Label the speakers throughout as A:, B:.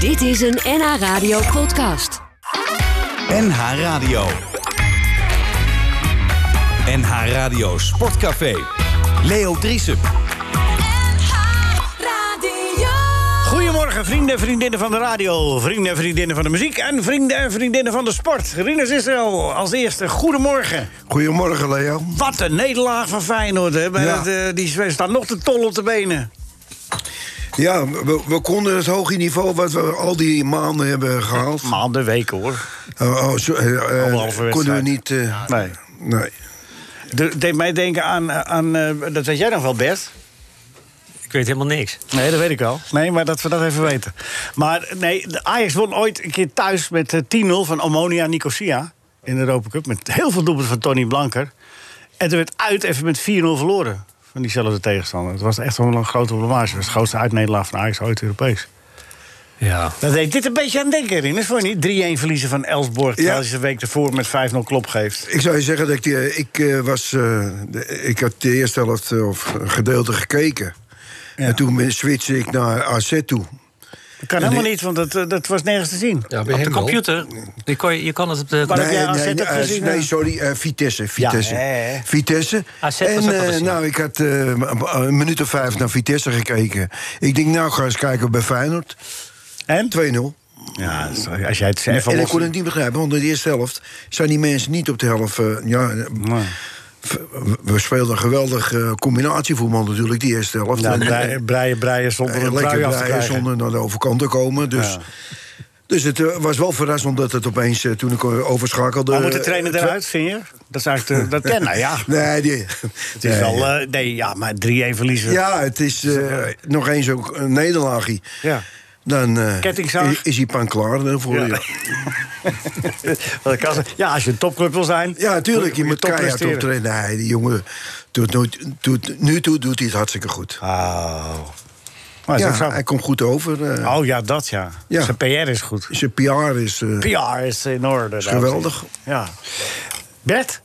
A: Dit is een NH Radio podcast.
B: NH Radio. NH Radio Sportcafé. Leo Driesen.
C: Goedemorgen, vrienden en vriendinnen van de radio, vrienden en vriendinnen van de muziek en vrienden en vriendinnen van de sport. Rinus Israël, als eerste, goedemorgen.
D: Goedemorgen, Leo.
C: Wat een nederlaag van Feyenoord, hè? Bij
D: Ja.
C: dat, eh, die staat nog te tol op de benen.
D: Ja, we, we konden het hoge niveau wat we al die maanden hebben gehaald.
C: Maanden, weken hoor.
D: Oh, oh, zo- eh, eh,
C: Anderhalve
D: konden we
C: wedstrijd.
D: niet. eh,
C: Nee.
D: nee.
C: Het deed mij denken aan, eh, aan eh, dat weet jij nog wel, Bert.
E: Ik weet helemaal niks.
C: Nee, dat weet ik al. Nee, maar dat we dat even weten. Maar nee, de Ajax won ooit een keer thuis met eh, 10-0 van Omonia Nicosia in de Europa Cup. Met heel veel doelpunten van Tony Blanker. En er werd uit even met 4-0 verloren van diezelfde tegenstander. Het was echt wel een grote blamage. Het was de grootste uitnederlaag van Ajax ooit Europees.
E: Ja.
C: Dat deed dit een beetje aan denken, Rinus, vond je niet? 3-1 verliezen van Elsborg, terwijl hij ze de week ervoor met 5-0 klop geeft.
D: Ik zou je zeggen dat ik, die- ik, eh, was, eh, de- ik had de eerste helft eh, of een gedeelte gekeken.
C: Ja.
D: En toen switchte ik naar AZ toe.
C: Dat kan helemaal niet, want dat, eh, dat was nergens te zien.
F: Ja, bij
E: Op de
F: hem wel.
E: computer, die kon je, je kan het op de...
C: Maar heb jij AZ
D: nee,
C: ook
D: eh,
C: gezien,
D: nee,
C: hè?
D: sorry, eh, Vitesse. Vitesse.
C: hè, hè.
D: Vitesse.
E: AZ was ook
D: en
E: wel
D: eh,
E: eens, ja.
D: nou, ik had eh, een minuut of vijf naar Vitesse gekeken. Ik denk, nou, ga eens kijken bij Feyenoord.
C: En?
D: 2-0.
C: Ja, als jij het zegt
D: en ik kon het niet begrijpen, want in de eerste helft zijn die mensen niet op de helft. eh, ja, eh, v- we speelden een geweldig eh, combinatievoetbal natuurlijk, die eerste helft.
C: Ja,
D: En, eh,
C: breien, breien, Nou, breien
D: eh,
C: zonder een
D: lekker
C: brui af te
D: breien
C: krijgen.
D: zonder naar de overkant te komen. Dus, dus het eh, was wel verrassend dat het opeens, eh, toen ik eh, overschakelde...
C: Maar moet de
D: eh,
C: trainer
D: twa-
C: eruit, vind je? Dat is eigenlijk de, dat, ja, nou ja,
D: Nee, die,
C: het is wel... eh, nee, ja, maar 3-1 verliezen.
D: Ja, het is eh, nog eens ook een nederlaagje.
C: Ja.
D: Dan eh,
C: Kettingzaag.
D: is- is hij pan klaar eh, voor
C: Ja.
D: je. Ja.
C: Wat ik kan zeggen, ja, als je een topclub wil zijn...
D: Ja, tuurlijk. Je moet
C: top
D: keihard
C: presteren.
D: optreden. Nee, die jongen doet nooit, doet, nu toe doet hij het hartstikke goed.
C: Oh. Maar is
D: ja,
C: ook zo.
D: hij komt goed over. eh,
C: Oh ja, dat ja.
D: Ja.
C: Zijn PR is goed.
D: Zijn PR is... eh,
C: PR is in orde. Is
D: geweldig.
C: Ja. Bert,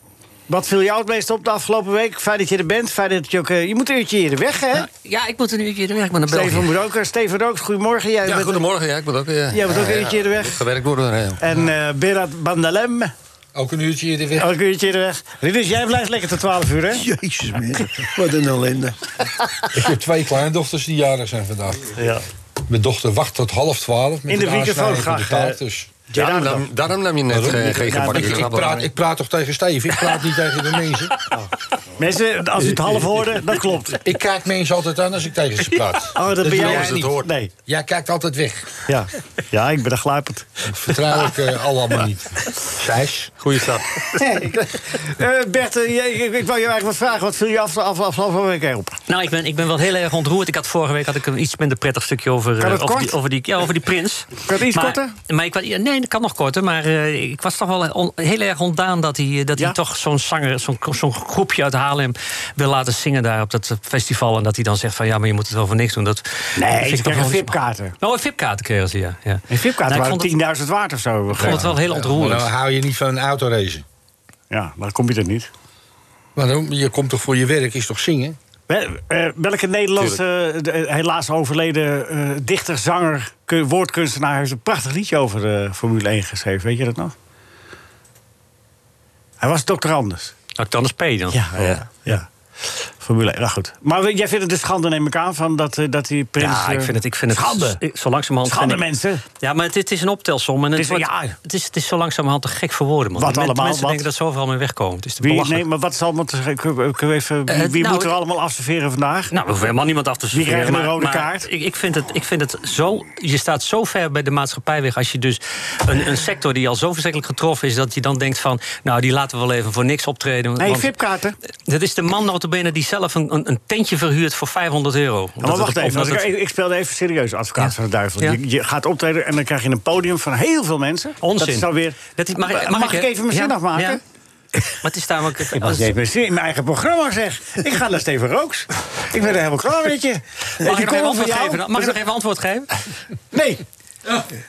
C: wat viel jou het meest op de afgelopen week? Fijn dat je er bent. Fijn dat je ook... eh, je moet een uurtje hier weg, hè?
E: Ja, ik moet een uurtje de werk, maar naar België.
C: Steven moet ook. eh, Steven Rooks, goedemorgen. Jij
F: Ja,
C: bent-
F: goedemorgen. Ja, ik moet ook,
G: eh,
F: ja.
C: Jij bent ook
F: Ja,
C: een
F: ja,
C: uurtje de weg.
F: moet Gewerkt worden. hè.
C: En eh Berat Bandalem,
F: Ook een uurtje hier de weg.
C: elk uurtje er weg. Rinus, jij blijft lekker tot 12 uur, hè?
D: Jezus, man. Wat een ellende.
F: Ik heb twee kleindochters die jarig zijn vandaag.
C: Ja.
F: Mijn dochter wacht tot half twaalf. Met
C: In de
F: een aansnijden
C: microfoon
F: van de
C: graag,
F: taart,
C: eh,
F: dus.
C: Gerardo.
G: Daarom nam, daarom nam je net
F: Waarom?
G: eh,
F: Ja,
G: geen gebakken
F: Ik, ik,
G: knabbel.
F: praat, ik praat toch tegen Steve, ik praat niet tegen de mensen.
C: Oh. Mensen, als u het half hoorde, dat klopt.
F: Ik kijk mensen altijd aan als ik tegen ze praat.
C: Oh, dat
F: Dus
C: ben
F: jij
C: jij
F: het
C: niet.
F: hoort.
C: Nee.
F: Jij kijkt altijd weg.
C: Ja. ja, ik ben een gluiperd.
F: Dat vertrouw ik eh, allemaal niet. Thijs?
G: Goeie stap.
C: Eh Bert, eh, jij- ik, ik wou je eigenlijk wat vragen. Wat viel je af, af, afgelopen week op?
E: Nou, ik ben, ik ben wel heel erg ontroerd. Ik had vorige week had ik een iets minder prettig stukje over,
C: Kan
E: eh,
C: het
E: over,
C: kort?
E: die, over, die, ja, over die prins.
C: Kan het iets
E: maar,
C: korter?
E: Maar ik, wa- ja, nee, dat kan nog korter. Maar eh, ik was toch wel on- heel erg ontdaan dat hij, eh, dat
C: Ja?
E: hij toch zo'n zanger, zo'n zo'n groepje uit Haarlem wil laten zingen daar op dat eh, festival. En dat hij dan zegt van ja, maar je moet het wel voor niks doen. Dat,
C: Nee,
E: dat
C: ze
E: vind ik toch
C: kregen
E: wel-
C: VIP-kaarten.
E: Nou, een VIP-kaarten kregen ze, ja. ja.
C: Een VIP-kaart
E: Nou, ik vond het-
C: waren 10.000 waard of zo.
E: Ik vond het wel heel
F: Maar
E: ontroerend.
F: dan hou je niet van een autoracen.
C: Ja, maar kom je er niet.
F: Maar dan- je komt toch voor je werk, is toch zingen?
C: Wel- eh, welke Nederlandse, eh, de- eh, helaas overleden eh, dichter, zanger, kun- woordkunstenaar... heeft een prachtig liedje over eh, Formule 1 geschreven. Weet je dat nog? Hij was dokter Anders.
E: Nou, dan is P dan.
C: Ja, ja, ja. Formule 1, nou goed. Maar we- jij vindt het een schande, neem ik aan, van dat, eh, dat die prins...
E: Ja, ik
C: eh,
E: vind het. Ik vind het
C: schande.
E: ik- Zo langzamerhand.
C: Schande,
E: vind ik-
C: mensen.
E: Ja, maar het, het is een optelsom. En het,
C: Het is-
E: wordt-
C: ja.
E: het, is, het is zo langzamerhand te gek voor woorden. Man.
C: Wat
E: Men-
C: allemaal,
E: mensen
C: wat?
E: denken dat zoveel mee wegkomen. Het is te
C: Wie,
E: belachelijk.
C: nee, maar wat is allemaal... te- ik- ik- ik- even, wie
E: Eh,
C: wie
E: nou,
C: moet er
E: ik-
C: allemaal afserveren vandaag?
E: Nou, we hoeven helemaal niemand af te serveren.
C: krijgen een
E: maar-
C: rode
E: maar
C: kaart?
E: Ik, ik, vind het, ik vind het zo... Je staat zo ver bij de maatschappij weg... als je dus een, een sector die al zo verschrikkelijk getroffen is... dat je dan denkt van... nou, die laten we wel even voor niks optreden.
C: Nee,
E: want-
C: VIP-kaarten.
E: Dat is de man notabene die zelf een, een, een tentje verhuurt voor 500 euro.
C: Ja, Oh, maar
E: Omdat
C: wacht
E: het-
C: even,
E: omdat
C: want ik,
E: het-
C: ik speelde even serieus advocaat
E: Ja.
C: van de duivel.
E: Ja.
C: Je, je gaat optreden en dan krijg je een podium van heel veel mensen.
E: Onzin.
C: Dat is dan weer...
E: Dat is- mag,
C: e- mag, ik even mijn zin
E: ja,
C: afmaken?
E: ja. Maar het is namelijk...
C: Dat
E: als-
C: is mijn zin in mijn eigen programma, zeg. Ik ga naar Steven Rooks. Ik ben er helemaal klaar met je.
E: Mag ik nog even
C: nog Dus-
E: antwoord geven? dan? Mag ik nog even antwoord geven?
C: Nee.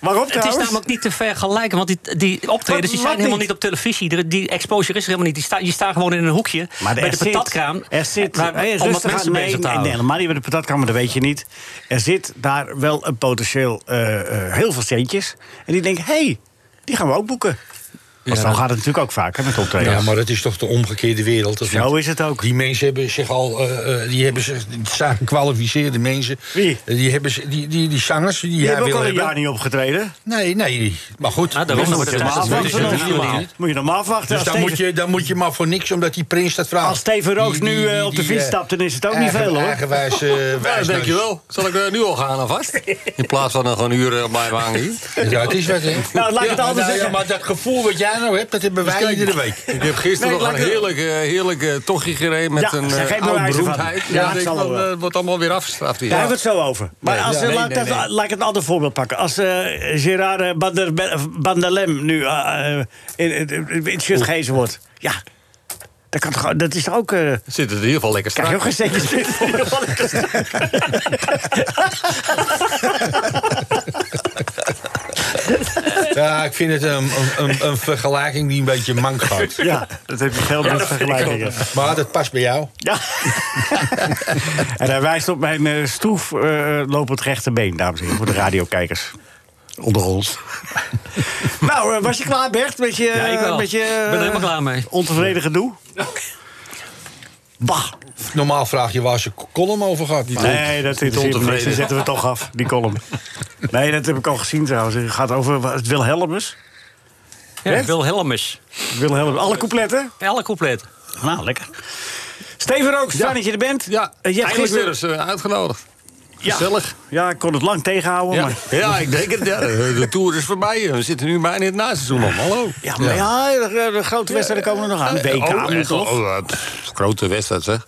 C: Waarop
E: Het is
C: trouwens?
E: namelijk niet te vergelijken, want die, die
C: Wat-
E: optredens die
C: wat
E: zijn helemaal
C: niet?
E: niet op televisie. De- Die exposure is er helemaal niet. Die sta, je staat gewoon in een hoekje
C: Maar
E: bij
C: er
E: de
C: zit-
E: patatkraam. Eh,
C: Er zit,
E: waar-
C: nee,
E: om wat
C: rustig
E: mensen
C: aan- nee,
E: bezig te
C: nee,
E: houden.
C: Nee, helemaal niet bij de patatkamer, dat weet je niet. Er zit daar wel een potentieel eh, eh, heel veel centjes. En die denken, hé, hey, die gaan we ook boeken. Want
E: Ja,
C: zo
E: dat-
C: gaat het natuurlijk ook vaak hè, met optredens.
F: Ja, maar dat is toch de omgekeerde wereld? of
C: Zo
F: niet?
C: is het ook.
F: Die mensen hebben zich al, eh, eh, die hebben zich, het zijn gekwalificeerde mensen.
C: Wie?
F: Eh, Die, hebben, ze- die, die, die zangers, die,
C: Je
F: jij
C: hebt ook
F: wil
C: al een
F: hebben.
C: jaar niet opgetreden.
F: Nee, nee, maar goed.
E: Ah, daarom
F: Dus
E: wordt het
F: dat-
E: maar
F: dat-
E: afwachten.
F: dat is
E: Dat
F: het
E: is
F: niet
E: normaal.
F: normaal.
C: Moet je nog maar afwachten.
F: Dus
C: als
F: dan
C: Steven-
F: moet, je, dan moet je maar voor niks, omdat die prins dat vraagt.
C: Als Steven Roos nu, eh, op de fiets
F: eh,
C: stapt, dan is het ook niet
F: eigen-
C: veel, hoor.
F: Eigenwijs, eh,
G: Ja, dat
F: wijsneus.
G: denk je wel. Zal ik eh, nu al gaan alvast? In plaats van nog een uur eh, op mij hangen hier.
F: Ja, het is wat, hè?
C: Nou, laat ik het
F: Ja,
C: anders
F: nou,
C: zeggen.
F: Ja, maar dat gevoel wat jij nou hebt, dat hebben wij
G: kijk.
F: iedere week.
G: Ik heb gisteren
C: Nee,
G: nog een
C: laat ik-
G: heerlijk, eh, heerlijk eh, tochtje gereden met
C: Ja,
G: een
C: zeg geen
G: eh oud
C: bewijzen van.
G: beroemdheid.
C: Ja,
G: Ja,
C: dat
G: denk
C: zal
G: ik, dan,
C: wel.
G: eh, wordt allemaal weer afgestraft hier.
C: Daar hebben we het zo over. Maar
G: Nee,
C: als,
G: ja,
C: eh,
G: nee,
C: laat, ik
G: nee,
C: dat-
G: nee.
C: laat ik het een ander voorbeeld pakken. Als eh, Gerard eh, Bander, Bandalem nu eh, eh, in, in, in het shirt gehezen wordt. Ja, dat, kan toch, dat is toch ook... eh,
G: Zit het in ieder geval lekker
C: Krijg
G: strak.
C: je ook geen steentjes meer voor de balken?
F: Ja, ik vind het een, een, een, een vergelijking die een beetje mank gaat.
C: Ja, dat heb je veel met vergelijkingen.
F: Maar dat past bij jou.
C: Ja. en hij wijst op mijn eh, stroef eh, lopend rechterbeen, dames en heren, voor de radiokijkers. Onder ons. nou, eh, was je klaar, Bert? Met je,
E: Ja, ik wel.
C: Met je,
E: Ik ben er helemaal klaar mee.
C: eh, Ontevreden gedoe? Bah.
F: Normaal vraag je waar ze column over gaat. Die
C: Nee, dat interesseert me niks. Die
G: ontevreden.
C: zetten we toch af, die column. Nee, dat heb ik al gezien trouwens. Het gaat over wat- het Wilhelmus.
E: Ja, Wilhelmus.
C: Wilhelmus. Alle coupletten.
E: Elk couplet.
C: Nou, lekker. Steven Rook, fijn dat je er bent.
G: Ja,
C: Eh, je hebt
G: eigenlijk
C: gisteren-
G: weer eens eh, uitgenodigd.
C: Ja.
G: Gezellig.
C: Ja, ik kon het lang tegenhouden.
G: Ja.
C: Maar,
G: ja, ik denk het. Ja. De de Tour is voorbij. eh. We zitten nu bijna in het naseizoen man. Hallo.
C: ja, maar ja. de, de grote wedstrijden komen er nog aan. WK
G: Oh,
C: moet
G: echt,
C: toch?
G: oh, eh, pff, grote wedstrijd, zeg.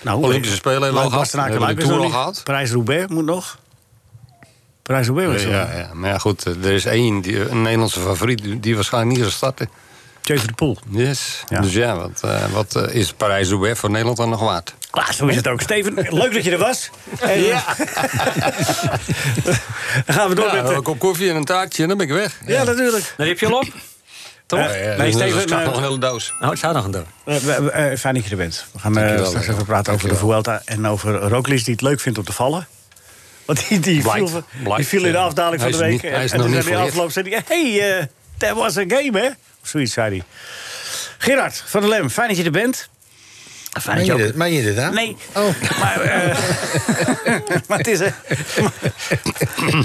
C: nou,
G: Olympische Spelen hebben we al gehad.
C: Bastenaken
G: Hebben we de
C: Luik is
G: Tour
C: nog
G: al
C: niet.
G: gehad.
C: Parijs-Roubaix moet nog. Parijs-Roubaix was
G: Ja,
C: er nog.
G: ja, ja. Maar ja, goed, eh, er is één, die, een Nederlandse favoriet, die- die waarschijnlijk niet gaat starten.
C: Jeffrey de Poel.
G: Yes.
C: Ja.
G: Dus ja, wat, eh, wat eh, is Parijs-Roubaix voor Nederland dan nog waard?
C: Ah, zo is het ook. Steven, leuk dat je er was. En, dan gaan we door
G: Ja,
C: met...
G: een
C: de-
G: kop koffie en een taartje en dan ben ik weg.
C: Ja, natuurlijk.
E: Daar heb je al op. Toch?
C: Eh,
G: Ja,
C: nee,
G: dus er
C: Steven,
G: staat
C: eh,
G: nog een hele doos.
E: Nou, ik sta nog een dag.
C: eh, we- eh, fijn dat je er bent. We gaan eh,
G: Dankjewel,
C: straks
G: Leo.
C: even praten over de Vuelta en over Roglic die het leuk vindt om te vallen. Want die, die,
G: Blijkt,
C: viel, die
G: blijkt,
C: viel in de
G: ja.
C: afdaling
G: eh, Hij
C: van de
G: is
C: week. eh,
G: niet- hij is
C: en
G: nog
C: toen
G: niet
C: zei hij
G: verleerd.
C: afgelopen, zei hij, hey, eh, that was a game, hè? Of zoiets, zei hij. Gerard van der Lem, fijn dat je er bent. Fijn
F: Meen
C: dat je
F: je
C: ook-
F: dit? Meen je dit, hè?
C: Nee, maar, eh, maar het is... eh,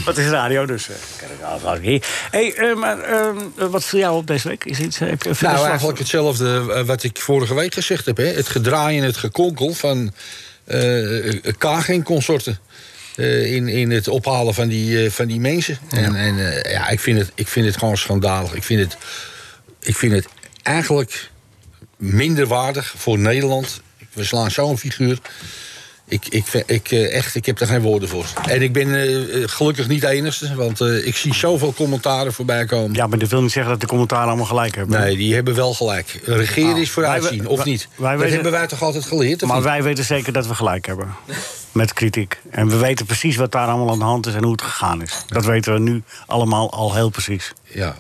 C: Wat is radio dus? eh, kan ik wel gewoon hier. hey, eh, maar ehm, wat viel jou op deze week? Is iets, eh, heb je heb je
F: Nou,
C: verslag?
F: eigenlijk hetzelfde eh, wat ik vorige week gezegd heb. Hè. Het gedraai en het gekonkel van eh Kagen-consorten. eh, in, in het ophalen van die, eh, van die mensen. En, en eh, ja, ik vind, het, ik vind het gewoon schandalig. Ik vind het, ik vind het eigenlijk minder waardig voor Nederland. We slaan zo'n figuur. Ik, ik, vind- ik, eh, echt, ik heb daar geen woorden voor. En ik ben eh, eh, gelukkig niet de enigste, want eh, ik zie zoveel commentaren voorbij komen.
C: Ja, maar dat wil niet zeggen dat de commentaren allemaal gelijk hebben.
F: Nee, die hebben wel gelijk. Regeren is
C: Wij-
F: vooruitzien, of
C: wij-
F: niet?
C: wij
F: dat
C: weten-
F: hebben wij toch altijd geleerd? Of
C: Maar
F: niet?
C: wij weten zeker dat we gelijk hebben. Met kritiek. En we weten precies wat daar allemaal aan de hand is en hoe het gegaan is. Dat weten we nu allemaal al heel precies.
F: Ja,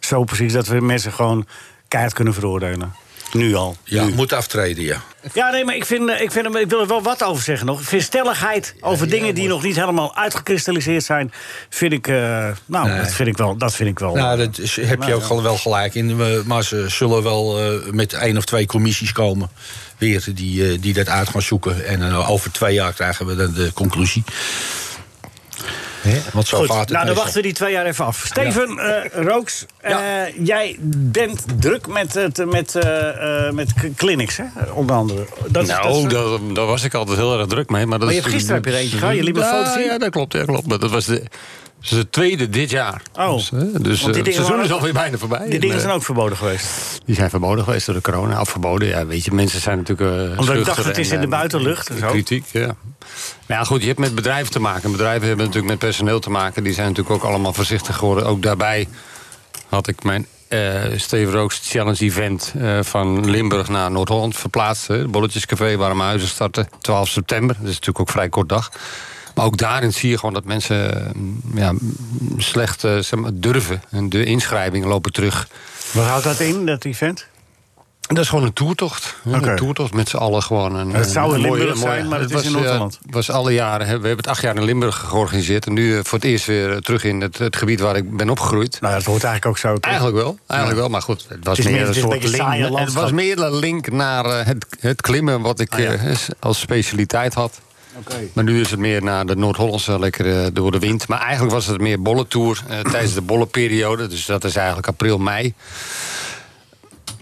C: Zo precies dat we mensen gewoon keihard kunnen veroordelen. Nu al.
F: ja
C: Nu.
F: moet aftreden, ja.
C: Ja, nee, maar ik, vind, eh, ik, vind, hem- ik wil er wel wat over zeggen nog. Ik vind stelligheid over dingen die nog niet helemaal uitgekristalliseerd zijn... vind ik, eh, nou, dat vind ik wel... Dat vind ik wel
F: Nou, dat is- heb je ook gewoon wel gelijk in. We- Maar ze zullen wel eh, met één of twee commissies komen. Weer die, eh, die dat uit gaan zoeken. En dan over twee jaar krijgen we dan de conclusie. Hè? Want zo
C: Goed,
F: gaat het
C: nou, dan
F: meestal.
C: wachten we die twee jaar even af. Steven eh, Rooks, eh, jij bent druk met, het, met, eh, eh, met k- clinics, hè? onder andere. Dat, is- dat is-
G: Nou, daar, daar was ik altijd heel erg druk mee. Maar, dat
C: Maar je
G: is
C: hebt gisteren heb je er eentje gehad, je liet me
G: ja,
C: foto's zien.
G: Ja, dat klopt, ja, klopt. Maar dat was de, dat is de tweede dit jaar.
C: Oh,
G: Dus, eh, dus,
C: dingen
G: eh, het seizoen
C: waren-
G: is alweer bijna
C: die
G: voorbij.
C: dingen
G: En,
C: zijn
G: eh,
C: ook verboden geweest.
G: die zijn verboden geweest door de corona. Of verboden, ja, weet je. Mensen zijn natuurlijk... eh,
C: ik
G: schuchter
C: dacht, het is
G: en,
C: in de
G: eh,
C: buitenlucht en zo.
G: Kritiek, ja. Maar ja, goed, je hebt met bedrijven te maken. Bedrijven hebben natuurlijk met personeel te maken. Die zijn natuurlijk ook allemaal voorzichtig geworden. Ook daarbij had ik mijn eh Steve Rooks Challenge Event eh, van Limburg naar Noord-Holland verplaatst. hè. Het Bolletjescafé waar mijn huizen starten, 12 september. Dat is natuurlijk ook vrij kort dag. Maar ook daarin zie je gewoon dat mensen mm, ja, mm, slecht eh, zeg maar, durven. En de inschrijvingen lopen terug.
C: Wat houdt dat in, dat event?
G: En dat is gewoon een toertocht. hè,
C: Oké.
G: Een toertocht met z'n allen gewoon. Een,
C: Het zou in
G: een mooie-
C: Limburg
G: een mooie-
C: zijn, maar het is
G: was,
C: in Noord-Holland.
G: eh, was alle jaren. hè, We hebben het acht jaar in Limburg georganiseerd. En nu eh, voor het eerst weer eh, terug in het, het gebied waar ik ben opgegroeid.
C: Nou, dat hoort eigenlijk ook zo. toch?
G: Eigenlijk wel, eigenlijk wel. Maar goed, het was
C: Het is meer-
G: meer
C: het
G: een
C: is een
G: soort
C: beetje
G: link.
C: saaie
G: Het
C: landschap. Ah,
G: was meer een link naar eh, het, het klimmen, wat ik eh, als specialiteit had. Maar nu is het meer naar de Noord-Hollandse, lekker eh, door de wind. Maar eigenlijk was het meer bollentour eh, tijdens de bollenperiode. Dus dat is eigenlijk april, mei.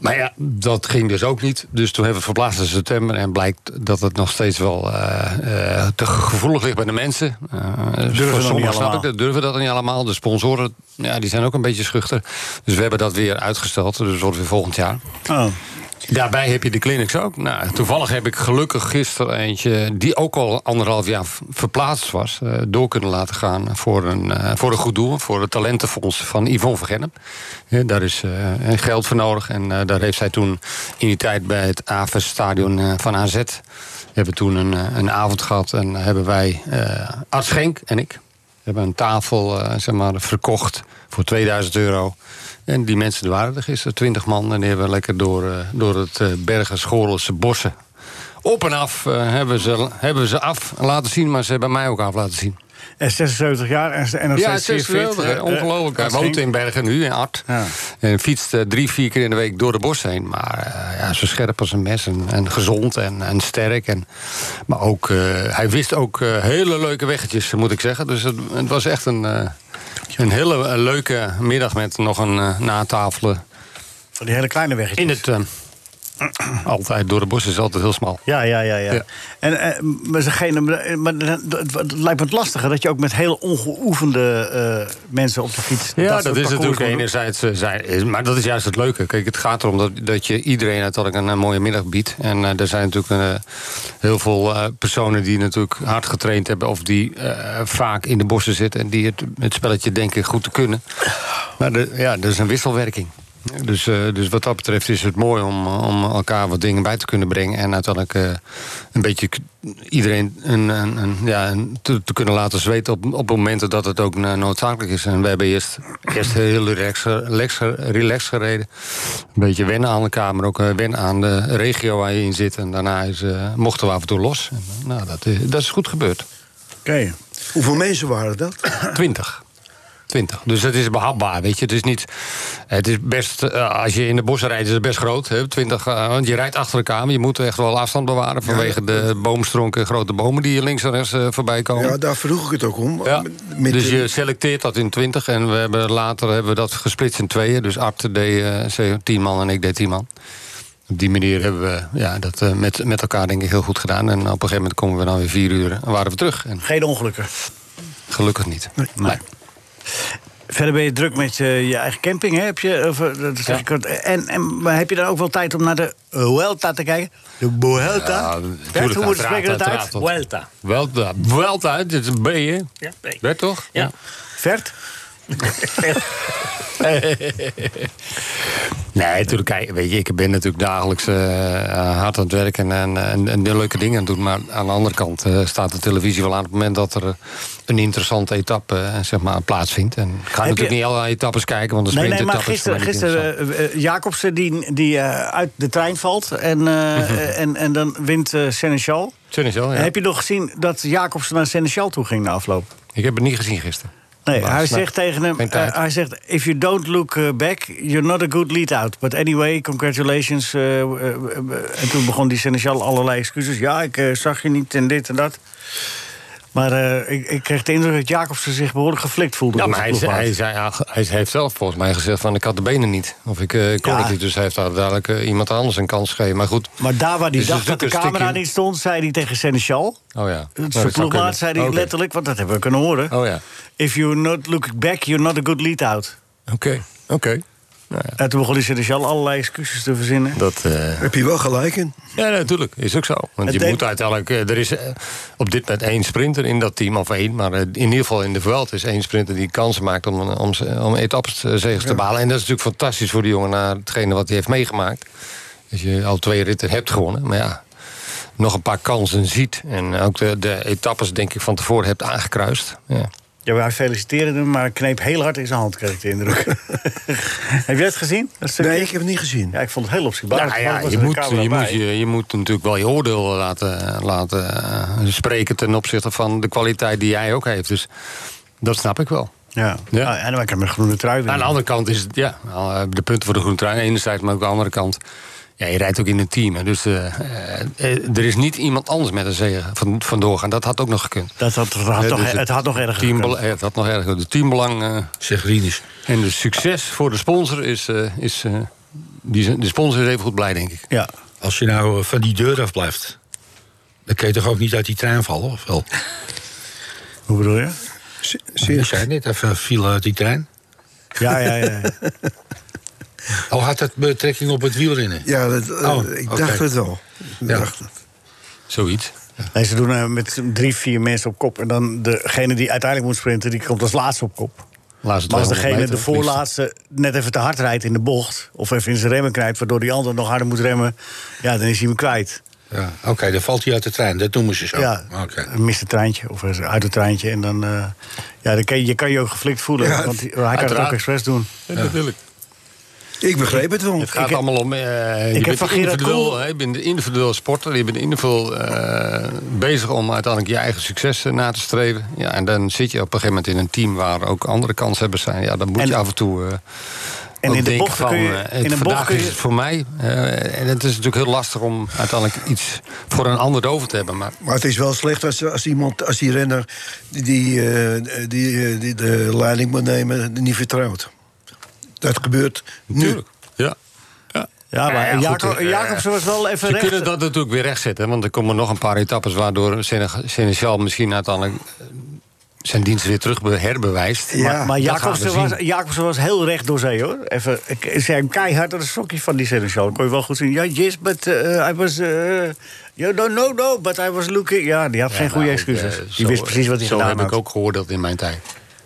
G: Maar ja, dat ging dus ook niet. Dus toen hebben we het verplaatst naar september. En blijkt dat het nog steeds wel eh, eh, te gevoelig ligt bij de mensen. Eh,
C: dat
G: voor
C: niet
G: sommigen snap
C: allemaal?
G: ik dat, durven dat niet allemaal. De sponsoren ja, die zijn ook een beetje schuchter. Dus we hebben dat weer uitgesteld. Dus dat wordt weer volgend jaar.
C: Oh.
G: Daarbij heb je de clinics ook. Nou, toevallig heb ik gelukkig gisteren eentje... die ook al anderhalf jaar v- verplaatst was... eh, door kunnen laten gaan voor een, eh, voor een goed doel. Voor het talentenfonds van Yvonne van Gennep. Eh, daar is eh, geld voor nodig. En eh, daar heeft zij toen in die tijd bij het AVES-stadion eh, van AZ... hebben we toen een, eh, een avond gehad. En hebben wij, eh Art Schenk en ik... hebben een tafel eh, zeg maar, verkocht voor 2000 euro... En die mensen er waren er gisteren, twintig man. En die hebben lekker door, eh, door het eh Bergen-Schorelse bossen. Op en af eh, hebben, ze, hebben ze af laten zien, maar ze hebben mij ook af laten zien.
C: En 76 jaar en, en nog
G: ja,
C: steeds
G: het
C: zeer
G: is
C: fit.
G: geweldig, hè?
C: Eh,
G: ongelooflijk. Hij
C: dat ging.
G: woont in Bergen nu, in Art.
C: Ja.
G: En fietst eh, drie, vier keer in de week door de bos heen. Maar eh, ja, zo scherp als een mes en, en gezond en, en sterk. En, maar ook, eh, hij wist ook eh, hele leuke weggetjes, moet ik zeggen. Dus het, het was echt een, eh, een hele eh, leuke middag met nog een eh, natafelen.
C: Van die hele kleine weg.
G: In het. eh, altijd door de bos is altijd heel smal.
C: Ja, ja, ja, ja.
G: Ja.
C: En, eh, maar degene, maar het het lijkt me het lastiger dat je ook met hele ongeoefende eh, mensen op de fiets.
G: Ja, dat,
C: soort
G: is
C: parcours
G: natuurlijk
C: moet doen.
G: enerzijds. eh, zij- is- maar dat is juist het leuke. Kijk, het gaat erom dat, dat je iedereen uiteindelijk een, eh, mooie middag biedt. En eh, er zijn natuurlijk eh, heel veel eh, personen die natuurlijk hard getraind hebben. of die eh, vaak in de bossen zitten. en die het, het spelletje denken goed te kunnen. Maar de, ja, er is een wisselwerking. Dus, eh, dus wat dat betreft is het mooi om, eh, om elkaar wat dingen bij te kunnen brengen. En uiteindelijk eh, een beetje k- iedereen een, een, een- ja, een- te, te kunnen laten zweten op, op momenten dat het ook eh, noodzakelijk is. En we hebben eerst, eerst heel relaxed relax, relax gereden. Een beetje wennen aan elkaar, maar ook eh, wennen aan de regio waar je in zit. En daarna is, eh, mochten we af en toe los. En, eh, nou, dat is, dat is goed gebeurd.
C: Oké.
D: Hoeveel mensen waren dat?
G: 20. 20. Dus dat is behapbaar, weet je. Het is niet... Het is best... eh, als je in de bossen rijdt, is het best groot. Hè? 20, eh, want je rijdt achter elkaar, maar je moet echt wel afstand bewaren... vanwege de boomstronken, grote bomen die hier links en rechts eh, voorbij komen.
D: Ja, daar vroeg ik het ook om.
G: Ja,
D: Met
G: dus
D: de-
G: je selecteert dat in 20 en we hebben later hebben we dat gesplitst in tweeën. Dus Arte deed eh, 10 man en ik deed 10 man. Op die manier hebben we ja, dat eh, met, met elkaar denk ik heel goed gedaan. En op een gegeven moment komen we dan weer vier uur en waren we terug. En
C: Geen ongelukken.
G: gelukkig niet. Nee.
C: Verder ben je druk met je, je eigen camping, hè? Heb je, of, eh, dat is
G: Ja.
C: eigenlijk- en, en maar heb je dan ook wel tijd om naar de Vuelta te kijken? De Vuelta?
G: Ja,
C: Bert,
G: natuurlijk,
C: hoe moet- spreken we
G: uiteraard,
C: dat uit?
G: uiteraard. Tot.
E: Vuelta.
G: Wel, wel uit, dit is een B, hè?
E: Ja, nee.
G: Werd toch?
E: Ja.
C: Vert?
G: Nee, natuurlijk. kijk, Weet je, ik ben natuurlijk dagelijks eh, hard aan het werken en, en, en de leuke dingen aan het doen. Maar aan de andere kant eh, staat de televisie wel aan op het moment dat er eh, een interessante etappe eh, zeg maar, plaatsvindt. En ik ga natuurlijk
C: je-
G: niet alle etappes kijken, want de
C: Nee, nee,
G: sprintetappes
C: maar gisteren,
G: zijn niet
C: gisteren
G: interessant.
C: eh, eh, Jacobsen die, die eh, uit de trein valt en, eh,
G: Mhm.
C: eh, en, en dan wint eh, Seneschal.
G: Seneschal, Oh, ja.
C: Heb je nog gezien dat Jacobsen naar Seneschal toe ging na afloop?
G: Ik heb het niet gezien gisteren.
C: Nee,
G: Maar
C: hij
G: snap-
C: zegt tegen hem,
G: Geen tijd.
C: eh, hij zegt, if you don't look eh, back, you're not a good lead-out. But anyway, congratulations. eh, eh, eh, eh." en toen begon die Seneschal allerlei excuses. Ja, ik eh, zag je niet en dit en dat. Maar eh, ik, ik kreeg de indruk dat Jacobsen zich behoorlijk geflikt voelde.
G: Ja,
C: door
G: maar hij,
C: zijn
G: zei- hij,
C: ploegmaat.
G: zei, hij, heeft zelf volgens mij gezegd van ik had de benen niet. Of ik eh, kon
C: Ja.
G: het niet, dus hij heeft daar dadelijk eh, iemand anders een kans gegeven. Maar goed.
C: Maar daar waar hij
G: Dus er
C: dacht
G: zit
C: dat de
G: een stukje
C: camera
G: in.
C: niet stond, zei hij tegen Seneschal.
G: Oh ja. Nou, dat zou
C: Zijn
G: kunnen.
C: ploegmaat zei hij
G: Oké.
C: letterlijk, want dat hebben we kunnen horen.
G: Oh ja.
C: If you not look back, you're not a good lead-out.
G: Oké, oké. Nou
C: En toen begon hij Seneschal allerlei excuses te verzinnen.
G: Dat, eh,
D: Heb je wel gelijk in?
G: ja, natuurlijk. Is ook zo. Want
C: Het
G: je
C: deed-
G: moet uiteindelijk... eh, Er is eh, op dit moment één sprinter in dat team, of één. Maar eh, in ieder geval in de Vuelta is één sprinter die kansen maakt... om, eh, om, om etappeszegers te balen. En dat is natuurlijk fantastisch voor die jongen... na hetgene wat hij heeft meegemaakt. Als je al twee ritten hebt gewonnen. Maar ja, nog een paar kansen ziet. En ook de, de etappes, denk ik, van tevoren hebt aangekruist. Ja.
C: Ja, wij feliciteren hem, maar kneep heel hard in zijn hand, kreeg ik de indruk. Heb jij het gezien? Dat stukje?
D: Nee, ik heb het niet gezien.
C: Ja, ik vond het heel opzichtbaar.
G: Nou ja, je, moet, je, moet, je, je moet natuurlijk wel je oordeel laten, laten eh, spreken ten opzichte van de kwaliteit die jij ook heeft. Dus dat snap ik wel.
C: Ja.
G: Ja.
C: Ah, en dan heb ik hem een groene trui.
G: Aan
C: weer.
G: de andere kant is het, ja, nou, de punten voor de groene trui, enerzijds, maar ook aan de andere kant. Ja, je rijdt ook in een team. Hè, dus eh, eh, er is niet iemand anders met een zegen van, vandoor gaan. Dat had ook nog gekund.
C: Dat had, dat had
G: Hè,
C: nog,
G: dus
C: het had nog erger
G: teambel-
C: gekund.
G: eh, Het had nog erger. De teambelang eh,
F: Zeg Rinus.
G: en de succes voor de sponsor is. eh, is eh, die, zijn- de sponsor is even goed blij, denk ik.
C: Ja.
F: Als je nou eh, van die deur af blijft, dan kun je toch ook niet uit die trein vallen, of wel?
C: Hoe bedoel je?
D: Se-
F: Je
D: Serieus.
F: zei net, even viel uit die trein.
C: Ja, ja, ja.
F: Oh, had dat betrekking op het wielrennen?
D: Ja, dat, eh,
F: Oh,
D: ik
F: oké.
D: dacht het wel. Ik
F: Ja.
D: dacht het.
G: Zoiets.
C: Nee, ze doen eh, met drie, vier mensen op kop. En dan degene die uiteindelijk moet sprinten, die komt als laatste op kop.
G: Laatste
C: Maar als
G: 200
C: degene
G: meter,
C: de
G: of liefst.
C: voorlaatste net even te hard rijdt in de bocht... of even in zijn remmen knijpt, waardoor die ander nog harder moet remmen... ja, dan is hij hem kwijt.
F: Ja, Oké, dan valt hij uit de trein. Dat noemen ze zo.
C: Ja,
F: Oké.
C: hij mist het treintje of hij is uit het treintje. En dan, eh, ja, dan kan je, je kan je ook geflikt voelen.
D: Ja,
C: want hij hij kan het
G: uiteraard.
C: ook expres doen.
G: Ja, natuurlijk.
D: Ik begreep het wel.
G: Het gaat
C: heb-
G: allemaal om. eh, je,
C: heb
G: bent
C: van Gerard
G: individueel,
C: Koel-
G: hè, je bent een individueel sporter. Je bent individueel eh, bezig om uiteindelijk je eigen succes eh, na te streven. Ja, en dan zit je op een gegeven moment in een team waar ook andere kanshebbers zijn. Ja, dan moet
C: En-
G: je af en toe. eh,
C: En
G: ook
C: in de
G: denken
C: bocht
G: van,
C: kun je...
G: eh, het
C: in een bocht
G: vandaag
C: kun
G: is
C: je
G: het voor mij. eh, en het is natuurlijk heel lastig om uiteindelijk iets voor een ander over te hebben. Maar
D: Maar het is wel slecht als, als iemand, als die renner die, die, eh, die, eh, die de leiding moet nemen, niet vertrouwt. Dat gebeurt nu.
G: natuurlijk. Ja.
C: ja, Ah, maar
G: Ja, goed,
C: Jacob,
G: eh,
C: Jacobsen was wel even
G: Ze
C: recht.
G: kunnen dat natuurlijk weer rechtzetten. hè, Want er komen nog een paar etappes waardoor Seneg- Seneschal misschien uiteindelijk eh, zijn dienst weer terug be- herbewijst.
D: Ja,
C: maar maar
G: dat
C: Jacobsen,
G: gaan we
C: was,
G: zien.
C: Jacobsen was heel recht door zee, hoor. Even, ik- ze zijn keihard aan de sokjes van die Seneschal. Dat kon je wel goed zien. Ja, yes, but eh, I was... eh you don't know, no, but I was looking... Ja, die had geen
G: Ja,
C: goede
G: nou,
C: excuses.
G: eh,
C: die
G: zo-
C: wist precies wat hij
G: Zo
C: gedaan
G: heb
C: had.
G: ik ook geoordeeld in mijn tijd.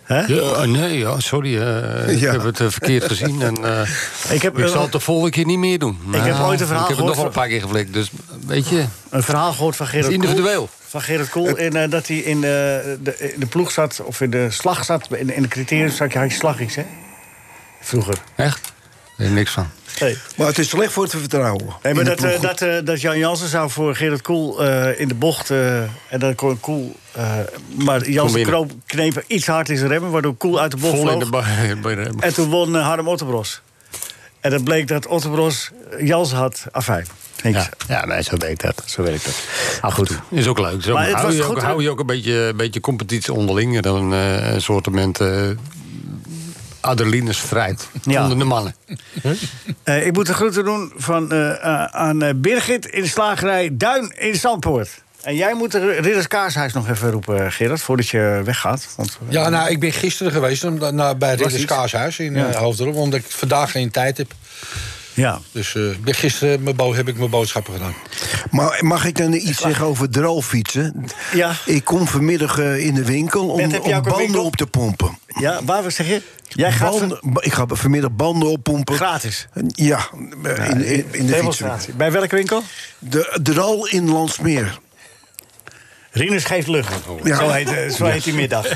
C: Hè?
G: Ja, oh, nee, ja, sorry. eh, Ik
D: Ja.
G: heb het eh, verkeerd gezien. En, eh,
C: Ik
G: ik,
C: heb, eh,
G: zal het de volgende keer niet meer doen. Nou,
C: heb ooit een verhaal
G: Ik heb het
C: gehoord
G: nog wel
C: van-
G: een paar keer geflikt. Dus weet je,
C: een verhaal gehoord van Gerard
G: Het is individueel.
C: Koel. Van Gerard Koel. In, eh, dat hij in de, de, in de ploeg zat, of in de slag zat. In, in de criterium zat je, had je slagjes, hè? Vroeger.
G: echt? Er is niks van.
C: Nee.
D: Maar het is slecht voor het vertrouwen.
C: Nee, maar
D: in de
C: dat, eh,
D: ploeg.
C: dat, eh, dat Jan Jansen zou voor Gerard Koel eh, in de bocht... eh, en dan kon Koel... eh, maar Jansen
G: binnen.
C: kroop, kneep er iets hard in zijn remmen... waardoor Koel uit de bocht
G: Vol in
C: vloog.
G: de bar.
C: en toen won eh, Harm Otterbros. En dat bleek dat Otterbros eh, Jansen had. Afijn. Niks.
G: Ja, ja nee, zo werkt dat. Zo werkt dat. goed. Is ook leuk. Zo
C: Maar het
G: hou,
C: was
G: je
C: goed,
G: ook,
C: hè?
G: hou je ook een beetje, een beetje competitie onderling. En Dan eh, een soort moment, eh adrenaline strijd
C: Ja.
G: onder de mannen.
C: Eh, ik moet de groeten doen van, eh, eh, aan eh, Birgit in slagerij Duin in Zandpoort. En jij moet de Ridders Kaashuis nog even roepen, Gerard, voordat je weggaat. Want, eh,
F: Ja, nou, ik ben gisteren geweest om, eh, naar, bij Ridders
C: iets.
F: Kaashuis in
C: Ja.
F: eh, Hoofddorp... omdat ik vandaag geen tijd heb.
C: ja.
F: Dus eh, ik ben gisteren mijn bo- heb ik mijn boodschappen gedaan.
D: Maar mag ik dan iets zeggen over droogfietsen?
C: Ja.
D: Ik kom vanmiddag eh, in de winkel om,
C: Net heb
D: om
C: je ook een
D: banden
C: winkel?
D: op te pompen.
C: ja, waar zeg je? Jij gaat
D: Banden,
C: van-
D: Ik ga vanmiddag banden oppompen.
C: gratis.
D: Ja, in, in, in de fiets.
C: Demonstratie. Bij welke winkel?
D: De, de rol in Landsmeer.
C: Rinus geeft lucht.
D: Ja.
C: Zo heet, eh, zo heet die middag.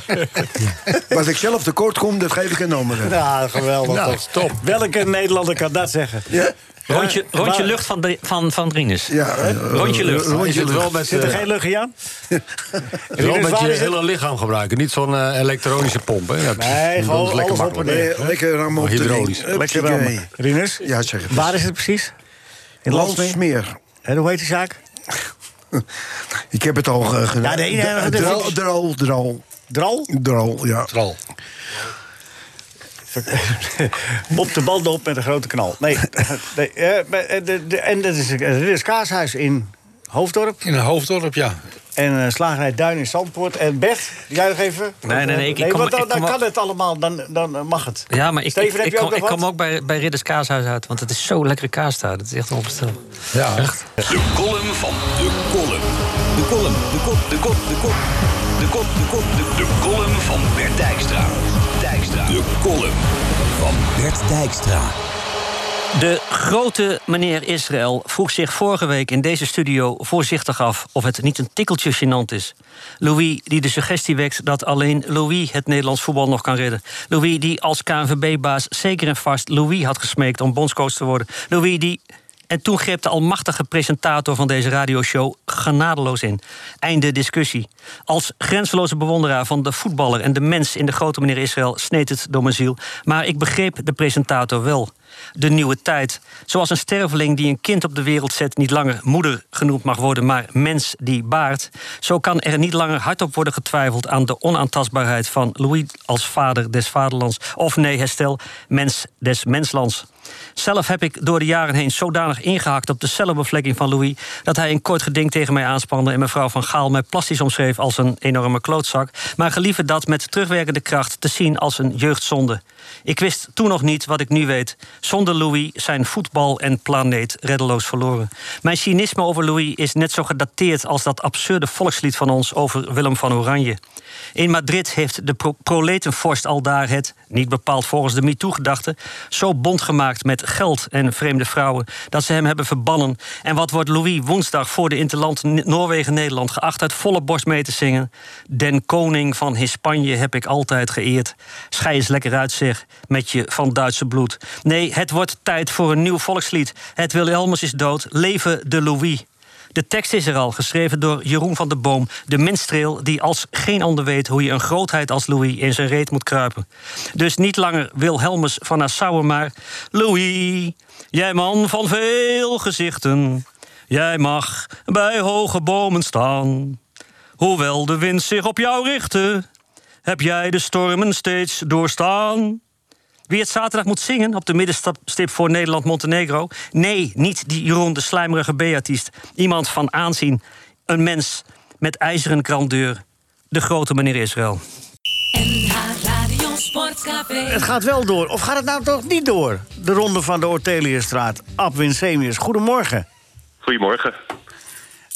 D: Wat ik zelf tekort kom, dat geef ik een ander.
C: Ja, geweldig.
G: Nou,
C: toch? Welke Nederlander kan dat zeggen?
D: Ja,
E: Rondje,
C: Ja,
E: rondje
C: maar-
E: lucht van, de, van, van Rinus.
D: ja, eh,
E: Rondje lucht.
D: rondje
G: Is het wel
D: lucht.
G: met,
C: Zit er
G: eh,
C: geen lucht in aan?
G: wel
C: Rinus,
G: met
C: waar
G: je
C: is het?
G: hele lichaam gebruiken? Niet zo'n eh, elektronische pomp. Hè? Ja, pff,
C: Nee,
G: dat is
C: gewoon alles op en
G: makkelijk.
C: neer.
D: Eh, Lekker rammen op de
G: Hydraulisch.
D: ding.
C: Lekker
D: Uppakee.
C: rammen. Rinus?
D: Ja, zeg het.
C: Waar is het precies? In Landsmeer?
D: Landsmeer.
C: Hè, Hoe heet die zaak?
D: Ik heb het al eh, gedaan.
C: Ja, nee, nee,
D: De-
C: dat is-
D: Drol, drol, drol.
C: Dral?
D: Drol, ja.
F: Tral.
C: op de banden op met een grote knal. Nee, nee eh, maar, eh, de, de, en dat is het Ridders Kaashuis in Hoofddorp.
F: In een hoofddorp, ja.
C: En eh, slagerij Duin in Zandpoort. En Bert, jij nog even?
E: Nee, nee, nee, ik- ik kom-
C: want dan,
E: ik kom
C: dan
E: wel-
C: kan het allemaal, dan, dan eh, mag het.
E: Ja, maar ik,
C: Steven,
E: ik,
C: heb
E: ik,
C: je ook
E: kom,
C: nog
E: ik
C: wat?
E: kom ook bij, bij Ridders Kaashuis uit, want het is zo lekkere kaas daar. Dat is echt onbestelbaar.
F: Ja, echt.
B: De column van de column. De column, de kop, de kop, de kop. De kop, de kop, de De column van Bert Dijkstra. Dijkstra. De column van Bert Dijkstra.
E: De grote meneer Israël vroeg zich vorige week in deze studio voorzichtig af of het niet een tikkeltje gênant is. Louis die de suggestie wekt dat alleen Louis het Nederlands voetbal nog kan redden. Louis die als KNVB-baas zeker en vast Louis had gesmeekt om bondscoach te worden. Louis die. En toen greep de almachtige presentator van deze radioshow genadeloos in. Einde discussie. Als grenzeloze bewonderaar van de voetballer en de mens in de grote meneer Israël sneed het door mijn ziel. Maar ik begreep de presentator wel de nieuwe tijd. Zoals een sterveling die een kind op de wereld zet niet langer moeder genoemd mag worden, maar mens die baart. Zo kan er niet langer hardop worden getwijfeld aan de onaantastbaarheid van Louis als vader des vaderlands. Of nee, herstel, mens des menslands. Zelf heb ik door de jaren heen zodanig ingehakt op de cellenbevlekking van Louis... dat hij een kort geding tegen mij aanspande... en mevrouw van Gaal mij plastisch omschreef als een enorme klootzak... maar gelieve dat met terugwerkende kracht te zien als een jeugdzonde. Ik wist toen nog niet wat ik nu weet. Zonder Louis zijn voetbal en planeet reddeloos verloren. Mijn cynisme over Louis is net zo gedateerd... als dat absurde volkslied van ons over Willem van Oranje. In Madrid heeft de pro proletenvorst al daar het... niet bepaald volgens de MeToo-gedachte... zo bond gemaakt met geld en vreemde vrouwen... dat ze hem hebben verbannen. En wat wordt Louis woensdag voor de interland Noorwegen-Nederland... geacht uit volle borst mee te zingen? Den koning van Hispanje heb ik altijd geëerd. Schij eens lekker uit, zeg, met je van Duitse bloed. Nee, het wordt tijd voor een nieuw volkslied. Het Wilhelmus is dood, leven de Louis. De tekst is er al, geschreven door Jeroen van der Boom, de minstreel die als geen ander weet hoe je een grootheid als Louis in zijn reet moet kruipen. Dus niet langer Wilhelmus van Nassau, maar Louis, jij man van veel gezichten, jij mag bij hoge bomen staan. Hoewel de wind zich op jou richtte, heb jij de stormen steeds doorstaan. Wie het zaterdag moet zingen op de middenstip voor Nederland-Montenegro? Nee, niet die Jeroen de slijmerige B-artiest. Iemand van aanzien. Een mens met ijzeren grandeur. De grote meneer Israël.
H: NH Radio Sportcafé.
C: Het gaat wel door. Of gaat het nou toch niet door? De ronde van de Orteliusstraat. Ab Winsemius, goedemorgen.
I: Goedemorgen.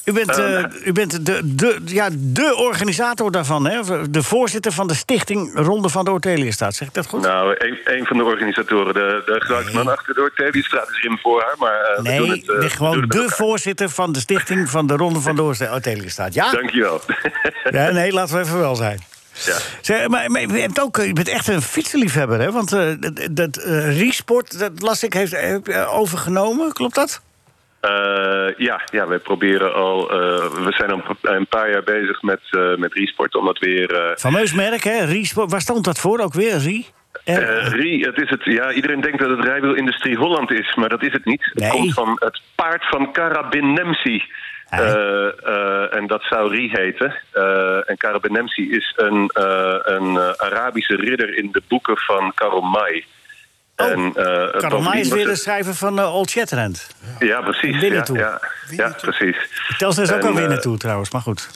C: U bent,
I: Eh,
C: eh, u bent de, de, ja, de organisator daarvan, hè? Of eh, De voorzitter van de stichting Ronde van de Orteliusstraat. Zeg ik dat goed?
I: Nou, een, een van de organisatoren, de, de geluidsman achter de Orteliusstraat is in voor haar, maar eh, we doen
C: nee,
I: het... eh,
C: nee,
I: we doen
C: gewoon
I: het met
C: de
I: elkaar.
C: voorzitter van de stichting van de Ronde van de Orte- Orteliusstraat. Ja?
I: Dankjewel.
C: ja? Nee, laten we even wel zijn.
I: ja.
C: Zeg, maar, maar je, bent ook, eh, je bent echt een fietsenliefhebber, hè? Want eh, dat, dat eh, Riesport, dat las ik, heeft eh, overgenomen. Klopt dat?
I: Eh, ja, ja, wij proberen al... eh, we zijn al een paar jaar bezig met, eh met Resport, omdat weer... eh,
C: Fameus merk, hè? Riesport. Waar stond dat voor ook weer? Rie? R-
I: Eh, Rie, het is het, ja, iedereen denkt dat het rijwielindustrie Holland is, maar dat is het niet.
C: Nee.
I: Het komt van het paard van Karabinemsi.
C: Hey.
I: Eh, eh, en dat zou Rie heten. Eh, en Karabinemsi is een, eh, een eh, Arabische ridder in de boeken van Karomai.
C: Oh,
I: en, eh,
C: Karel
I: bovendien
C: May is
I: was
C: weer de
I: het-
C: schrijver van eh, Old Shatterhand.
I: Ja, precies. Ja,
C: Winnetou.
I: ja, ja, precies.
C: Telstra is dus ook
I: En,
C: al winnen
I: eh,
C: toe trouwens, maar goed.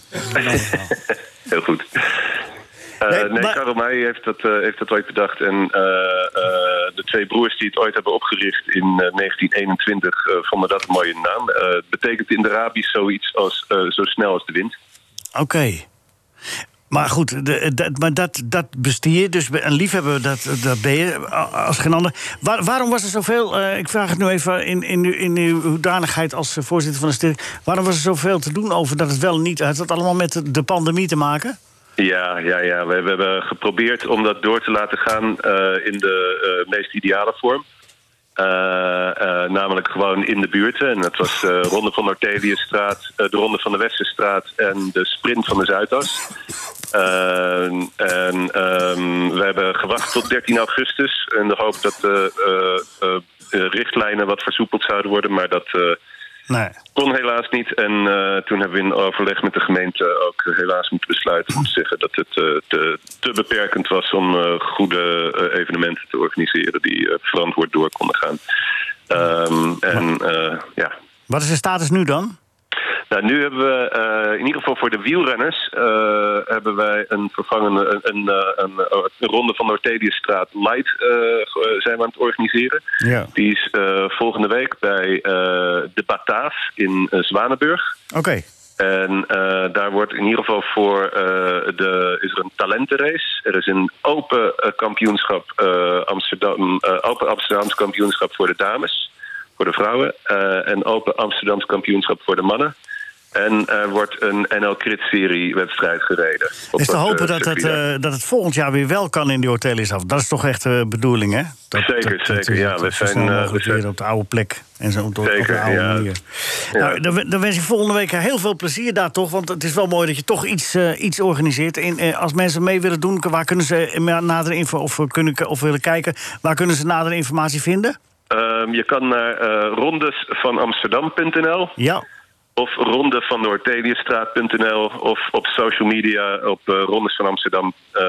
I: Heel goed. Eh,
C: Nee,
I: nee,
C: maar-
I: Karel Meij heeft dat, eh, heeft dat ooit bedacht. En eh, eh, de twee broers die het ooit hebben opgericht in eh, 1921 eh, vonden dat een mooie naam. Eh, het betekent in de Arabisch zoiets als eh, zo snel als de wind.
C: Oké. Maar goed, de- dat- maar dat, dat bestier, dus een liefhebber, dat, dat ben je a- als geen ander. Waar- waarom was er zoveel, eh, ik vraag het nu even in, in, uw- in uw hoedanigheid als eh, voorzitter van de stichting... waarom was er zoveel te doen over dat het wel en niet... had dat allemaal met de- de pandemie te maken?
I: Ja, ja, ja. We, we hebben geprobeerd om dat door te laten gaan eh, in de eh, meest ideale vorm. Eh, eh, namelijk gewoon in de buurten. En dat was eh Ronde van de Orteliusstraat, eh, de Ronde van de Westerstraat en de Sprint van de Zuidas. Eh, en ehm, we hebben gewacht tot 13 augustus in de hoop dat de eh, eh, eh, richtlijnen wat versoepeld zouden worden. Maar dat eh,
C: Nee.
I: kon helaas niet. En eh, toen hebben we in overleg met de gemeente ook helaas moeten besluiten om te zeggen dat het eh, te, te beperkend was om eh, goede eh, evenementen te organiseren die eh, verantwoord door konden gaan. Ehm, en eh, ja.
C: Wat is de status nu dan?
I: Nou, nu hebben we eh, in ieder geval voor de wielrenners eh, hebben wij een vervangende een, een, eh, een, eh, een ronde van de Orteliusstraat Light eh, ge- zijn we aan het organiseren.
C: Ja.
I: Die is eh, volgende week bij eh, de Bataaf in eh, Zwanenburg.
C: Oké.
I: En eh, daar wordt in ieder geval voor eh, de, is er een talentenrace. Er is een open eh, kampioenschap eh, Amsterdam, eh, open Amsterdams kampioenschap voor de dames. voor de vrouwen. eh, en Open Amsterdams kampioenschap voor de mannen. En er wordt een NL Crit Serie wedstrijd gereden. op
C: is te
I: dat,
C: hopen
I: eh,
C: dat het,
I: circuit.
C: eh, dat het volgend jaar weer wel kan in die hotel is af. Dat is toch echt de bedoeling, hè? eh, Dat,
I: Zeker, zeker, ja, we
C: zo
I: zijn,
C: snel
I: eh, we
C: mogelijk
I: zijn-
C: weer op de oude plek. En zo op de, op de
I: Zeker,
C: oude
I: ja.
C: manier. Nou, dan, dan wens ik volgende week heel veel plezier daar toch. Want het is wel mooi dat je toch iets, eh, iets organiseert. En, eh, als mensen mee willen doen, waar kunnen ze eh, nader info of, kunnen, k- of willen kijken, waar kunnen ze nader informatie vinden?
I: Ehm, je kan naar eh rondesvanamsterdam.nl
C: Ja.
I: of rondevandoorteliusstraat.nl of op social media op eh, Rondes van Amsterdam eh,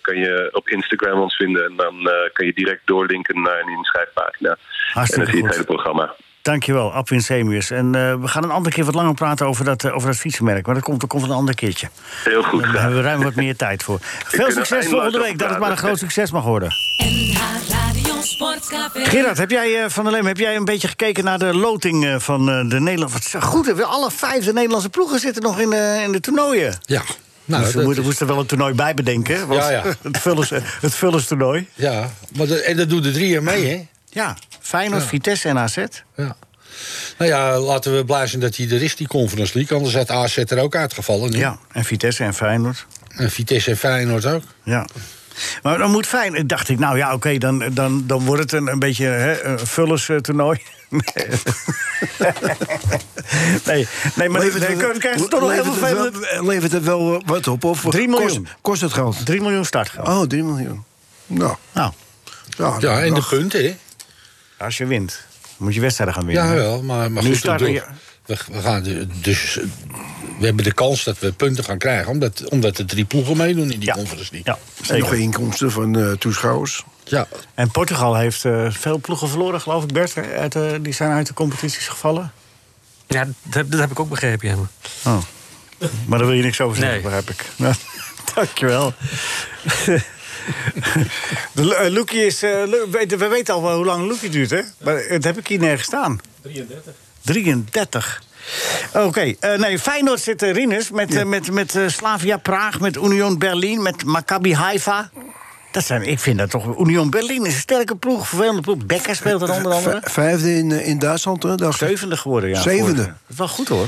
I: kan je op Instagram ons vinden. En dan eh, kan je direct doorlinken naar een inschrijfpagina. en dan
C: Hartstikke
I: zie je het
C: goed.
I: hele programma.
C: Dankjewel, Abwin Semius. En eh, we gaan een andere keer wat langer praten over dat, eh, over dat fietsenmerk. Maar dat komt, dat komt een ander keertje.
I: Heel goed.
C: Daar hebben we ruim wat meer tijd voor. Veel
I: er
C: succes
I: eindeloos
C: volgende
I: over
C: week. Dat het maar een
I: praten.
C: groot succes mag worden.
H: NH Radio Sportcafé.
C: Gerard, heb jij, eh, Van der Leem, heb jij een beetje gekeken naar de loting eh, van eh, de Nederlandse... Wat zo goed, hè? alle vijf de Nederlandse ploegen zitten nog in, de- in de toernooien.
F: Ja. Nou,
C: dus we
F: dat-
C: moeten- moesten er wel een toernooi bij bedenken. Want
F: Ja, ja.
C: Het, vullers, het toernooi.
F: ja. Maar dat- en dat doen de drieën mee, hè?
C: Ja, Feyenoord, Vitesse en AZ.
F: Ja. Nou ja, laten we blij zijn dat hij er is, die Conference League. Anders had AZ er ook uitgevallen. nu.
C: Ja, en Vitesse en Feyenoord.
F: En Vitesse en Feyenoord ook.
C: Ja. Maar dan moet Feyenoord... Dacht ik, nou ja, oké, dan, dan, dan wordt het een, een beetje hè, een vullers eh, toernooi. Nee. nee, nee, maar dan
D: het-
C: dan krijgen ze toch nog heel
D: levert
C: veel...
D: het wel-
C: vervelende-
D: Levert het wel eh, wat op? Of
C: Drie miljoen.
D: Kost, kost het geld?
C: 3 miljoen startgeld.
D: Oh, 3 miljoen. Nou,
C: Nou,
D: ja, nou,
F: Ja, en de punten, hè?
C: als je wint, moet je wedstrijden gaan winnen.
F: Ja,
C: hè?
F: wel, maar, maar
C: Nu
F: goed,
C: starten
F: ik bedoel, we, we gaan de- dus eh, we hebben de kans dat we punten gaan krijgen, omdat, omdat er drie ploegen meedoen in die
C: Ja.
F: conference niet.
C: Ja,
D: En nog
C: zeker.
D: inkomsten van eh, toeschouwers.
F: Ja.
C: En Portugal heeft eh, veel ploegen verloren, geloof ik, Bert. hè? Uit, eh, die zijn uit de competities gevallen.
E: Ja, dat, dat heb ik ook begrepen. Ja.
C: Oh. Maar daar wil je niks over zeggen,
E: Nee.
C: begrijp ik. Nou, dankjewel. De, Lu- eh, Loekie is... eh, Lu- we weten- we weten al wel hoe lang Loekie duurt, hè? Maar het heb ik hier nergens staan. 33. 33. Oké, eh, nee, Feyenoord zit eh, Rinus met, eh, met, met eh, Slavia Praag, met Union Berlin, met Maccabi Haifa. Dat zijn, ik vind dat toch... Union Berlin is een sterke ploeg, vervelende ploeg. Becker speelt er onder andere.
D: V- vijfde in, eh, in Duitsland, hè, dacht ik.
C: Zevende geworden, ja.
D: Zevende.
C: vorig jaar. Dat is wel goed, hoor.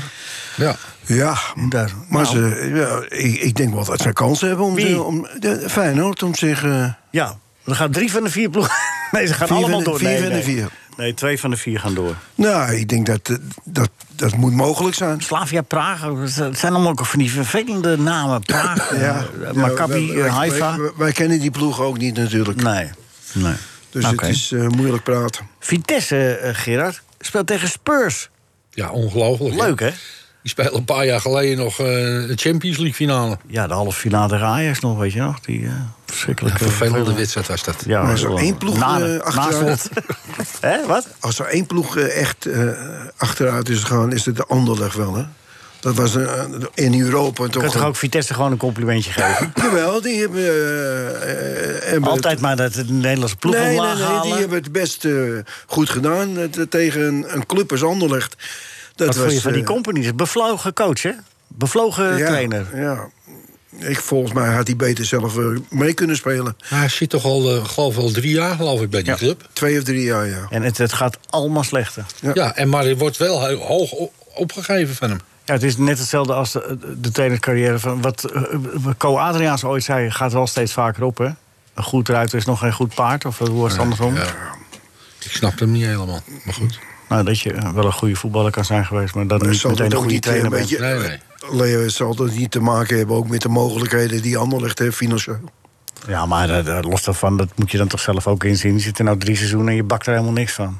F: ja.
D: Ja,
C: Daar.
D: maar
C: Nou.
D: ze, ja, ik, ik denk wel dat ze kansen hebben om,
C: Wie?
D: te- om de, Feyenoord om zich... eh,
C: Ja, dan gaan drie van de vier ploegen. Nee, ze gaan
D: Vier
C: allemaal
D: van de-
C: door.
D: vier
C: nee,
D: van de
C: nee.
D: vier.
C: Nee, twee van de vier gaan door.
D: nou, ik denk dat, eh, dat dat moet mogelijk zijn.
C: Slavia, Praag, het zijn allemaal ook van die vervelende namen. Praag,
D: Ja,
C: eh,
D: ja,
C: Maccabi,
D: wij- wij-
C: eh, Haifa.
D: Wij, wij kennen die ploeg ook niet natuurlijk.
C: Nee, nee.
D: Dus
C: Oké.
D: het is eh, moeilijk praten.
C: Vitesse, eh, Gerard, speelt tegen Spurs.
F: Ja, ongelooflijk.
C: Leuk, hè?
F: Die spelen een paar jaar geleden nog eh, de Champions League finale.
C: Ja, de halve finale tegen Ajax nog, weet je nog? Die eh, verschrikkelijke...
F: Vervelende wedstrijd was dat.
C: Ja,
D: Maar is er
C: wel-
D: één ploeg,
C: nare-
D: eh, achteraan?
C: naslept. Hè, wat?
D: Als er één ploeg eh, echt eh, achteruit is gegaan, is het de Anderlecht wel, hè? Dat was eh, in Europa
C: Ik
D: toch...
C: kan toch ook Vitesse gewoon een complimentje geven?
D: Jawel, die hebben... eh, eh, hebben
C: Altijd maar dat de Nederlandse ploeg
D: nee, nee,
C: omlaag
D: nee, die
C: halen.
D: hebben het best eh, goed gedaan eh, tegen een, een club als Anderlecht. Dat
C: Wat
D: was,
C: vond je van die
D: eh,
C: companies? Bevlogen coach, hè? Bevlogen
D: ja,
C: trainer.
D: Ja. Ik, volgens mij had hij beter zelf eh, mee kunnen spelen.
F: Hij zit toch al, eh, geloof ik, al drie jaar geloof ik, bij die
C: Ja.
F: club.
D: Twee of drie jaar, ja.
C: En het, het gaat allemaal slechter.
F: Ja. en maar er wordt wel heel hoog o- opgegeven van hem.
C: Ja, het is net hetzelfde als de, de trainercarrière van... wat eh, Co Adriaans ooit zei, gaat wel steeds vaker op, hè? Een goed ruiter is nog geen goed paard, of eh, hoe was het andersom?
F: Ja. Ik snap hem niet helemaal, maar goed.
C: Nou, dat je eh, wel een goede voetballer kan zijn geweest... maar dat
D: Maar
C: niet
D: zal
C: meteen
D: dat
C: een
D: ook
C: goede
D: niet
C: trainer
D: een
C: bent.
F: bent.
D: beetje...
F: Nee,
D: Leo, het zal dat niet te maken hebben ook met de mogelijkheden die Anderlecht heeft financieel.
C: Ja, maar eh, eh, los daarvan, dat moet je dan toch zelf ook inzien. Je zit er nou drie seizoenen en je bakt er helemaal niks van.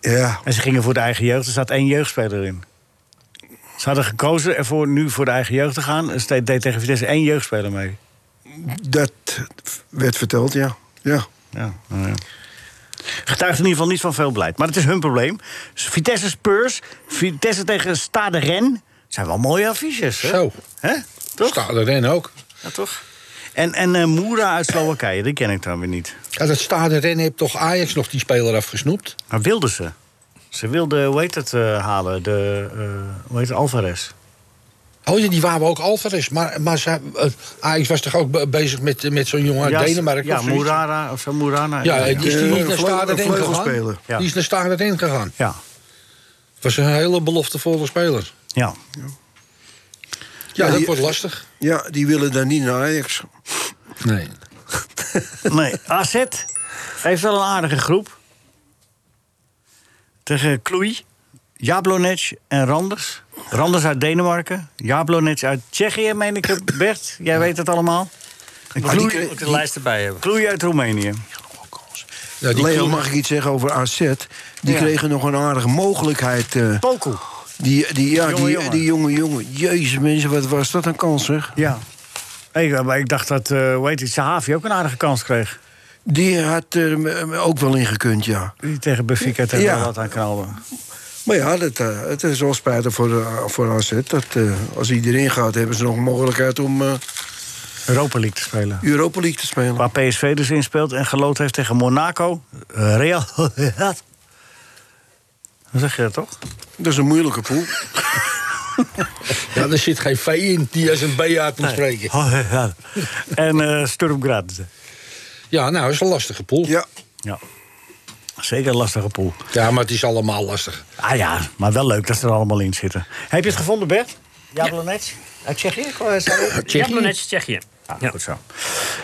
D: Ja,
C: En ze gingen voor de eigen jeugd. Er zat één jeugdspeler in. Ze hadden gekozen ervoor nu voor de eigen jeugd te gaan. Er steed- deed tegen Vitesse één jeugdspeler mee.
D: dat werd verteld, ja. ja.
C: Ja, nou ja. Getuigt in ieder geval niet van veel beleid. Maar het is hun probleem. Vitesse Spurs, Vitesse tegen Stade Rennes. Zijn wel mooie affiches, hè?
F: Zo.
C: Hè? Toch?
F: Staat erin ook.
C: Ja, toch? En, en eh Moera uit Slowakije, die ken ik dan weer niet.
F: Ja, dat staat erin heeft toch Ajax nog die speler afgesnoept?
C: Maar Nou, wilden Eh, ze? Ze wilden, hoe heet het, eh, halen? De, eh, hoe heet het, Alvarez.
F: Oh ja, die waren ook Alvarez. Maar, maar zij, eh, Ajax was toch ook be- bezig met, met zo'n jongen uit
C: Ja,
F: Denemarken?
C: Ja,
F: of zoiets?
C: Murara of zo, Murana.
F: Ja, die is
D: Eh,
F: niet naar
D: een
F: Standard
D: vleugel-
F: in gegaan.
D: vleugelspeler.
C: Ja.
F: Die is naar Standard in gegaan.
C: Ja,
F: Was een hele beloftevolle speler.
C: ja.
F: Ja, dat
D: die-
F: wordt lastig.
D: Ja, die willen dan niet naar Ajax.
F: Nee.
C: Nee, AZ heeft wel een aardige groep. Tegen Kloei, Jablonec en Randers. Randers uit Denemarken, Jablonec uit Tsjechië, meen ik, Bert. Jij weet het allemaal. En
D: Maar eh, die
C: Kloei,
D: kre-
E: Moet de lijst erbij hebben.
C: Kloei uit Roemenië.
F: Ja, die
D: Leo,
F: Kloen-
D: mag ik iets zeggen over AZ? Die
C: Ja.
D: kregen nog een aardige mogelijkheid. eh,
C: Poku.
D: die, die, ja,
C: Jonge
D: die,
C: jongen.
D: die jonge jongen. Jezus mensen, wat was dat een kans, zeg.
C: Ja. Ik, maar ik dacht dat, eh hoe heet het, Sahavi ook een aardige kans kreeg.
D: Die had er m- m- ook wel ingekund, ja.
C: Die tegen Benfica tegen
D: Ja.
C: wat aan knallen.
D: Maar ja, dat, eh, het is wel spijtig voor, eh, voor AZ. Dat, eh, als iedereen gaat, hebben ze nog een mogelijkheid om eh,
C: Europa League te spelen.
D: Europa League te spelen.
C: Waar PSV dus in speelt en geloot heeft tegen Monaco. eh, Real. Sociedad. Dan zeg je dat toch?
D: Dat is een moeilijke pool.
F: Ja, er zit geen V in die als een B uit moet spreken.
C: Sociedad. Oh, en eh Sturm Graz.
F: Ja, nou, dat is een lastige pool. Ja.
D: Ja,
C: Ja. Zeker een lastige pool.
F: maar het is allemaal lastig.
C: Ah ja, maar wel leuk dat ze er allemaal in zitten. Heb je het gevonden, Bert? Jablonec? Uit Tsjechië? Sorry.
E: Jablonec, Tsjechië.
C: Ja, goed zo.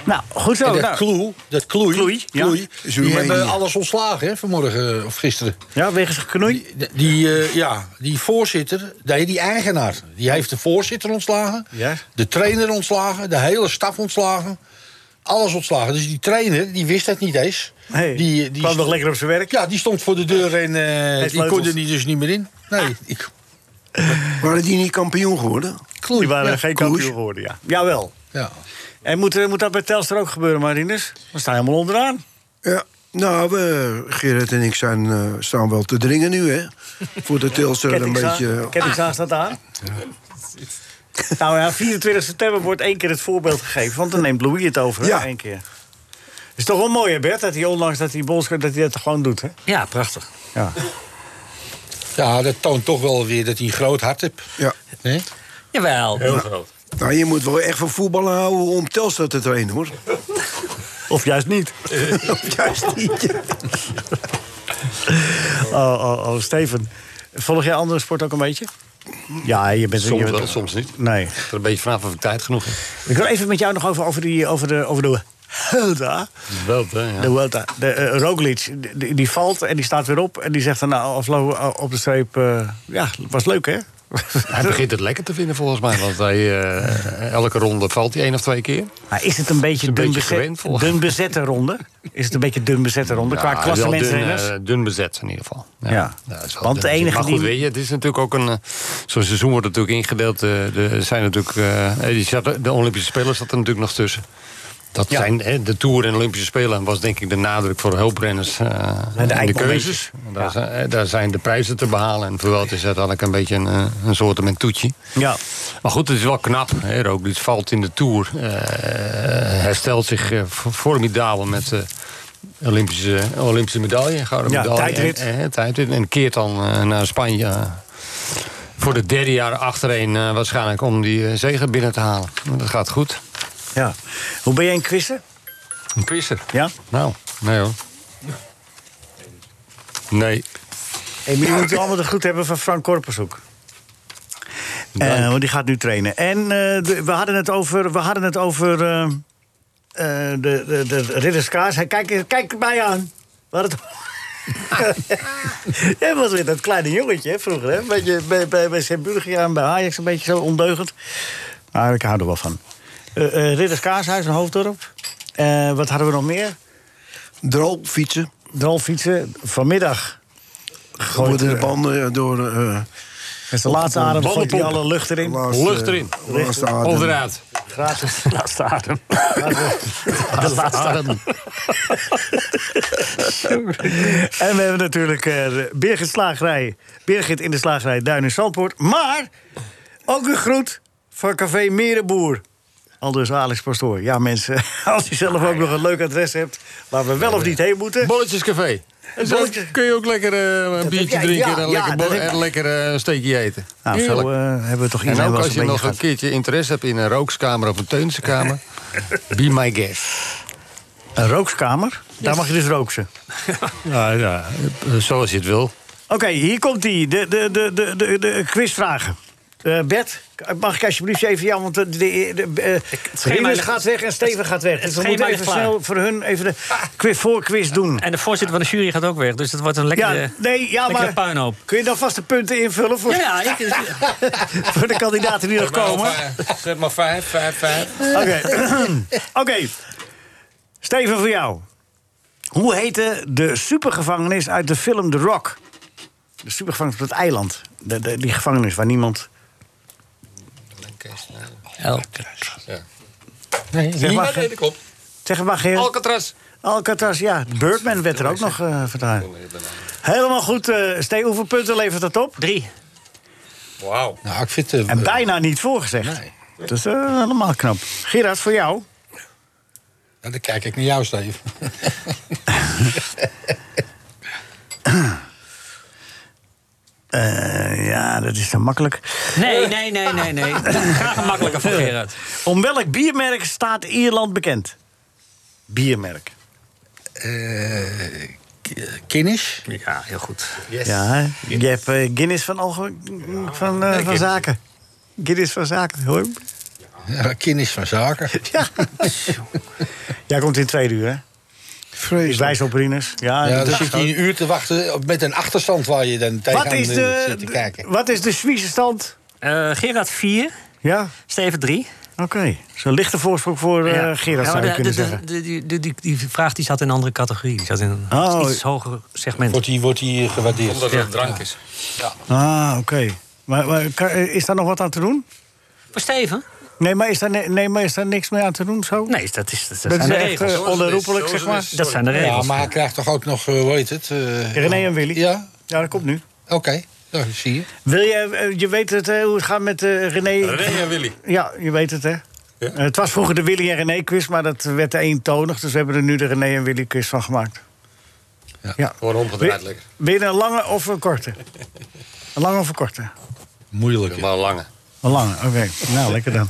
C: Nou, goed zo.
F: Ah, en dat
C: nou.
F: kloe, dat kloei,
C: Kloei, ja.
F: kloei,
D: Is
F: die
D: Roemenië.
F: hebben alles ontslagen hè, vanmorgen eh, of gisteren.
C: Ja, wegens geknoei.
F: Die, die, eh, ja, die voorzitter, nee, die eigenaar, die heeft de voorzitter ontslagen,
C: Ja.
F: de trainer ontslagen, de hele staf ontslagen, alles ontslagen. Dus die trainer, die wist dat niet eens.
C: Nee,
F: die, die
C: kwam nog lekker op zijn werk.
F: Ja, die stond voor de deur en eh, die
C: sleutels. Ah.
F: kon er niet- dus niet meer in. Nee, ik,
D: waren die niet kampioen geworden?
F: kloei.
C: Die waren
F: ja,
C: geen
F: kloei.
C: kampioen geworden, ja. Jawel.
F: Ja.
C: En moet, eh, moet dat bij Telstar ook gebeuren, Marinus? We staan helemaal onderaan.
D: Ja. Nou, we, Gerrit en ik zijn, eh, staan wel te dringen nu, hè? Voor de Telstra een
C: Kettingzaag
D: beetje...
C: kettingzaag staat aan. Nou ja, 24 september wordt één keer het voorbeeld gegeven. Want dan neemt Louis het over, hè?
D: Ah, Ja.
C: Eén keer. Is toch wel mooi, hè, Bert? Dat hij ondanks dat hij bondscoach dat hij dat gewoon doet, hè?
E: Ja, prachtig.
C: Ja.
F: ja, dat toont toch wel weer dat hij een groot hart heeft.
D: Ja.
F: hè?
E: Jawel. Heel groot.
D: Nou, je moet wel echt van voetballen houden om Telstra te trainen, hoor.
C: Of juist niet.
D: Juist niet.
C: Oh, oh, oh, Steven. Volg jij andere sport ook een beetje? Ja, je bent... je
G: Soms
C: bent-
G: wel, soms niet.
C: Nee.
G: Er een beetje vanaf of ik tijd genoeg heb.
C: Ik wil even met jou nog over, over, die, over de... Over de Hulda.
G: Wel, hè, ja.
C: De Welta. De, eh, Roglic, die, die valt en die staat weer op. En die zegt dan nou, afloop, op de streep... eh, ja, was leuk, hè?
G: Hij begint het lekker te vinden volgens mij. Want hij, eh, elke ronde valt hij één of twee keer.
C: Maar is het een beetje,
G: een
C: dun,
G: beetje
C: bezet-
G: gewend, volgens-
C: dun bezette ronde? Is het een beetje dun bezette ronde qua
G: Ja,
C: klasse
G: wel dun,
C: mensen?
G: eh, dun bezet in ieder geval.
C: Ja.
G: dat is wel
C: Want de
G: dun bezet.
C: enige
G: maar goed,
C: die-
G: weet je, het is natuurlijk ook een... eh, Zo'n seizoen wordt natuurlijk ingedeeld. eh, er zijn natuurlijk, eh, die zat- de Olympische Spelen zat er natuurlijk nog tussen. Dat
C: Ja.
G: zijn hè, de Tour en de Olympische Spelen was denk ik de nadruk voor de hulprenners eh, en de,
C: eindmomenten.
G: keuzes. Daar, zijn, eh, daar zijn de prijzen te behalen. En voor wel het is uiteindelijk een beetje een, eh, een soort met toetje.
C: Ja.
G: Maar goed, het is wel knap. Hè. Roglic valt in de Tour. eh, herstelt zich eh, f- formidabel met eh, Olympische, Olympische medaille. Gouden
C: Ja,
G: medaille.
C: tijdrit.
G: En, eh, tijdrit. En keert dan eh, naar Spanje. eh, voor het derde jaar achtereen eh, waarschijnlijk om die eh, zegen binnen te halen. Maar dat gaat goed.
C: ja. Hoe ben jij in quizzen?
G: Een quizzer.
C: Ja?
G: Nou, nee hoor. Nee.
C: Hey, maar je moet allemaal de goed hebben van Frank Korpershoek. Eh, want die gaat nu trainen. En eh, de- we hadden het over, we hadden het over eh, eh, de, de, de ridderskaars. Hij- Kijk, kijk mij aan. We hadden het... Jij was weer dat kleine jongetje hè, vroeger. Hè? Beetje, bij bij, bij Sint-Burgia en bij Ajax een beetje zo ondeugend. Maar ik hou er wel van. Eh eh Ridderskaarshuis, een hoofddorp. Eh, wat hadden we nog meer?
D: Drol, fietsen.
C: Drolfietsen. Vanmiddag
D: Worden de banden door... eh
C: Dat is de laatste adem. Gooit hij alle lucht erin.
D: laatste-
G: Lucht erin.
D: Laatste adem.
G: Onderuit.
C: Gratis. De laatste adem. De laatste adem. En we hebben natuurlijk eh, Birgit, Slagerij, Birgit in de slagerij Duin in Zandpoort. Maar ook een groet van Café Merenboer. Al dus Alex Pastoor. Ja, mensen, als je zelf ook nog een leuk adres hebt... waar we wel of niet heen moeten...
G: Bolletjescafé.
C: Een
G: Zo
C: bolletje.
G: kun je ook lekker eh, een
C: heb
G: biertje
C: jij-
G: drinken
C: ja,
G: en een
C: ja,
G: lekker,
C: dat
G: bo-
C: heb-
G: en lekker eh, een steekje eten.
C: Nou, zo
G: Heerlijk.
C: eh, hebben we toch iedereen
G: en ook
C: wel eens
G: als je
C: een beetje
G: nog een
C: gehad.
G: keertje interesse hebt in een rookskamer of een teuniskamer, be my guest.
C: Een rookskamer? Daar mag je dus rooksen.
G: Nou ja, eh, zoals je het wil.
C: Oké, hier komt die. De, de, de, de, de, de quizvragen. Eh, Bert, mag ik alsjeblieft even jou? Want de, de, de, eh,
E: schema
C: Rinus
E: ligt-
C: gaat weg en Steven gaat weg. Dus we
E: schema
C: moeten
E: ligt
C: even
E: klaar. Ah.
C: snel voor hun even de quiz, voorquiz doen.
E: En de voorzitter van de jury gaat ook weg, dus dat wordt een lekkere,
C: Ja, nee, ja,
E: lekkere
C: maar
E: puinhoop.
C: kun je dan vast de punten invullen voor,
E: Ja, ja, ik,
C: voor de kandidaten die nog komen?
G: eh,
F: Zet maar vijf, vijf, vijf.
C: Oké. Oké. Steven, voor jou. Hoe heette de supergevangenis uit de film The Rock? De supergevangenis op het eiland. De, de- die gevangenis waar niemand...
F: Nee,
C: Zeg maar,
F: maar nee, dat klopt.
C: Zeg het maar, Geert.
G: Alcatraz.
C: Alcatraz, ja. Birdman werd er ook nog eh vertaald. Helemaal goed, eh Steve. Hoeveel punten levert dat op?
E: drie.
F: Wauw. Nou, ik vind het...
C: En bijna niet voorgezegd.
F: Nee.
C: Dat is eh, helemaal knap. Gerard, voor jou.
F: Nou, dan kijk ik naar jou, Steve.
C: Eh, ja, dat is dan makkelijk.
E: Nee, nee, nee, nee, nee. Graag een makkelijker voor Gerard.
C: Om welk biermerk staat Ierland bekend? Biermerk.
F: Eh, Kinnish?
E: Ja, heel goed.
C: Ja, hè? je hebt eh, Guinness van, alge- van, eh, van zaken. Guinness van zaken, hoor.
F: Ja, Kinnish van zaken.
C: Ja. Jij komt in twee uur, hè? Ik
D: Vreselijk.
C: wijs op Rinus. Ja,
F: Ja,
C: dat
F: dan
C: is
F: zit je een uur te wachten op- met een achterstand waar je dan
C: Wat
F: tegenaan
C: is
F: eh,
C: de,
F: zit te kijken.
C: wat is de Suisse stand?
E: Eh, Gerard vier,
C: Ja,
E: Steven drie.
C: oké. Zo'n lichte voorsprong voor eh
E: Ja.
C: Gerard,
E: Ja,
C: zou je
E: maar de-
C: kunnen
E: de-
C: zeggen.
E: de- die- die- die- Die vraag die zat in een andere categorie. Die zat in een
C: Oh.
E: iets hoger segment.
F: Wordt die, wordt die gewaardeerd?
G: Omdat het drank is.
C: Ah, oké. Maar, maar kan- eh, is daar nog wat aan te doen?
E: Voor Steven?
C: Nee, maar is daar, ne- nee, maar is daar niks mee aan te doen zo?
E: Nee, dat, is, dat,
C: Dat
E: zijn
C: is
E: de
C: echt
E: regels.
C: eh, onherroepelijk, zeg maar.
E: Dat zijn de
F: Ja,
E: regels.
F: maar hij krijgt toch ook nog, eh, hoe heet het? eh,
C: René en Willy.
F: Ja,
C: Ja, dat komt nu.
F: oké. Ja, zie je.
C: Wil je, eh, je weet het, hè, hoe het gaat met eh, René.
G: René en Willy.
C: Ja, je weet het, hè? Eh, het was vroeger de Willy en René quiz, maar dat werd eentonig. Dus we hebben er nu de René en Willy quiz van gemaakt. Ja.
G: Gewoon omgedraaid
C: Wil-
G: lekker.
C: Wil je een lange of een korte? Een lange of een korte?
F: Moeilijk.
G: Maar lange.
C: Een lange, oké. Nou, lekker dan.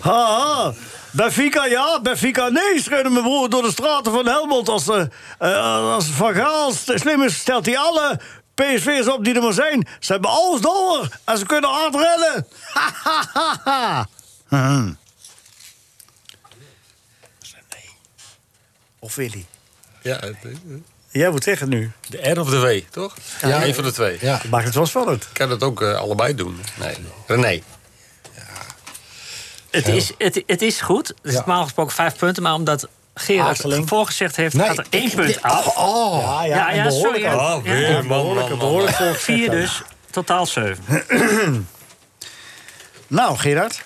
C: Ha, ha. Benfica ja, Benfica nee, schudden mijn broer door de straten van Helmond. Als, eh eh, als Van Gaal st- slim is, stelt hij alle PSV'ers op die er maar zijn. Ze hebben alles door en ze kunnen hard rennen. Ha, ha, ha, ha. Hm. Of Willy?
G: Ja,
C: Jij moet zeggen nu.
G: de R of de W, toch? Ja, een van de twee.
F: Ja.
C: Dat maakt het wel spannend.
G: Ik kan dat ook eh, allebei doen. Nee. René.
E: Het is, het, het is goed. Het is
F: Ja.
E: normaal gesproken vijf punten, maar omdat Gerard
C: Aarseling.
E: het voorgezegd heeft, gaat er één punt
F: Oh,
E: af.
C: Oh, Ja,
E: Ja, ja,
C: en behoorlijk
E: sorry,
C: ook.
E: ja.
G: Ah, weer,
E: Ja,
G: man,
C: behoorlijk,
G: man, man,
C: behoorlijk
G: man.
E: Vier dus, totaal zeven.
C: Nou, Gerard,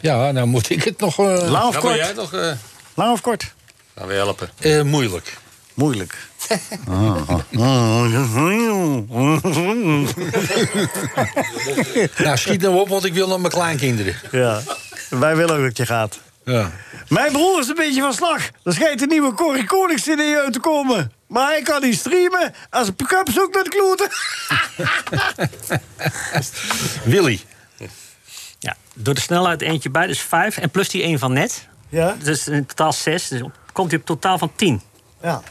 F: Ja, nou moet ik het nog... eh,
C: lang of
G: Nou, wil jij
C: kort?
G: nog? eh
C: Lang of kort?
G: gaan we helpen.
F: eh, moeilijk.
C: Moeilijk. ja,
F: Nou, schiet nou op, want ik wil naar mijn kleinkinderen.
C: wij willen ook dat je gaat.
F: Ja.
C: Mijn broer is een beetje van slag. Er schijnt een nieuwe Corrie Konings in je uit te komen. Maar hij kan niet streamen als een pick-up zoekt naar de kloten.
F: Willy.
E: Ja, door de snelheid eentje bij, dus vijf. En plus die één van net,
C: Ja?
E: dus in totaal zes. Dus op- komt hij op totaal van tien.
C: ja.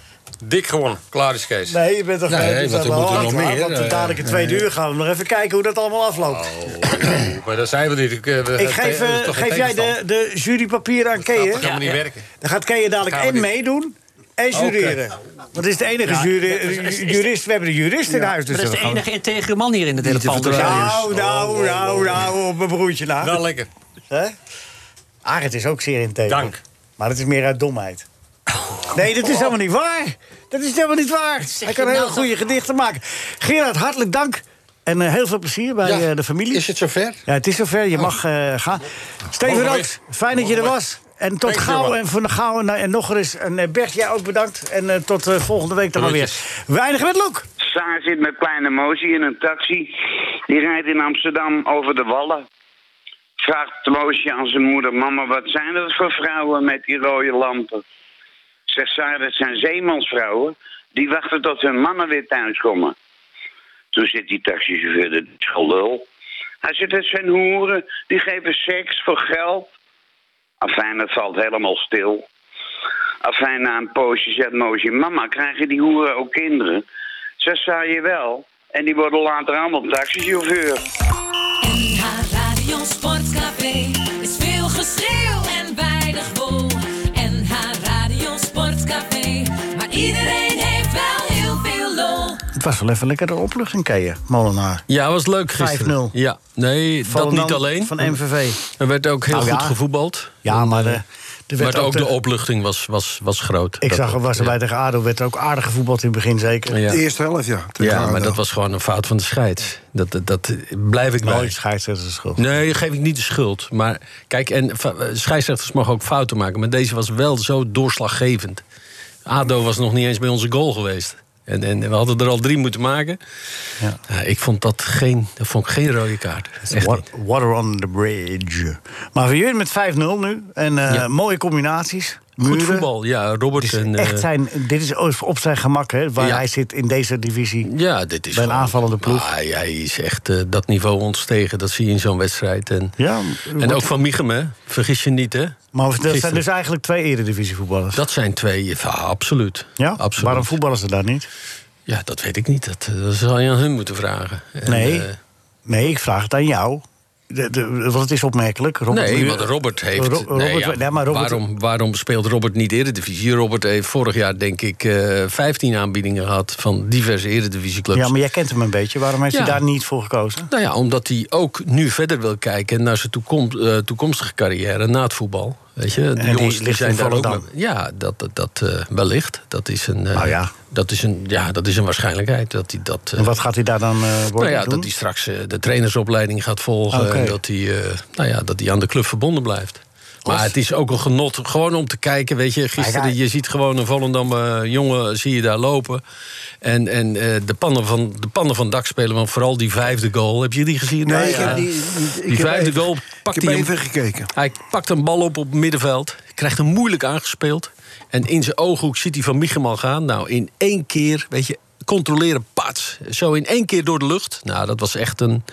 G: Dik gewonnen. Klaar is Kees.
C: Nee, je bent toch
F: Nee,
C: eh, dus
F: want er
C: wel
F: moeten
C: hard,
F: nog
C: hoor.
F: meer,
C: Want
F: eh,
C: dadelijk in twee uur gaan we nog even kijken hoe dat allemaal afloopt.
G: Oh, maar daar zijn we niet. Ik, eh, we-
C: Ik geef,
G: dat
C: eh,
G: is toch
C: geef
G: geen
C: jij de,
G: tegenstand?
C: de jurypapieren aan Kee,
G: Dat
C: hè?
G: gaat me
E: Ja,
G: niet
E: ja.
G: werken.
C: Dan gaat Kee dadelijk
G: Gaan we
C: en
G: niet.
C: meedoen en jureren. Want het is de enige
E: Ja,
C: jury-
E: dat is- is- is-
C: jurist. We hebben de jurist in huis. Dus
E: Maar dat is
C: dan
E: de
C: gaan
E: enige
C: we-
E: integere man hier in het hele
F: te Oh,
E: pand. Dus
F: verdraaien.
E: ja,
C: Nou, nou, nou, nou, op mijn broertje na.
G: Wel lekker.
C: Hè? Ah, het is ook zeer integer.
G: Dank. Oh.
C: Maar het is meer uit domheid. Nee, dat is helemaal niet waar. Dat is helemaal niet waar. Hij kan hele
G: nou
C: goede gedichten maken. Gerard, hartelijk dank. En eh, heel veel plezier bij
F: Ja.
C: eh, de familie.
F: Is het zover?
C: Ja, het is zover. Je mag eh, gaan. Steven
G: Oh. Mogen we
C: Rooks, fijn dat je er was. En tot
G: Dank je
C: gauw
G: wel.
C: en van de gauw en, en nog eens. En eh, Bert, jij ook bedankt. En eh, tot eh, volgende week dan maar weer.
G: Groetjes.
C: We eindigen met Loek.
J: Saar zit met kleine Mozi in een taxi. Die rijdt in Amsterdam over de Wallen. vraagt Loosje aan zijn moeder... Mama, wat zijn dat voor vrouwen met die rode lampen? Zegt zij, dat zijn zeemansvrouwen. Die wachten tot hun mannen weer thuis komen. Toen zit die taxichauffeur, dat is gelul. Hij zit het zijn hoeren, die geven seks voor geld. Afijn, het valt helemaal stil. Afijn, na een poosje zegt Moosje... Mama, krijgen die hoeren ook kinderen? Ze zei je wel. En die worden later allemaal taxichauffeur.
H: NH Radio Sportcafé is veel geschreeuw en weinig wol. NH Radio Sportcafé, maar iedereen heeft wel heel veel lol.
C: Het was wel even lekker de opluchting, Keeën, Molenaar.
K: Ja, was leuk gisteren.
C: 5-0.
K: Ja, nee,
C: Volendam
K: dat niet alleen.
C: Van MVV.
K: Er werd ook heel
C: Nou
K: goed
C: ja.
K: gevoetbald.
C: Ja, maar, eh, er werd
K: maar
C: ook
K: ook de,
C: de-
K: opluchting was, was, was groot.
C: Ik
K: Dat-
C: zag, er was
K: ja.
C: erbij tegen ADO, werd er ook aardig gevoetbald in het begin zeker.
K: Ja.
D: De eerste helft, ja. tegen
K: Ja, maar
D: ADO.
K: dat was gewoon een fout van de scheids. Dat, dat, dat blijf ik bij.
C: Nooit scheidsrechters schuld.
K: Nee, daar geef ik niet de schuld. Maar kijk, en fa- eh, scheidsrechters mogen ook fouten maken. Maar deze was wel zo doorslaggevend. Ado was nog niet eens bij onze goal geweest. En, en we hadden er al drie moeten maken.
C: Ja.
K: Nou, ik vond dat geen, dat vond ik geen rode kaart. Echt
C: Wa-
K: niet.
C: Water on the bridge. Maar voor jullie met 5-0 nu. En eh,
K: Ja.
C: mooie combinaties.
K: Goed
C: Muren.
K: voetbal, ja. Robert
C: Dit is
K: en, eh,
C: echt zijn, dit is op zijn gemak, hè, waar
K: Ja.
C: hij zit in deze divisie.
K: Ja, dit is
C: Bij een
K: gewoon-
C: aanvallende ploeg.
K: Ah, ja, hij is echt eh, dat niveau ons tegen. Dat zie je in zo'n wedstrijd. En,
C: Ja,
K: en ook van Michem, hè? Vergis je niet, hè?
C: Maar dat zijn
K: Gisteren.
C: dus eigenlijk twee eredivisievoetballers.
K: Dat zijn twee. ja, absoluut.
C: ja?
K: absoluut.
C: Waarom voetballen ze daar niet?
K: Ja, dat weet ik niet. Dat, eh, dat zal je aan hun moeten vragen. En,
C: Nee,
K: eh,
C: nee ik vraag het aan jou. De, de, want het is opmerkelijk. Robert
K: nee,
C: Muren-
K: want Robert heeft...
C: Ro-
K: nee,
C: Robert-
K: ja,
C: nee, maar Robert-
K: waarom, waarom speelt Robert niet Eredivisie? Robert heeft vorig jaar, denk ik, eh 15 aanbiedingen gehad... van diverse Eredivisieclubs.
C: Ja, maar jij kent hem een beetje. Waarom heeft hij
K: Ja.
C: daar niet voor gekozen?
K: Nou ja, omdat hij ook nu verder wil kijken naar zijn toekom- eh, toekomstige carrière na het voetbal. Weet je, de
C: die
K: jongens die
C: ligt
K: zijn
C: in
K: daar ook.
C: Volendam.
K: mee- Ja, dat, dat, dat eh, wellicht. Dat is een. eh,
C: Nou ja.
K: Dat is een, ja, dat is een waarschijnlijkheid dat hij dat. eh,
C: En wat gaat hij daar dan eh, worden
K: nou ja,
C: doen?
K: dat hij straks eh, de trainersopleiding gaat volgen.
C: Oké.
K: En dat hij, eh, nou ja, dat hij aan de club verbonden blijft. Maar het is ook een genot gewoon om te kijken. Weet je,
C: Maar
K: gisteren,
C: ja.
K: je ziet gewoon een Volendam eh, jongen, zie je daar lopen. En, en eh, de, pannen van, de pannen van dak spelen, want vooral die vijfde goal. Heb je die gezien?
D: Nee,
K: Nou
D: ik
K: ja.
D: heb die, ik
K: Die
D: heb
K: vijfde
D: even-
K: goal
D: Ik
K: pakt
D: heb
K: hij hem-
D: even gekeken.
K: Hij pakt een bal op op het middenveld, krijgt hem moeilijk aangespeeld. En in zijn ooghoek ziet hij van Michem al gaan. Nou, in één keer, weet je, controleren, pats. Zo in één keer door de lucht. Nou, dat was echt een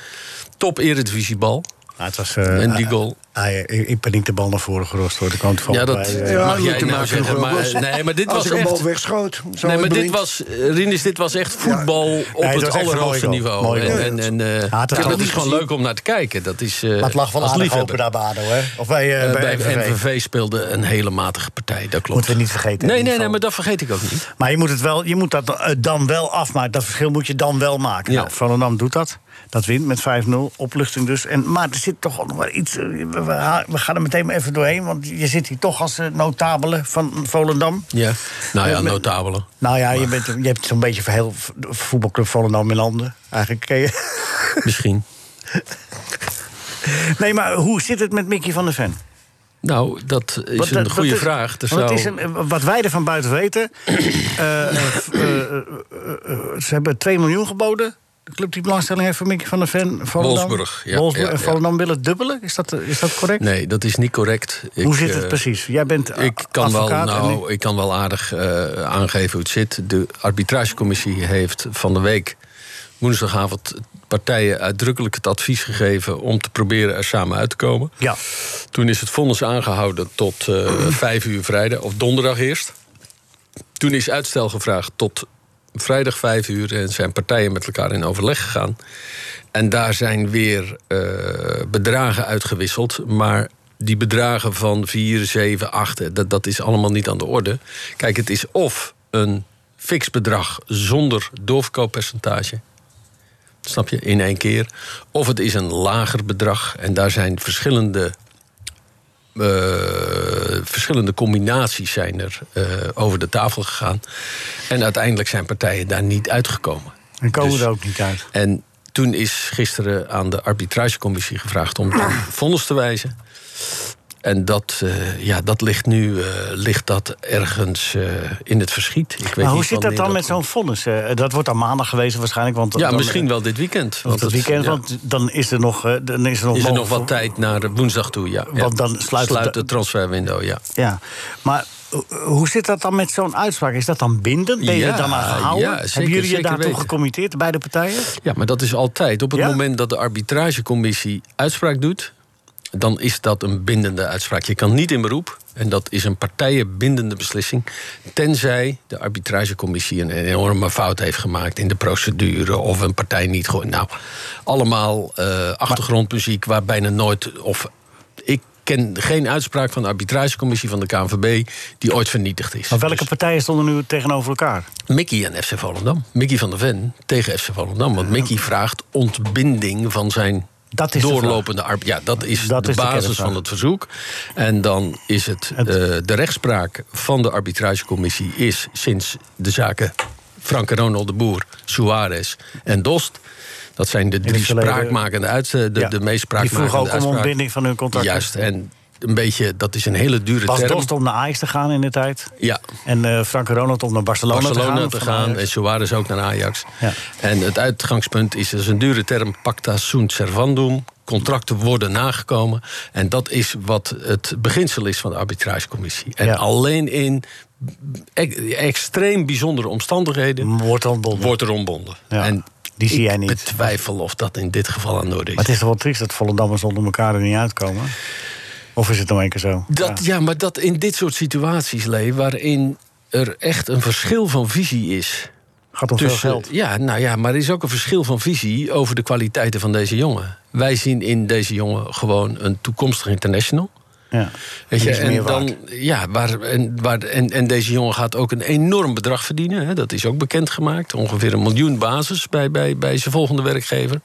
K: top eredivisiebal.
C: Nou, het was, eh,
K: En die goal.
C: Ah, ja, ik, ik ben niet de bal naar voren gerost hoor. Er kwam toevallig
K: Ja, dat
C: bij, eh,
D: Ja,
K: mag
D: dat
K: jij
D: te
K: nou
D: maken
K: zeggen.
D: nog wel
K: Maar,
D: was.
K: nee, maar dit
D: Als
K: was
D: ik een
K: echt...
D: bal wegschoot... zou
K: Nee,
D: het
K: maar dit
D: blind-
K: was, eh, Rinus, dit was echt voetbal op
C: het
K: het
C: was echt een
K: allerhoogste
C: mooie goal.
K: niveau.
C: Mooie goal.
K: En, en, en, eh,
C: Ja, het had
K: kijk,
C: ik
K: dat
C: niet
K: is gewoon
C: gezien.
K: leuk om naar te kijken. Dat is, eh,
C: maar het lag wel
K: als
C: aardig
K: liefhebber.
C: open daar bij ADO, hè? Of bij, eh,
K: Eh, bij
C: bij, MVV.
K: MVV speelde een hele matige partij, dat klopt.
C: Moeten we niet vergeten, in
K: Nee, nee,
C: ieder
K: nee,
C: geval.
K: maar dat vergeet ik ook niet.
C: Maar je moet, het wel, je moet dat eh, dan wel afmaken. Dat verschil moet je dan wel maken.
K: Ja.
C: Nou, Volendam doet dat. Dat wint met 5-0. Opluchting dus. En, maar er zit toch nog wel iets... eh, We, we ha- we gaan er meteen maar even doorheen. Want je zit hier toch als eh, notabele van Volendam.
K: Ja. Nou ja,
C: Eh, met-
K: notabele.
C: Nou ja, je, bent, je hebt zo'n beetje voor heel v- voetbalclub Volendam in handen. Eigenlijk ken je...
K: Misschien.
C: Nee, maar hoe zit het met Mickey van der Ven?
K: Nou, dat is
C: Want
K: een
C: dat-
K: goede
C: dat is-
K: vraag. Er
C: want het
K: zou-
C: is een- wat wij er van buiten weten... eh, f- eh, eh, eh, ze hebben 2 miljoen geboden. De club die belangstelling heeft voor Mickey van der Ven. Volendam.
K: Wolfsburg, ja,
C: Wolfsburg
K: ja,
C: en
K: ja.
C: Volendam willen dubbelen. Is dat, eh, is dat correct?
K: Nee, dat is niet correct. Ik,
C: Hoe zit het
K: eh,
C: precies? Jij bent eh,
K: Ik kan, wel,
C: advocaat en
K: nou, ik kan wel aardig eh, aangeven hoe het zit. De arbitragecommissie heeft van de week woensdagavond partijen uitdrukkelijk het advies gegeven om te proberen er samen uit te komen.
C: Ja,
K: Toen is het vonnis aangehouden tot eh, vijf uur vrijdag, of donderdag eerst. Toen is uitstel gevraagd tot vrijdag vijf uur en zijn partijen met elkaar in overleg gegaan. En daar zijn weer eh, bedragen uitgewisseld, maar die bedragen van 4, 7, 8, eh, dat, dat is allemaal niet aan de orde. Kijk, het is of een fix bedrag zonder doorverkooppercentage. Snap je? In één keer. Of het is een lager bedrag. En daar zijn verschillende eh, verschillende combinaties zijn er eh, over de tafel gegaan. En uiteindelijk zijn partijen daar niet uitgekomen.
C: dan komen we
K: dus-
C: er ook niet uit.
K: En toen is gisteren aan de arbitragecommissie gevraagd om een vonnis te wijzen. En dat, eh, ja, dat ligt nu eh, ligt dat ergens eh, in het verschiet. Ik weet
C: Maar hoe
K: niet
C: zit dat
K: wanneer
C: dan met zo'n vonnis? Eh, dat wordt dan maandag gewezen waarschijnlijk. Want
K: Ja,
C: dan-
K: misschien wel dit weekend.
C: Want het weekend,
K: ja.
C: want dan is er nog, eh, dan is er nog,
K: is er
C: mogelijk
K: nog wat
C: voor-
K: tijd naar woensdag toe, ja. Ja.
C: Want dan sluit het-
K: de transferwindow, ja.
C: Ja, maar ho- hoe zit dat dan met zo'n uitspraak? Is dat dan bindend? Ben je
K: Ja,
C: er dan aan gehouden?
K: ja, zeker,
C: Hebben jullie je
K: zeker
C: daartoe
K: weten.
C: gecommitteerd, beide partijen?
K: Ja, maar dat is altijd. Op het
C: Ja?
K: moment dat de arbitragecommissie uitspraak doet, dan is dat een bindende uitspraak. Je kan niet in beroep. En dat is een partijenbindende beslissing. Tenzij de arbitragecommissie een enorme fout heeft gemaakt in de procedure. of een partij niet goed. Nou, allemaal eh, achtergrondmuziek waar bijna nooit. of ik ken geen uitspraak van de arbitragecommissie van de KNVB. die ooit vernietigd is. Dus-
C: Maar welke partijen stonden nu tegenover elkaar?
K: Mickey en FC Volendam. Mickey van der Ven tegen FC Volendam. Want Mickey vraagt ontbinding van zijn
C: is de
K: doorlopende arbeid. Ja, dat is
C: Dat
K: de
C: is de
K: basis
C: kernvraag.
K: van het verzoek. En dan is het, eh, de rechtspraak van de arbitragecommissie... is sinds de zaken Frank en Ronald de Boer, Suarez en Dost... dat zijn de
C: het
K: drie
C: verleden-
K: spraakmakende uitspraken. De,
C: Ja,
K: de meest
C: Die
K: spraakmakende
C: vroegen ook om
K: uitspraken.
C: ontbinding van hun contract.
K: Juist, en een beetje, dat is een hele dure
C: Was
K: term.
C: Dost om naar Ajax te gaan in de tijd?
K: Ja,
C: En eh Frank Ronald om naar Barcelona,
K: Barcelona
C: te
K: te
C: gaan? van
K: gaan
C: Ajax?
K: en Suarez ook naar Ajax.
C: Ja.
K: En het uitgangspunt is, dat is een dure term, pacta sunt servandum. Contracten worden nagekomen. En dat is wat het beginsel is van de arbitragecommissie. En alleen in ex- extreem bijzondere omstandigheden...
C: Wordt er ontbonden.
K: Wordt er ontbonden. En
C: die zie
K: ik
C: jij niet.
K: betwijfel of dat in dit geval aan de orde is.
C: Maar het is toch wel triest dat Volendammers onder elkaar er niet uitkomen? Of is het nou een keer zo?
K: Dat, ja. maar dat in dit soort situaties, Lee, waarin er echt een verschil van visie is.
C: Gaat om veel geld.
K: Ja, nou ja, maar er is ook een verschil van visie over de kwaliteiten van deze jongen. Wij zien in deze jongen gewoon een toekomstig international.
C: Ja.
K: Weet je,
C: Die is meer
K: en,
C: waard.
K: dan, ja, waar, en, waar, en, en deze jongen gaat ook een enorm bedrag verdienen. Hè, dat is ook bekendgemaakt. Ongeveer een miljoen basis bij, bij, bij zijn volgende werkgever.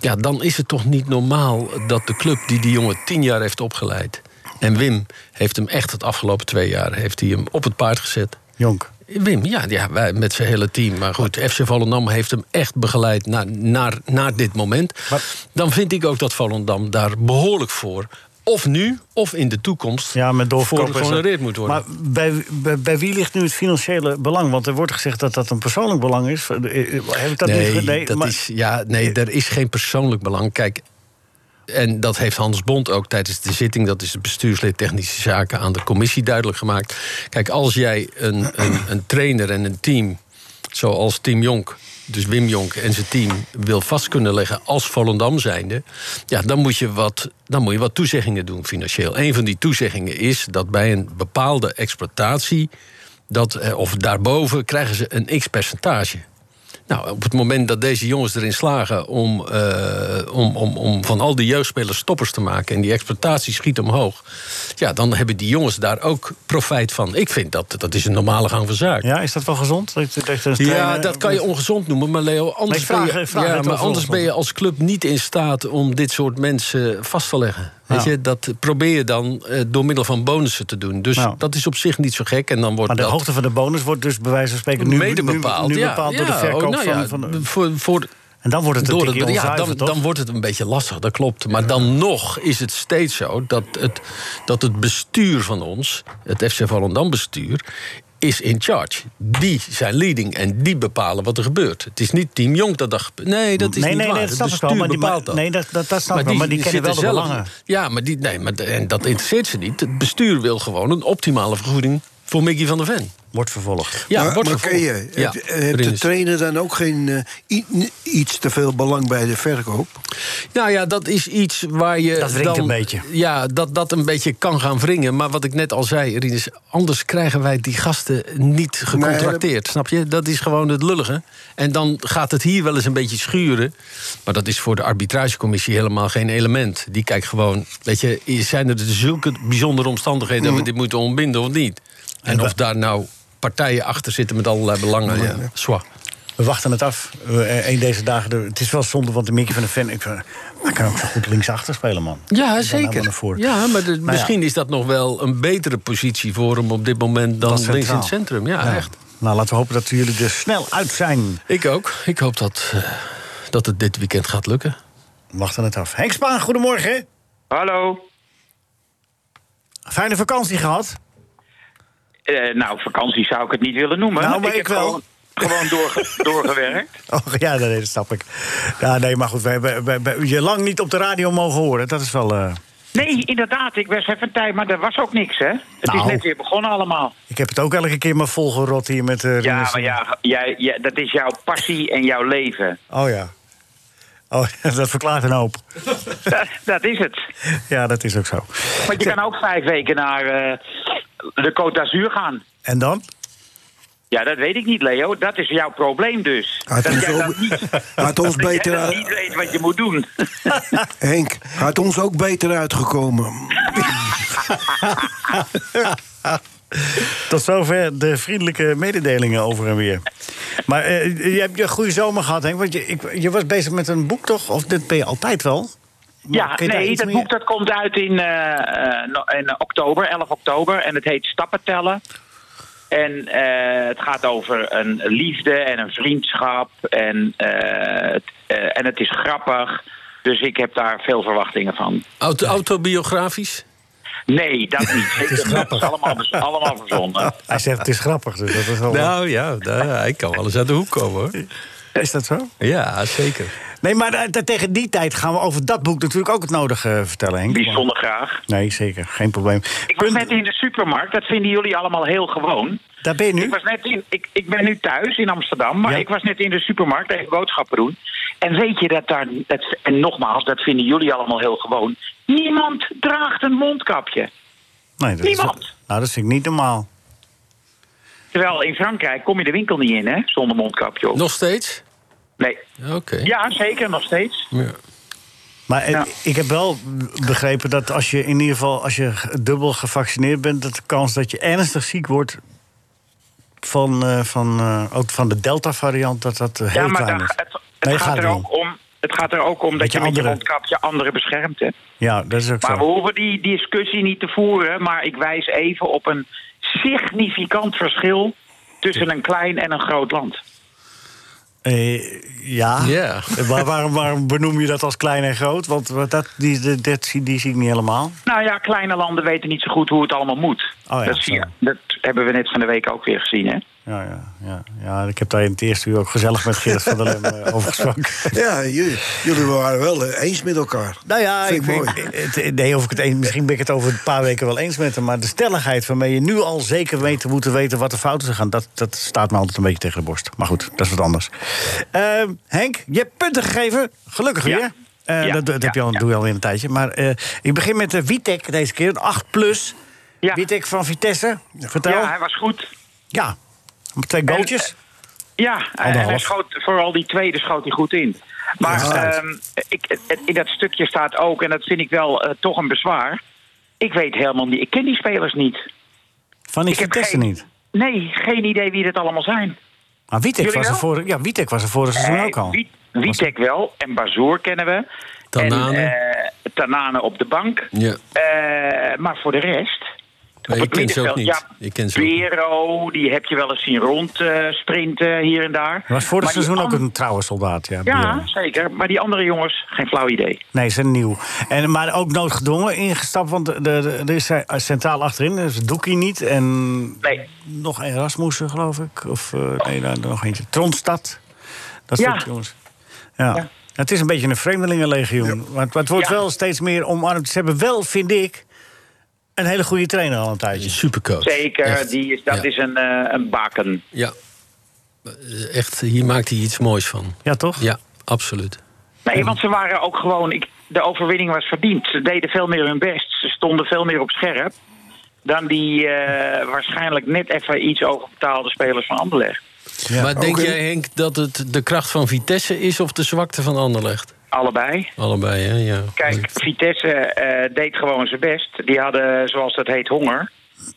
K: Ja, dan is het toch niet normaal dat de club die die jongen tien jaar heeft opgeleid. En Wim heeft hem echt het afgelopen twee jaar heeft hij hem op het paard gezet.
C: Jonk.
K: Wim, ja, ja wij met zijn hele team. Maar goed, FC Volendam heeft hem echt begeleid naar, naar, naar dit moment. Dan vind ik ook dat Volendam daar behoorlijk voor... of nu, of in de toekomst...
C: Ja, met doorverkoop
K: voor
C: is dat-
K: gehonoreerd moet worden.
C: Maar bij, bij, bij wie ligt nu het financiële belang? Want er wordt gezegd dat dat een persoonlijk belang is. Eh, Heb ik dat
K: nee,
C: niet ge-
K: dat
C: maar-
K: is, ja, nee, er is geen persoonlijk belang. Kijk, en dat heeft Hans Bond ook tijdens de zitting... dat is het bestuurslid Technische Zaken aan de commissie duidelijk gemaakt. Kijk, als jij een, een, een trainer en een team, zoals Tim Jonk... dus Wim Jonk en zijn team, wil vast kunnen leggen als Volendam zijnde... Ja, dan, moet je wat, dan moet je wat toezeggingen doen financieel. Een van die toezeggingen is dat bij een bepaalde exploitatie... Dat, eh, of daarboven krijgen ze een x-percentage. Nou, op het moment dat deze jongens erin slagen om, eh, om, om, om van al die jeugdspelers stoppers te maken en die exploitatie schiet omhoog, ja, dan hebben die jongens daar ook profijt van. Ik vind dat dat is een normale gang van zaken.
C: Ja, is dat wel gezond? Dat, dat een
K: Ja,
C: trainer-
K: dat kan je ongezond noemen, maar Leo, anders,
C: ik vraag-
K: ben, je,
C: ik vraag
K: ja,
C: het
K: maar
C: wel
K: anders
C: volgens
K: ben je als club niet in staat om dit soort mensen vast te leggen. Weet
C: Ja.
K: je, dat probeer je dan eh, door middel van bonussen te doen. Dus
C: Nou.
K: dat is op zich niet zo gek. En dan wordt
C: Maar de
K: dat
C: hoogte van de bonus wordt dus bij wijze van spreken nu,
K: mede bepaald,
C: nu, nu
K: ja.
C: bepaald door
K: Ja,
C: de verkoop
K: oh, nou ja,
C: van... van
K: voor, voor,
C: en dan wordt het een
K: door
C: tikje
K: het- ja,
C: onzuiver,
K: dan,
C: toch?
K: dan wordt het een beetje lastig, dat klopt. Maar dan nog is het steeds zo dat het, dat het bestuur van ons, het FC Volendam bestuur, is in charge. Die zijn leading en die bepalen wat er gebeurt. Het is niet Team Jong dat dat gebeurt. Nee, dat is
C: nee,
K: niet
C: nee,
K: waar.
C: nee, dat snap
K: het
C: ik
K: bestuur
C: wel. Maar die, maar,
K: bepaalt dat.
C: nee, dat, dat, dat snap ik wel. Maar die kennen wel de
K: zitten zelf-
C: belangen.
K: Ja, maar, die, nee, maar de- en dat interesseert ze niet. Het bestuur wil gewoon een optimale vergoeding voor Mickey van der Ven.
C: Wordt vervolgd.
K: Ja,
D: maar,
K: wordt
D: maar ken
K: vervolgd.
D: je,
K: Ja,
D: hebt- hebt de
K: Rinus.
D: trainer dan ook geen eh, i- iets te veel belang bij de verkoop?
K: Nou ja, dat is iets waar je.
C: Dat wringt
K: dan,
C: een beetje.
K: Ja, dat, dat een beetje kan gaan wringen. Maar wat ik net al zei, Rinus, anders krijgen wij die gasten niet gecontracteerd. Snap je? Dat is gewoon het lullige. En dan gaat het hier wel eens een beetje schuren. Maar dat is voor de arbitragecommissie helemaal geen element. Die kijkt gewoon, weet je, zijn er dus zulke bijzondere omstandigheden dat we dit moeten ontbinden of niet? Mhm. En of daar nou partijen achter zitten met allerlei belangen. Ja. Zwa.
C: We wachten het af. Eén deze dagen. de- Het is wel zonde, want de Mickey van de Fan... Ik, eh, hij kan ook zo goed linksachter spelen, man.
K: Ja,
C: helemaal naar
K: zeker.
C: voren. Nou
K: Ja, maar de-
C: ja.
K: misschien is dat nog wel een betere positie voor hem op dit moment dan
C: Dat
K: links
C: centraal.
K: in het centrum. Ja, echt.
C: Nou, laten we hopen dat jullie er snel uit zijn.
K: Ik ook. Ik hoop dat, eh, dat het dit weekend gaat lukken.
C: We Wachten het af. Henk Spaan, goedemorgen.
J: Hallo.
C: Fijne vakantie gehad?
L: Eh, nou, vakantie zou ik het niet willen noemen.
C: Nou, maar ik
L: heb
C: wel.
L: Gewoon, gewoon doorge- doorgewerkt.
C: Oh, ja, nee, dat snap ik. Ja, nee, maar goed, we hebben we hebben je lang niet op de radio mogen horen. Dat is wel... eh,
L: Nee, inderdaad, ik was even tijd, maar er was ook niks, hè? Het is
C: Nou.
L: net weer begonnen allemaal.
C: ik heb het ook elke keer maar volgerot hier met... eh
L: Ja,
C: Rinus.
L: maar ja, jij, jij- dat is jouw passie en jouw leven.
C: Oh ja. Oh, dat verklaart een hoop.
L: dat, dat is het.
C: Ja, dat is ook zo.
L: Want je kan ook vijf weken naar eh, de Côte d'Azur gaan.
C: En dan?
L: Ja, dat weet ik niet, Leo. Dat is jouw probleem dus.
D: Had
L: dat
D: ons
L: jij
D: ook-
L: dat niet,
D: Had ons
L: dat jij
D: beter,
L: dat
D: eh,
L: niet weet wat je moet doen.
D: Henk, had ons ook beter uitgekomen.
C: Tot zover de vriendelijke mededelingen over en weer. Maar eh, je hebt een goede zomer gehad, Henk. Want je, ik, je was bezig met een boek, toch? Of dit ben je altijd wel?
L: Ja,
C: kun je daar
L: nee,
C: iets
L: dat
C: meer-
L: boek dat komt uit in, eh, eh, no- in oktober, 11 oktober. En het heet Stappen tellen. En eh, het gaat over een liefde en een vriendschap. En, eh, het, eh, en het is grappig. Dus ik heb daar veel verwachtingen van.
K: Auto- autobiografisch?
L: Nee, dat niet. Het is grappig. Allemaal, bes- allemaal verzonnen.
C: Hij zegt het is grappig, dus dat is wel...
K: Nou ja, daar, hij kan wel eens uit de hoek komen hoor.
C: Is dat zo?
K: Ja, zeker.
C: Nee, maar eh, te- tegen die tijd gaan we over dat boek natuurlijk ook het nodige vertellen, Henk.
L: Bijzonder graag.
C: Nee, zeker. Geen probleem.
L: Ik was net in de supermarkt. Dat vinden jullie allemaal heel gewoon.
C: Daar ben je nu?
L: Ik, was net in, ik, ik ben nu thuis in Amsterdam, maar ik was net in de supermarkt even boodschappen doen. En weet je dat daar, dat, en nogmaals, dat vinden jullie allemaal heel gewoon. Niemand draagt een mondkapje.
C: Nee, dat is-
L: Niemand.
C: nou, dat vind ik niet normaal.
L: Terwijl in Frankrijk kom je de winkel niet in, hè, zonder mondkapje op.
K: Nog steeds?
L: Nee.
K: Oké.
L: Ja, zeker, nog steeds.
C: Maar eh, ik heb wel begrepen dat als je in ieder geval als je g- dubbel gevaccineerd bent, dat de kans dat je ernstig ziek wordt van, eh, van, eh, ook van de Delta-variant, dat dat eh, heel
L: Ja, maar
C: klein
L: daar-
C: is.
L: het, het,
C: Nee, gaat
L: gaat er
C: erom.
L: ook om, het gaat er ook om dat
C: Met je
L: je met je
C: anderen.
L: mondkapje anderen beschermt, hè.
C: Ja, dat is ook
L: Maar we
C: zo.
L: hoeven die discussie niet te voeren. Maar ik wijs even op een significant verschil tussen een klein en een groot land.
C: Eh, ja,
K: Ja.
C: maar waarom, waarom benoem je dat als klein en groot? Want wat dat, die, die, dat zie- die zie ik niet helemaal.
L: Nou ja, kleine landen weten niet zo goed hoe het allemaal moet.
C: Oh ja,
L: dat, zie je, dat hebben we net van de week ook weer gezien, hè?
C: Ja, ja, ja, ja, ik heb daar in het eerste uur ook gezellig met Gerrit van der Lem eh, over gesproken.
D: Ja, jullie, jullie waren wel eh, eens met elkaar.
C: Nou ja,
D: Vind ik
C: ik,
D: mooi.
C: ik- het- eh, nee, of ik het een, misschien ben ik het over een paar weken wel eens met hem. Maar de stelligheid waarmee je nu al zeker weet te moeten weten wat de fouten zijn gaan, dat, dat staat me altijd een beetje tegen de borst. Maar goed, dat is wat anders. Ehm, Henk, je hebt punten gegeven. Gelukkig weer. Eh,
L: Ja.
C: Dat, dat heb je al, doe je alweer een tijdje. Maar eh, ik begin met eh, Witek deze keer, een 8 plus. Witek van Vitesse, vertel.
L: Ja,
C: Ja,
L: hij was goed.
C: twee goaltjes.
L: Ja, en
C: Anderhalf.
L: hij schoot, vooral die tweede schoot hij goed in. Maar
C: Ja.
L: ehm, ik, het- in dat stukje staat ook, en dat vind ik wel eh, toch een bezwaar... Ik weet helemaal niet, ik ken die spelers niet.
C: Van die
L: ik heb
C: Vitesse
L: geen-
C: niet.
L: Nee, geen idee wie dit allemaal zijn.
C: Maar Witek
L: Jullie
C: was, er
L: wel?
C: vorig- ja, Witek was er vorig seizoen
L: Nee,
C: ook al.
L: Wie- Witek wel en Bazoer kennen we.
K: Tanane.
L: En, eh, Tanane op de bank.
K: Ja.
L: Eh, maar voor de rest... op
K: ik
L: het
K: ken ze ook
L: middenveld,
K: niet. Ik ken ze ook niet.
L: Vero, die heb je wel eens zien rondsprinten sprinten hier en daar.
C: Was vorig
L: Maar die
C: seizoen ook
L: an-
C: een trouwe soldaat. Ja,
L: Ja,
C: Bierum.
L: zeker. Maar die andere jongens, geen flauw idee.
C: Nee, ze zijn nieuw. En, maar ook noodgedwongen ingestapt, want er- er er is hij centraal achterin. Er is Doekie niet en
L: Nee.
C: nog een Rasmussen, geloof ik. Of eh, nee, daar nog eentje. Tronstad. Dat
L: Ja.
C: soort jongens. Ja. Het is een beetje een vreemdelingenlegioen. Maar, het- maar het wordt
L: Ja.
C: wel steeds meer omarmd. Ze hebben wel, vind ik, een hele goede trainer al een tijdje.
K: Supercoach.
L: Zeker,
K: Echt.
L: die is, dat
K: Ja.
L: is een, eh, een baken.
K: Ja. Echt, hier maakt hij iets moois van.
C: Ja, toch?
K: Ja, absoluut.
L: Nee, want ze waren ook gewoon. Ik, de overwinning was verdiend. Ze deden veel meer hun best. Ze stonden veel meer op scherp. Dan die eh, waarschijnlijk net even iets overbetaalde spelers van Anderlecht.
K: Maar denk
D: Oké.
K: jij, Henk, dat het de kracht van Vitesse is of de zwakte van Anderlecht?
L: Allebei.
K: Allebei, hè? Ja.
L: Kijk, Vitesse eh, deed gewoon zijn best. Die hadden, zoals dat heet, honger.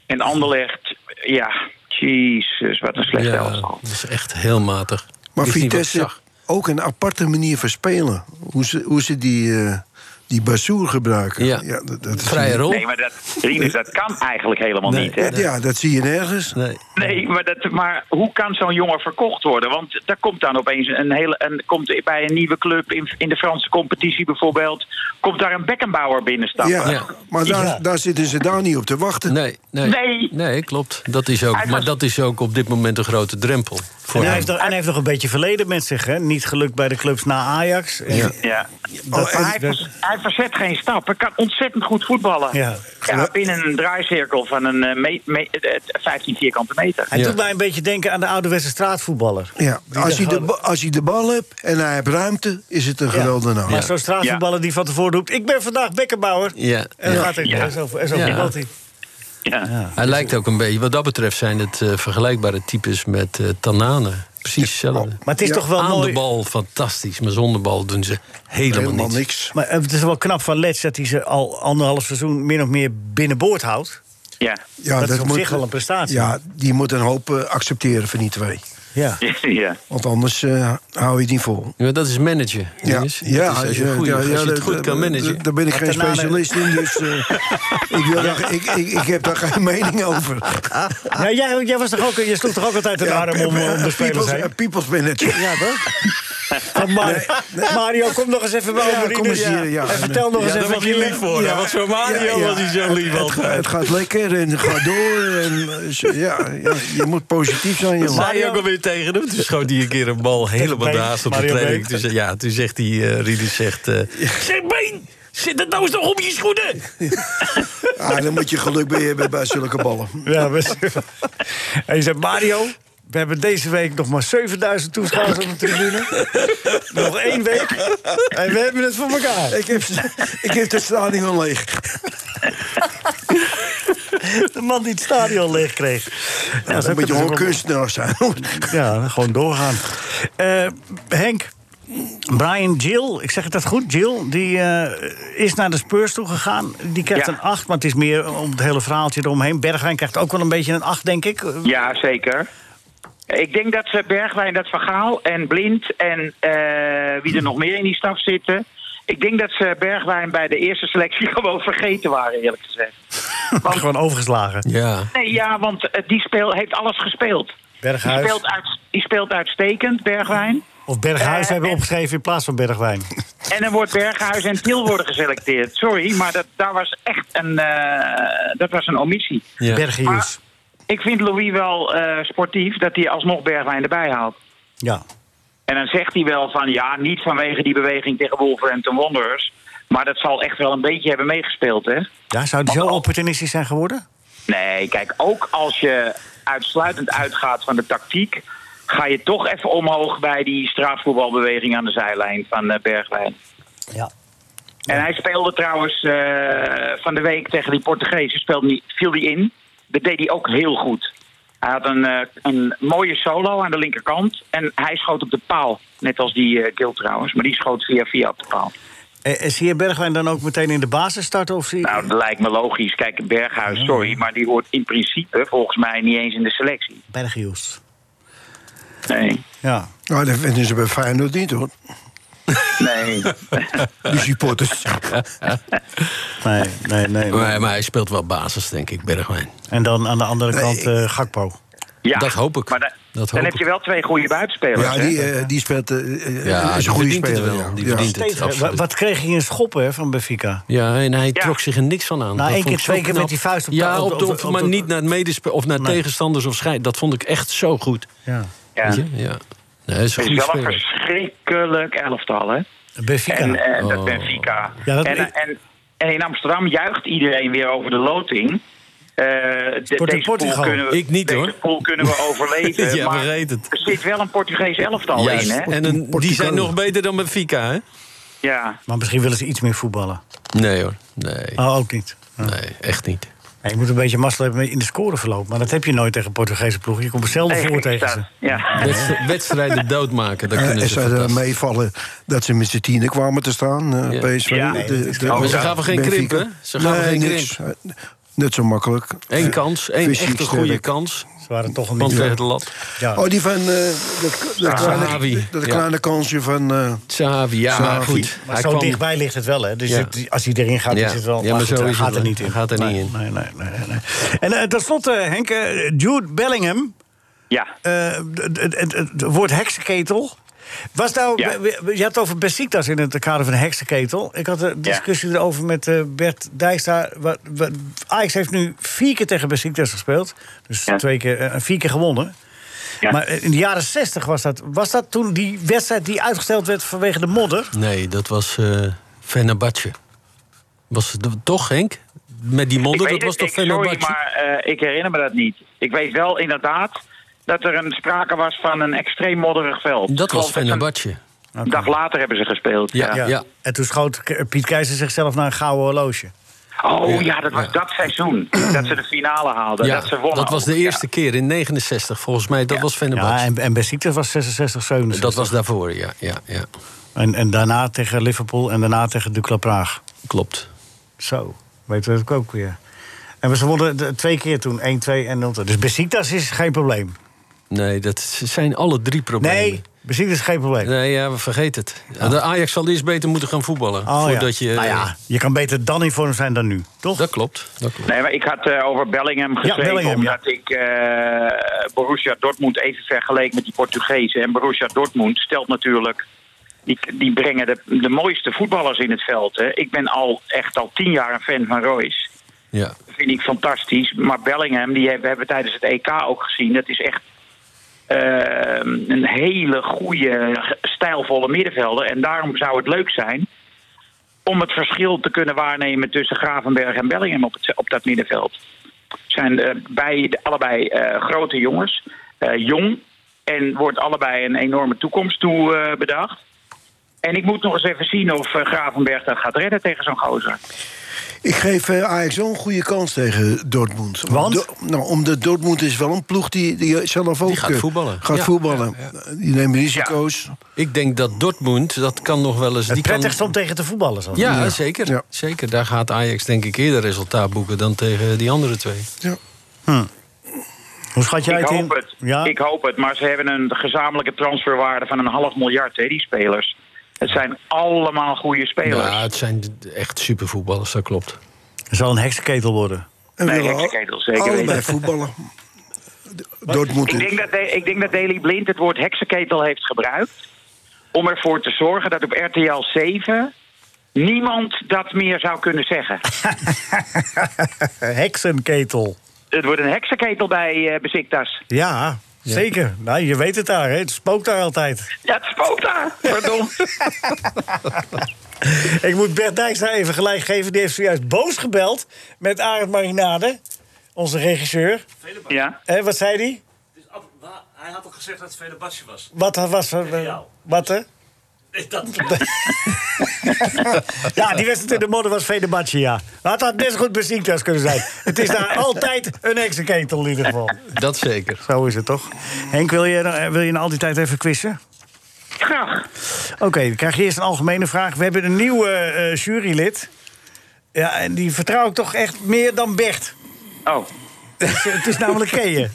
L: En Anderlecht, ja, jezus, wat een slecht
K: Ja,
L: elftal.
K: dat is echt heel matig.
D: Maar
K: Wist niet wat ik
D: Vitesse
K: zag.
D: ook een aparte manier van spelen. Hoe ze, hoe ze die, eh, die bassoer gebruiken. Ja, dat, dat is-
L: Nee, maar dat, Rinus, dat kan eigenlijk helemaal
D: Nee,
L: niet. Hè?
D: Ja, dat zie je nergens.
K: Nee.
L: Nee, maar, dat, maar hoe kan zo'n jongen verkocht worden? Want daar komt dan opeens een hele. Een, komt bij een nieuwe club in, in de Franse competitie bijvoorbeeld. Komt daar een Beckenbauer binnenstappen?
D: Ja, maar daar,
L: Ja.
D: daar zitten ze daar niet op te wachten.
K: Nee, nee.
L: Nee.
K: klopt. Dat is ook, maar dat is ook op dit moment een grote drempel. Voor
C: En hij,
K: hem.
C: heeft nog, en hij heeft nog een beetje verleden met zich, hè? Niet gelukt bij de clubs na Ajax. En-
K: Ja.
L: Ja.
C: Dat-
L: Maar hij, vers- hij verzet geen stap. Hij kan ontzettend goed voetballen.
C: Ja.
L: binnen een draaicirkel van een eh, me- me- eh, 15 vierkante meter.
C: Hij doet mij een beetje denken aan de ouderwetse straatvoetballer.
D: Ja, als hij, de, ba- als hij de bal hebt en hij heeft ruimte, is het een
C: Ja.
D: geweldige naam.
C: Maar zo'n straatvoetballer die van tevoren roept... ik ben vandaag Beckenbauer.
K: Ja.
C: En
K: Ja.
C: dan gaat hij
K: Ja.
C: en zo, en zo
K: Ja.
C: voetbalt hij.
K: Hij lijkt ook een beetje, wat dat betreft zijn het eh, vergelijkbare types met eh Tanane. Precies hetzelfde.
C: Oh, Maar het is toch wel
K: Aan
C: mooi-
K: de bal fantastisch, maar zonder bal doen ze helemaal, niets.
C: Maar eh, het is wel knap van Letch dat hij ze al anderhalf seizoen... min of meer binnenboord houdt.
L: Ja.
D: Ja,
C: dat, is op
D: moet-
C: zich wel een prestatie.
D: Ja, die moet een hoop eh, accepteren van die twee.
C: Ja.
L: ja.
D: Want anders eh, hou je het niet vol.
K: Ja, dat is manager.
D: Ja,
K: Dennis.
D: ja,
K: Dat is als je,
D: ja,
K: goed,
D: ja,
K: als je
D: ja,
K: het
D: dat-
K: goed kan
D: dat-
K: managen.
D: dat- daar ben ik geen
K: Tanane-
D: specialist in, dus eh, ik, wil daar- ik, ik, ik heb daar geen mening over.
C: Ja, jij, jij was toch ook, je sloeg toch ook altijd een
D: Ja,
C: arm om,
D: eh,
C: om de spelers
D: people's,
C: heen?
D: eh, people's manager.
C: Ja, toch? Van Mario, Mario, kom nog eens even bij
D: Ja,
C: Alberine.
D: kom eens hier, ja.
C: En vertel nog
D: Ja,
C: eens
D: daar ben
C: even
D: ik
C: wat
D: hier
C: je-
D: lief voor, hè, want zo'n Mario was niet zo lief
C: het-
D: Het, het gaat lekker en gaat door. En, eh, zo- ja, ja, je moet positief
C: Oh,
D: zijn,
K: Dat
D: jongen.
K: zei je ook alweer tegen hem. Toen schoot hij een keer een bal helemaal
D: Been,
K: naast op de
D: Mario
K: training.
D: Been.
K: Toen, zei- ja, toen zegt die eh Rieders zegt... eh,
M: Zeg, been! Zit het nou eens nog op je schoenen?
D: Ah, dan moet je geluk bij hebben bij zulke ballen.
C: Ja, best. En je zegt, Mario, we hebben deze week nog maar 7000 toeschouwers op de tribune. nog één week en we hebben het voor elkaar.
D: Ik heb, ik heb het stadion leeg.
C: De man die het stadion leeg kreeg.
D: Ja, dan moet je gewoon kunstenaar zijn.
C: Ja, gewoon doorgaan. Eh, Henk, Brian Jill, ik zeg het dat goed, Jill... die eh, is naar de Spurs toe gegaan. Die krijgt
L: Ja.
C: een 8, maar het is meer om het hele verhaaltje eromheen. Bergwijn krijgt ook wel een beetje een 8, denk ik.
L: Ja, zeker. Ik denk dat ze Bergwijn, dat Vergaal en Blind en eh, wie er nog meer in die staf zitten. Ik denk dat ze Bergwijn bij de eerste selectie gewoon vergeten waren, eerlijk gezegd.
C: Gewoon overgeslagen.
K: Ja.
L: Nee, ja, want eh, die speel, heeft alles gespeeld.
C: Berghuis.
L: Die speelt, uit, die speelt uitstekend, Bergwijn.
C: Of Berghuis
L: Eh,
C: hebben we opgeschreven in plaats van Bergwijn.
L: En dan wordt Berghuis en Til worden geselecteerd. Sorry, maar dat, daar was echt een, eh, dat was een omissie.
C: Ja. Berghuis.
L: Maar Ik vind Louis wel eh, sportief dat hij alsnog Bergwijn erbij haalt.
C: Ja.
L: En dan zegt hij wel van ja, niet vanwege die beweging tegen Wolverhampton Wanderers. Maar dat zal echt wel een beetje hebben meegespeeld, hè?
C: Ja, zou die zo
L: Oh.
C: opportunistisch zijn geworden?
L: Nee, kijk, ook als je uitsluitend uitgaat van de tactiek. ga je toch even omhoog bij die straatvoetbalbeweging aan de zijlijn van eh, Bergwijn.
C: Ja.
L: En hij speelde trouwens eh, van de week tegen die Portugezen. Speelde niet, viel hij in. Dat deed hij ook heel goed. Hij had een, eh, een mooie solo aan de linkerkant. En hij schoot op de paal. Net als die eh, Gil trouwens. Maar die schoot via via op de paal.
C: Eh, eh, zie je Bergwijn dan ook meteen in de basis starten? Of zie je...
L: Nou, dat lijkt me logisch. Kijk, Berghuis, sorry. Maar die hoort in principe volgens mij niet eens in de selectie.
C: Berghuis.
L: Nee.
C: Ja.
D: Nou, dat vinden ze bij Feyenoord niet, hoor.
L: Nee.
D: Die supporters.
C: Nee, nee, nee.
K: Maar, maar hij speelt wel basis, denk ik, Bergwijn.
C: En dan aan de andere kant eh, Gakpo.
L: Ja,
K: dat hoop ik.
L: Maar da-
K: dat
L: dan
K: hoop
L: heb je wel twee goede buitenspelers.
D: Ja,
L: hè?
D: die, eh, die speelt... eh, eh,
K: Ja,
D: is
K: die
D: een goede
K: verdient het
D: speler.
K: wel.
D: ja.
K: Die
D: Ja.
K: verdient het.
C: Steeds, eh, wa-
K: absoluut.
C: wat kreeg hij in schoppen hè, van Benfica?
K: Ja, en hij trok zich er niks van aan.
C: Nou,
K: Dat
C: één
K: vond
C: keer,
K: ik
C: twee
K: zo
C: keer
K: knap.
C: met die vuist op de-
K: Ja,
C: op
K: op
C: de-
K: de,
C: op de- op
K: maar
C: de-
K: niet naar, medespe- of naar tegenstanders of schijn. Dat vond ik echt zo goed.
C: Ja.
L: Ja.
K: Weet je? ja. Nee, hij is een
L: Het is
K: goede
L: wel een
K: speler.
L: verschrikkelijk elftal, hè?
C: Benfica.
L: En, eh,
K: Oh.
L: Dat Benfica.
C: Ja, dat-
L: en, en, en in Amsterdam juicht iedereen weer over de loting. Eh, de,
K: Portu-
L: deze pool
K: Portugal.
L: Kunnen we,
K: Ik niet,
L: deze
K: hoor.
L: pool kunnen we overleven.
K: Ja,
L: maar
K: vergeet het.
L: er zit wel een Portugees elftal
K: Juist.
L: in, hè?
K: En een- die zijn nog beter dan Benfica, hè?
L: Ja.
C: Maar misschien willen ze iets meer voetballen.
K: Nee hoor, nee.
C: Oh, ook niet.
K: Nee, echt niet.
C: Nee, je moet een beetje mazzel hebben in de scoreverloop. Maar dat heb je nooit tegen Portugese ploegen. Je komt er zelden
L: Nee,
C: voor
L: gek
C: tegen
L: is
C: ze.
L: dat. Ja.
K: Wedst- Wedstrijden doodmaken, dat
D: En
K: kunnen ze
D: zou er eh,
K: fantastisch.
D: meevallen dat ze met z'n tienen kwamen te staan. eh,
K: Ja.
D: PSV.
K: Ja,
D: de-
K: nee, dat is
D: de-
K: knap. Maar ze gaven geen
D: Benfica.
K: krimp, hè? Ze gaven
D: nee,
K: geen
D: niks. Net zo makkelijk.
K: Eén kans, één
D: Fysiek
K: echte goede
D: sterk.
K: kans.
C: Ze waren toch een
K: Want
D: beetje-
K: tegen de lat.
D: Oh, die van eh dat, dat kleine,
K: Sahavi,
D: dat
K: ja.
D: kleine kansje van... eh
K: Sahavi, Ah, ja, maar
D: Sahavi.
K: goed.
C: Maar zo dichtbij ligt het wel, hè? Dus
D: Ja.
C: het- als hij erin gaat,
K: Ja.
C: is het wel.
K: Ja, maar zo
C: hij
K: is het
C: gaat er
K: wel.
C: niet in.
K: Hij gaat er niet
C: Nee,
K: in.
C: Nee, nee, nee, nee. En eh, tenslotte, Henk, eh, Jude Bellingham. eh,
L: Ja.
C: het woord heksenketel. Was nou, we- we- we- je had het over Besiktas in het kader van de heksenketel. Ik had een discussie erover met eh, Bert Dijkstra. Wat, wat- Ajax heeft nu vier keer tegen Besiktas gespeeld. Dus twee keer, eh, vier keer gewonnen. Maar eh, in de jaren zestig was dat. Was dat toen die wedstrijd die uitgesteld werd vanwege de modder?
K: Nee, dat was eh Fenerbahce. Was het toch, Henk? Met die modder,
L: Ik
K: dat
L: weet
K: was
L: het,
K: toch
L: ik-
K: Fenerbahce?
L: Sorry, maar eh, ik herinner me dat niet. Ik weet wel inderdaad dat er een sprake was van een extreem modderig veld.
K: Dat was
L: Ik geloof ze
K: Fenerbahce.
L: Een dag later hebben ze gespeeld. Ja,
C: En toen schoot K- Piet Keizer zichzelf naar een gouden horloge.
L: Oh ja, dat was dat seizoen. dat ze de finale haalden.
K: Ja,
L: dat ze wonnen.
K: dat was de eerste keer in 69, volgens mij. Dat was Fenerbahce.
C: Ja, en, en Besiktas was 66, 67.
K: Dat was daarvoor, ja. ja, ja.
C: En, en daarna tegen Liverpool en daarna tegen Dukla Praag.
K: Klopt.
C: Zo, weet we dat ook weer. En ze wonnen de- twee keer toen, 1, 2 en 0. Dus Besiktas is geen probleem.
K: Nee, dat zijn alle drie problemen.
C: Nee, Besiktas is geen probleem.
K: Nee, ja, we vergeten het. De Ajax zal eerst beter moeten gaan voetballen.
C: Oh, ja.
K: voordat je...
C: Nou ja, je kan beter dan in vorm zijn dan nu, toch?
K: Dat klopt. Dat klopt.
L: Nee, maar ik had eh, over Bellingham geschreven.
C: Bellingham, ja.
L: omdat ik eh, Borussia Dortmund even vergeleek met die Portugezen. En Borussia Dortmund stelt natuurlijk. Die, die brengen de, de mooiste voetballers in het veld. Hè. Ik ben al echt al tien jaar een fan van Royce.
K: Ja.
L: Dat vind ik fantastisch. Maar Bellingham, die hebben, hebben we tijdens het EK ook gezien. Dat is echt eh, een hele goede, stijlvolle middenvelder. En daarom zou het leuk zijn om het verschil te kunnen waarnemen tussen Gravenberg en Bellingham op, het, op dat middenveld. Het zijn eh, beide- allebei eh, grote jongens, eh, jong en wordt allebei een enorme toekomst toe eh, bedacht. En ik moet nog eens even zien of eh, Gravenberg dat gaat redden tegen zo'n gozer.
D: Ik geef eh, Ajax wel een goede kans tegen Dortmund.
L: Want?
D: Do- nou, omdat Dortmund is wel een ploeg die, die zelf ook...
K: gaat
D: eh,
K: voetballen.
D: Gaat
K: Ja,
D: voetballen. Die nemen risico's.
K: Ik denk dat Dortmund, dat kan nog wel eens... die kan-
C: Prettig om tegen te voetballen. Zo.
K: Ja, zeker. Zeker. Daar gaat Ajax denk ik eerder resultaat boeken dan tegen die andere twee.
C: Hm. Hoe schat jij
L: ik
C: het in?
L: hoop het. Ik hoop het. Maar ze hebben een gezamenlijke transferwaarde van een half miljard, hè, die spelers. Het zijn allemaal goede spelers.
K: Ja, het zijn echt supervoetballers, dat klopt.
C: Het zal een heksenketel worden.
L: nee, heksenketel, zeker
D: Allebei
L: weten.
D: voetballen. Dortmund
L: Ik denk, dat de, ik denk dat Daley Blind het woord heksenketel heeft gebruikt... om ervoor te zorgen dat op RTL 7 niemand dat meer zou kunnen zeggen.
C: Heksenketel.
L: het wordt een heksenketel bij eh, Besiktas.
C: Ja, zeker. Nou, je weet het daar, hè? Het spookt daar altijd.
L: Ja, het spookt daar. Pardon.
C: Ik moet Bert Dijkstra even gelijk geven. Die heeft zojuist boos gebeld met Arend Marinade, onze regisseur.
L: Ja.
C: Hè, wat zei hij?
M: Hij had al gezegd dat het Fenerbahce was.
C: Wat was er? eh, Wat hè? ja, die wedstrijd in de modder was Fenerbahce, ja. Maar het had best goed Besiktas kunnen zijn. Het is daar altijd een heksenketel in ieder geval.
K: Dat zeker.
C: Zo is het toch? Henk, wil je, eh, wil je na al die tijd even quizzen?
L: Graag.
C: Oké, dan krijg je eerst een algemene vraag. We hebben een nieuw eh, eh, jurylid. Ja, en die vertrouw ik toch echt meer dan Bert.
L: Oh.
C: het is namelijk Keeën.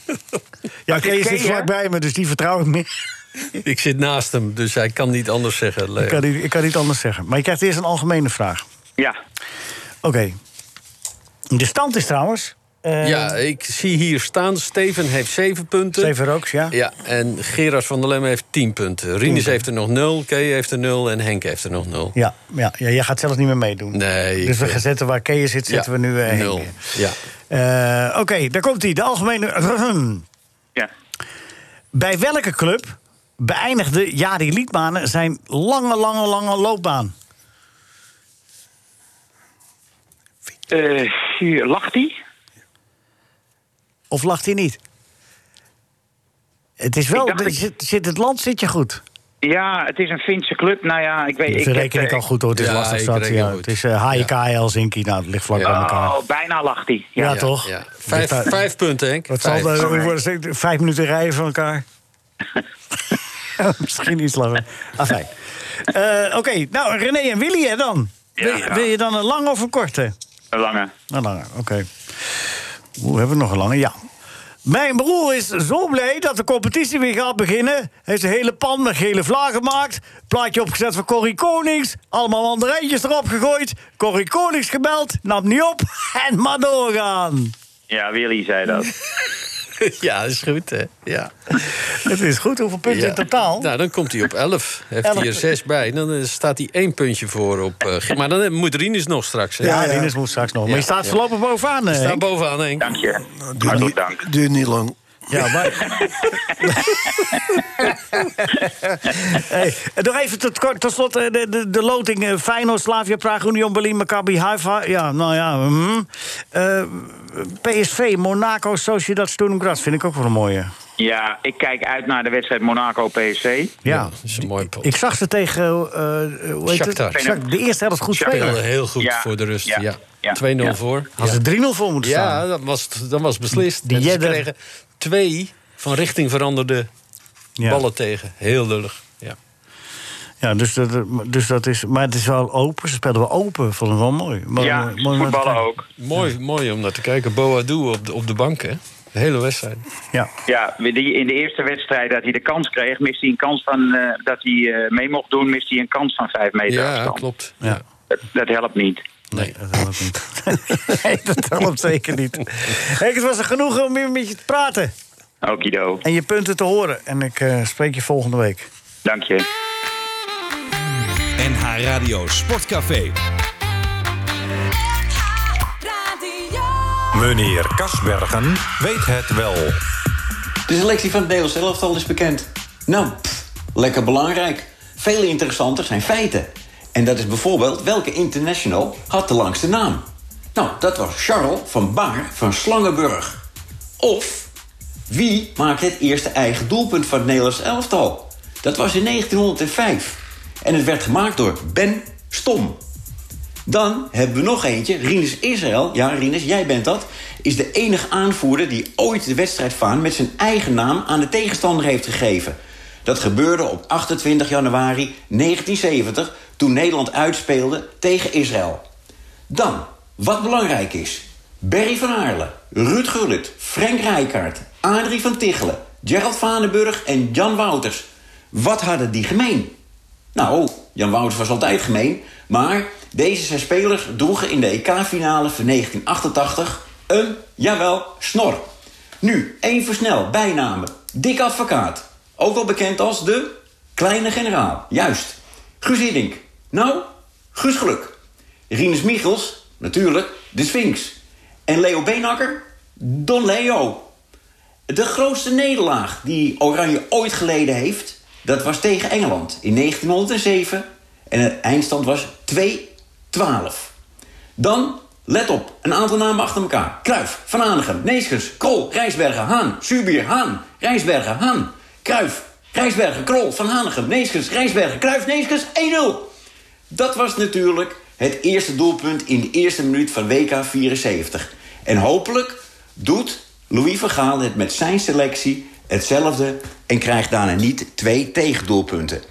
C: Ja,
K: is
C: Keeën zit
K: Keeën?
C: vlakbij me, dus die vertrouw ik meer.
K: Ik zit naast hem, dus hij kan niet anders zeggen. Leo.
C: Ik kan, niet, ik kan niet anders zeggen. Maar je krijgt eerst een algemene vraag.
L: Ja.
C: Oké. De stand is trouwens... eh,
K: Ja, ik zie hier staan, Steven heeft zeven punten.
C: Steven Rooks, ja.
K: Ja, en Gerard van der Lemme heeft tien punten. Rinus heeft er nog nul, Kee heeft er nul en Henk heeft er nog nul.
C: Ja, ja, ja, jij gaat zelfs niet meer meedoen.
K: Nee.
C: Dus we
K: ik- eh,
C: gaan zetten waar Keeën zit, zetten
K: Ja,
C: we nu eh, Henk
K: nul.
C: neer.
K: Ja.
C: Eh, Oké, daar komt hij. De algemene.
L: Ja.
C: Bij welke club beëindigde Jari Liedmanen zijn lange, lange, lange loopbaan?
L: Eh, hier, lacht hij?
C: Of lacht hij niet? Het is wel.
L: Ik dacht
C: er
L: ik-
C: Zit, zit het land zit je goed?
L: Ja, het is een Finse club. Nou ja, ik weet...
C: Dat
L: ik heb,
C: reken ik
L: eh,
C: al goed hoor. Het is
K: Ja,
C: lastig
K: ik
C: zat.
K: reken
C: Ja.
K: goed.
C: Het is eh HJK Helsinki. Nou, het ligt vlak bij elkaar.
L: Oh, bijna lacht hij.
C: Ja, toch?
K: Ja. Vijf,
C: Dus daar-
K: vijf punten, Henk.
C: Wat zal
K: Vijf.
C: dat hoe worden ze- Vijf minuten rijden van elkaar? Oh, Misschien iets langer. Afijn. Eh, Oké, nou René en Willy hè dan? wil, je, wil je dan een lange of een korte?
L: Een lange.
C: Een lange, oké. Hoe hebben we nog een lange? Ja. Mijn broer is zo blij dat de competitie weer gaat beginnen. Hij heeft een hele pan met gele vlaag gemaakt. Plaatje opgezet voor Corrie Konings. Allemaal mandarijntjes erop gegooid. Corrie Konings gebeld, nam niet op. En maar doorgaan.
L: Ja, Willy zei dat.
K: ja, dat is goed, hè? Ja.
C: Het is goed, hoeveel punten in totaal?
K: Nou, dan komt hij op 11. Heeft
C: Elf.
K: hij er 6 bij. Dan eh, staat hij één puntje voor op. eh, G- maar dan eh, moet Rinus nog straks. Hè?
C: Ja, ja. Rinus moet straks nog. Maar je staat voorlopig bovenaan,
K: Je
C: eh,
K: staat
C: Henk.
K: bovenaan, Henk. Dank
L: je.
D: Duurt niet, duurt niet lang.
C: Ja, maar... hey, en nog even tot, kort- tot slot eh, de, de, de loting. eh, Feyenoord, Slavia, Praag, Union, Berlin, Maccabi, Haifa. Ja, nou ja. mhm. Eh, PSV, Monaco, Sociedad, Sturm Graz. Vind ik ook wel een mooie.
L: Ja, ik kijk uit naar de wedstrijd Monaco-PSC.
C: Ja,
K: dat is een mooi
C: Ik zag ze tegen... eh, eh, hoe heet het?
K: Shakhtar.
C: Shak- De eerste helft goed
K: Shakhtar
C: spelen.
K: speelde heel goed
C: Ja,
K: voor de rust. Ja. 2-0
C: Ja.
K: voor.
C: Hadden ze 3-0 voor moeten staan.
K: Ja, dat was, het- dan was het beslist.
C: Die
K: Die ze
C: Jedder.
K: kregen twee van richting veranderde
C: Ja.
K: ballen tegen. Heel lullig. Ja.
C: Ja, dus dat, dus dat is... Maar het is wel open. Ze speelden wel open. Vond ik wel mooi. Mooi- mooi om naar te kijken.
K: Mooi, mooi om naar te kijken. Boadu op de, op de bank, hè? De hele wedstrijd.
C: Ja.
L: Ja, die, in de eerste wedstrijd dat hij de kans kreeg, mist hij een kans van. eh, dat hij eh, mee mocht doen, mist hij een kans van 5 meter.
K: Ja,
L: afstand.
K: klopt.
C: Ja.
L: Dat, dat helpt niet.
C: Nee, dat helpt niet. nee, dat helpt zeker niet. Henk, het was een genoegen om weer met je te praten.
L: Okido.
C: En je punten te horen. En ik eh, spreek je volgende week.
L: Dank je.
B: NH Radio Sportcafé.
N: Meneer Kasbergen weet het wel.
O: De selectie van het Nederlands elftal is bekend. Nou, pff, lekker belangrijk. Veel interessanter zijn feiten. En dat is bijvoorbeeld welke international had de langste naam? Nou, dat was Charles van Baar van Slangenburg. Of wie maakte het eerste eigen doelpunt van het Nederlands elftal? Dat was in 1905. En het werd gemaakt door Ben Stom. Dan hebben we nog eentje. Rinus Israël, ja Rinus, jij bent dat... is de enige aanvoerder die ooit de wedstrijdvaan... met zijn eigen naam aan de tegenstander heeft gegeven. Dat gebeurde op 28 januari 1970... toen Nederland uitspeelde tegen Israël. Dan, wat belangrijk is... Berry van Aarle, Ruud Gullit, Frank Rijkaard... Adrie van Tichelen, Gerald Vanenburg en Jan Wouters. Wat hadden die gemeen? Nou, Jan Wouters was altijd gemeen. Maar deze zes spelers droegen in de EK-finale van 1988 een, jawel, snor. Nu, één voor snel, bijnamen. Dik advocaat. Ook wel bekend als de kleine generaal. Juist. Guus Hiddink. Nou, Guus Geluk. Rinus Michels, natuurlijk, de Sphinx. En Leo Beenakker, Don Leo. De grootste nederlaag die Oranje ooit geleden heeft... dat was tegen Engeland in 1907. En het eindstand was 2-12. Dan, let op, een aantal namen achter elkaar. Kruif, Van Aanigem, Neeskens, Krol, Rijsbergen, Haan, Subier, Haan, Rijsbergen, Haan. Kruif, Rijsbergen, Krol, Van Aanigem, Neeskens, Rijsbergen, Kruif, Neeskens, 1-0. Dat was natuurlijk het eerste doelpunt in de eerste minuut van WK 74. En hopelijk doet Louis van Gaal het met zijn selectie hetzelfde... en krijgt daarna niet twee tegendoelpunten.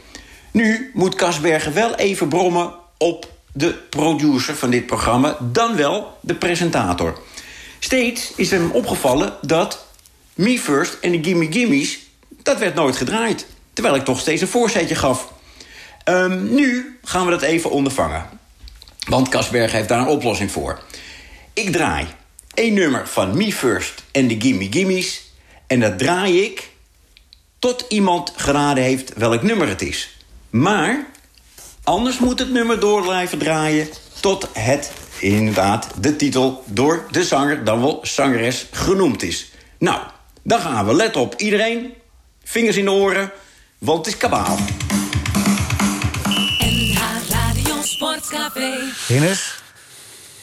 O: Nu moet Kasbergen wel even brommen op de producer van dit programma... dan wel de presentator. Steeds is hem opgevallen dat Me First en de Gimme Gimmies... dat werd nooit gedraaid, terwijl ik toch steeds een voorzetje gaf... Ehm, nu gaan we dat even ondervangen. Want Kasberg heeft daar een oplossing voor. Ik draai één nummer van Me First en de Gimme Gimmies... en dat draai ik tot iemand geraden heeft welk nummer het is. Maar anders moet het nummer door blijven draaien... tot het, inderdaad, de titel door de zanger, dan wel zangeres, genoemd is. Nou, dan gaan we. Let op, iedereen. Vingers in de oren, want het is kabaal.
H: NH Radio Sportcafé.
C: Ines?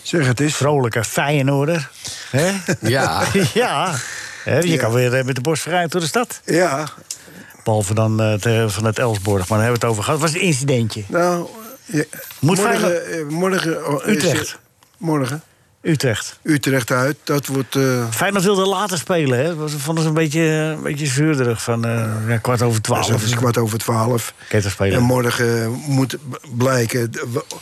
C: Zeg het eens. Vrolijke Feyenoorder. hè?
K: Ja.
C: ja. Hè, je
D: Ja.
C: kan weer eh, met de borst vooruit door de stad.
D: Ja.
C: Behalve dan eh, te- van het Elsborg. Maar daar hebben we het over gehad. Het was een incidentje.
D: Nou, ja,
C: Moet
D: morgen,
C: Feyenoord-
D: eh, morgen oh, is-
C: Utrecht.
D: morgen.
C: Utrecht.
D: Utrecht uit, dat wordt... eh,
C: Feyenoord wilde later spelen, hè? Dat vonden ze een beetje, een beetje zuurderig. Van eh, ja, kwart over twaalf.
D: Dus dat is kwart over twaalf.
C: Ketterspelen.
D: En morgen moet b- blijken d- w-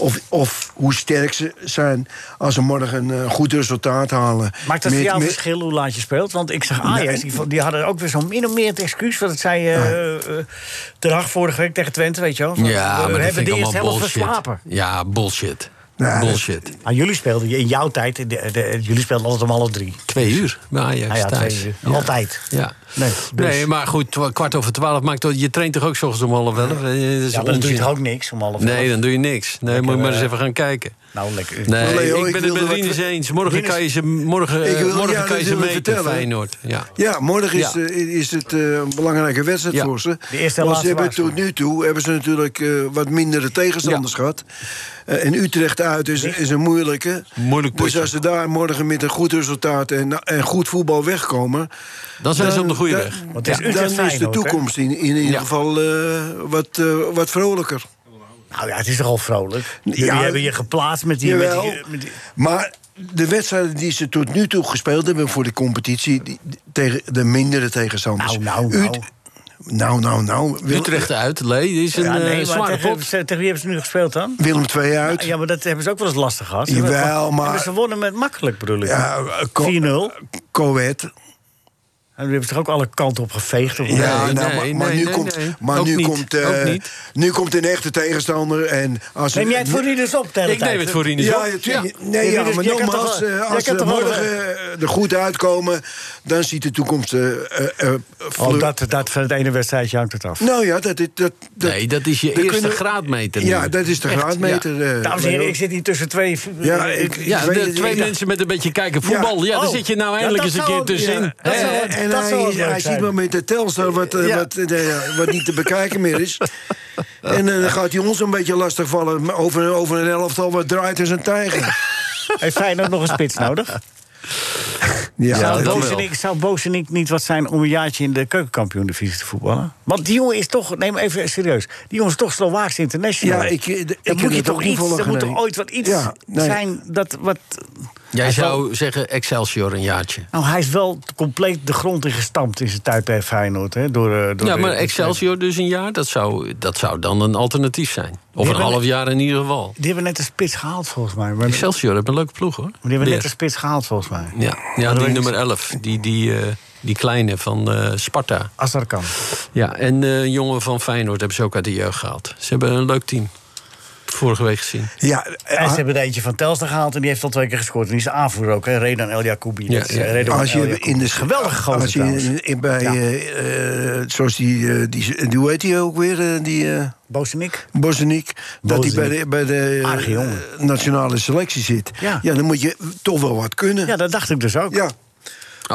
D: of, of hoe sterk ze zijn als ze morgen een eh, goed resultaat halen.
C: Maakt dat
D: Met-
C: voor jou een
D: met-
C: verschil hoe laat je speelt? Want ik zag Ajax, die, vo- die hadden ook weer zo'n min of meer het excuus. Want het zei eh eh, Ten Hag vorige week tegen Twente, weet je wel. van,
K: Ja, maar
C: we
K: dat
C: hebben
K: vind ik
C: de eerste
K: allemaal
C: helft
K: bullshit.
C: verslapen.
K: Ja, bullshit.
D: dus-
K: bullshit.
C: Ah, jullie speelden in jouw tijd, de, de, jullie speelden altijd om half drie.
K: Twee uur bij Ajax
C: Ah ja,
K: thuis.
C: twee uur.
K: Ja.
C: Altijd.
K: Ja.
C: Nee, dus-
K: Nee, maar goed, twa- kwart over twaalf maakt toch... Je traint toch ook 's ochtends om half elf? Eh, dat is
C: Ja, maar dan doe je
K: onzin.
C: toch ook niks om half
K: Nee,
C: elf?
K: dan doe je niks. Nee, moet je maar eens
C: eh,
K: even gaan kijken.
C: Nou, lekker.
K: Nee,
D: Leo,
K: ik
D: ik
K: ben het
D: wilde
K: met
D: wat
K: Rinus
D: ver-
K: eens. Morgen
D: Rinus-
K: kan je ze, morgen, eh,
D: Ik wil-
K: morgen
D: ja,
K: kan je
D: dat
K: ze
D: wil ik
K: meten,
D: vertellen.
K: Feyenoord. Ja.
D: Ja, morgen is,
K: Ja.
D: eh, is het eh, een belangrijke wedstrijd
K: Ja.
D: voor ze.
K: De eerste en
D: Want ze
K: laatste
D: hebben tot nu toe hebben ze natuurlijk eh, wat mindere tegenstanders gehad. Eh, en Utrecht uit is, is een moeilijke.
K: Moeilijk
D: dus
K: potje.
D: als ze daar morgen met een goed resultaat en, en goed voetbal wegkomen...
K: Dan zijn ze op de goede
D: dan-
K: weg.
D: Dan,
K: Want het is Utrecht
D: dan is de
K: Feyenoord, hè?
D: toekomst in, in ieder
K: Ja.
D: geval eh, wat, eh, wat vrolijker.
C: Nou ja, het is toch al vrolijk? Jullie
D: Ja,
C: hebben je geplaatst met die... Met
D: Jawel,
C: die, met die-
D: maar de wedstrijden die ze tot nu toe gespeeld hebben voor de competitie... die- die- tegen de mindere tegenstanders.
C: nou, nou, nou.
D: Ut- nou, nou, nou. Wil-
K: Utrecht uit, Lee, die is een
C: Ja,
K: eh,
C: nee, maar
K: zware
C: tegen,
K: pot.
C: tegen wie hebben ze nu gespeeld dan?
D: Willem II uit.
C: Ja, maar dat hebben ze ook wel eens lastig gehad. Ze
D: Jawel,
C: hebben gewoon-
D: maar-
C: hebben Ze wonnen met makkelijk, bedoel ik.
D: Ja, eh, Co-
C: 4-0.
D: Coët.
C: En die hebben ze toch ook alle kanten op geveegd? Of
D: Ja,
C: Nee,
D: nou,
C: nee,
D: maar, maar
C: nee,
D: nu
C: nee,
D: komt,
C: nee.
D: Maar
C: Ook
D: nu,
C: niet,
D: komt eh,
C: ook niet.
D: nu komt een echte tegenstander. En als
C: Neem jij het voor Rinus op, de hele
K: Ik neem
C: tijd?
K: het voor Rinus
D: ja,
K: op.
D: het-
K: Ja.
D: Nee,
C: Je
D: ja,
C: weet het,
D: maar
C: je kan
D: nogmaals,
C: toch wel-
D: eh,
C: je
D: als
C: kan
D: ze
C: toch wel-
D: morgen eh, er goed uitkomen... dan ziet de toekomst... eh eh, eh,
C: Oh,
D: vleur-
C: dat, dat van het ene wedstrijdje hangt het af.
D: Nou ja, dat... dat, dat
K: Nee, dat is je
D: daar
K: eerste
D: kunnen-
K: graadmeter nu.
D: Ja, dat is de
K: Echt,
D: graadmeter. eh,
C: Dames en heren,
D: Leo.
C: ik zit hier tussen twee... eh,
D: Ja, ik-
K: Ja,
D: weet
K: de
D: het
K: twee
D: niet.
K: mensen met een beetje kijken voetbal. Ja, daar
C: Oh.
K: zit je nou
C: Ja,
K: eindelijk
C: dat
K: eens een
C: zou-
K: keer tussenin.
C: ja, dat
K: Hè?
C: zou-
D: En, en
C: dat
D: hij,
C: zou wel leuk
D: hij
C: zijn.
D: ziet maar met de Telstar wat, eh,
C: Ja.
D: wat, eh, ja, wat niet te bekijken meer is. En eh, dan gaat hij ons een beetje lastig vallen over, over een elftal wat draait als een tijger.
C: Heeft Feyenoord nog een spits nodig?
D: Ja,
C: zou,
D: dat
C: Boos en
D: wel.
C: ik, zou Boos en ik niet wat zijn om een jaartje in de keukenkampioen-divisie te voetballen? Want die jongen is toch, neem even serieus, die jongen is toch Slovaaks international.
D: Ja, ik, eh,
C: Dan
D: ik heb
C: moet je
D: het
C: toch
D: ook niet
C: iets,
D: volgen,
C: er moet toch
D: nee.
C: ooit wat iets
D: Ja, nee.
C: zijn dat wat...
K: Jij
C: Hij
K: zou zeggen Excelsior een jaartje.
C: Nou, hij is wel compleet de grond ingestampt in zijn tijd bij Feyenoord. Hè, door, eh, door
K: Ja,
C: de-
K: maar Excelsior dus een jaar, dat zou, dat zou dan een alternatief zijn. Of een
C: hebben-
K: half jaar in ieder geval.
C: Die hebben net een spits gehaald, volgens mij. Maar maar
K: Excelsior heeft een leuke ploeg, hoor.
C: die hebben net een
K: Weer.
C: spits gehaald, volgens mij.
K: Ja, ja
C: dat
K: die
C: weet
K: nummer 11, die, die, eh, die kleine van eh, Sparta.
C: Als dat kan.
K: Ja, en eh, een jongen van Feyenoord hebben ze ook uit de jeugd gehaald. Ze hebben een leuk team. Vorige week gezien.
D: Ja,
C: En ze hebben er eentje van Telstar gehaald en die heeft al twee keer gescoord. En die is de aanvoerder ook, hè? Redan El Jacoubi.
K: Ja,
C: Dat is,
K: ja.
C: eh, Redouan
D: Als
C: El
D: je
C: Jacoubi.
D: in de
C: Geweldige gozer
D: Als je
C: trouwens.
D: in- in- bij,
C: Ja.
D: eh, eh, zoals die, eh, die, die, hoe heet die ook weer? eh, die eh
C: Bozenik.
D: Bosniek, dat hij bij
C: Bosniak.
D: de, bij de eh,
C: Aardige jongen.
D: nationale selectie zit.
C: Ja.
D: dan moet je toch wel wat kunnen.
C: Ja, dat dacht ik dus ook.
D: Ja.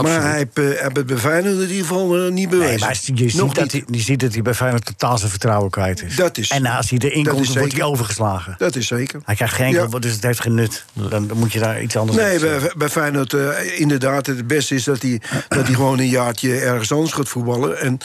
D: Maar hij heeft, eh, hij heeft het bij Feyenoord in ieder geval eh, niet bewezen.
C: Nee, maar je ziet,
D: Nog
C: dat
D: niet.
C: hij, je ziet dat hij bij Feyenoord totaal zijn vertrouwen kwijt is.
D: Dat is-
C: en als hij erin
D: dat
C: komt,
D: is
C: dan wordt hij
D: zeker.
C: overgeslagen.
D: Dat is zeker.
C: Hij krijgt geen
D: Ja.
C: enkel, dus het heeft geen nut. Dan, dan moet je daar iets anders
D: Nee,
C: op zetten.
D: bij, bij Feyenoord eh, inderdaad. Het beste is dat hij, dat hij gewoon een jaartje ergens anders gaat voetballen. En,
C: Met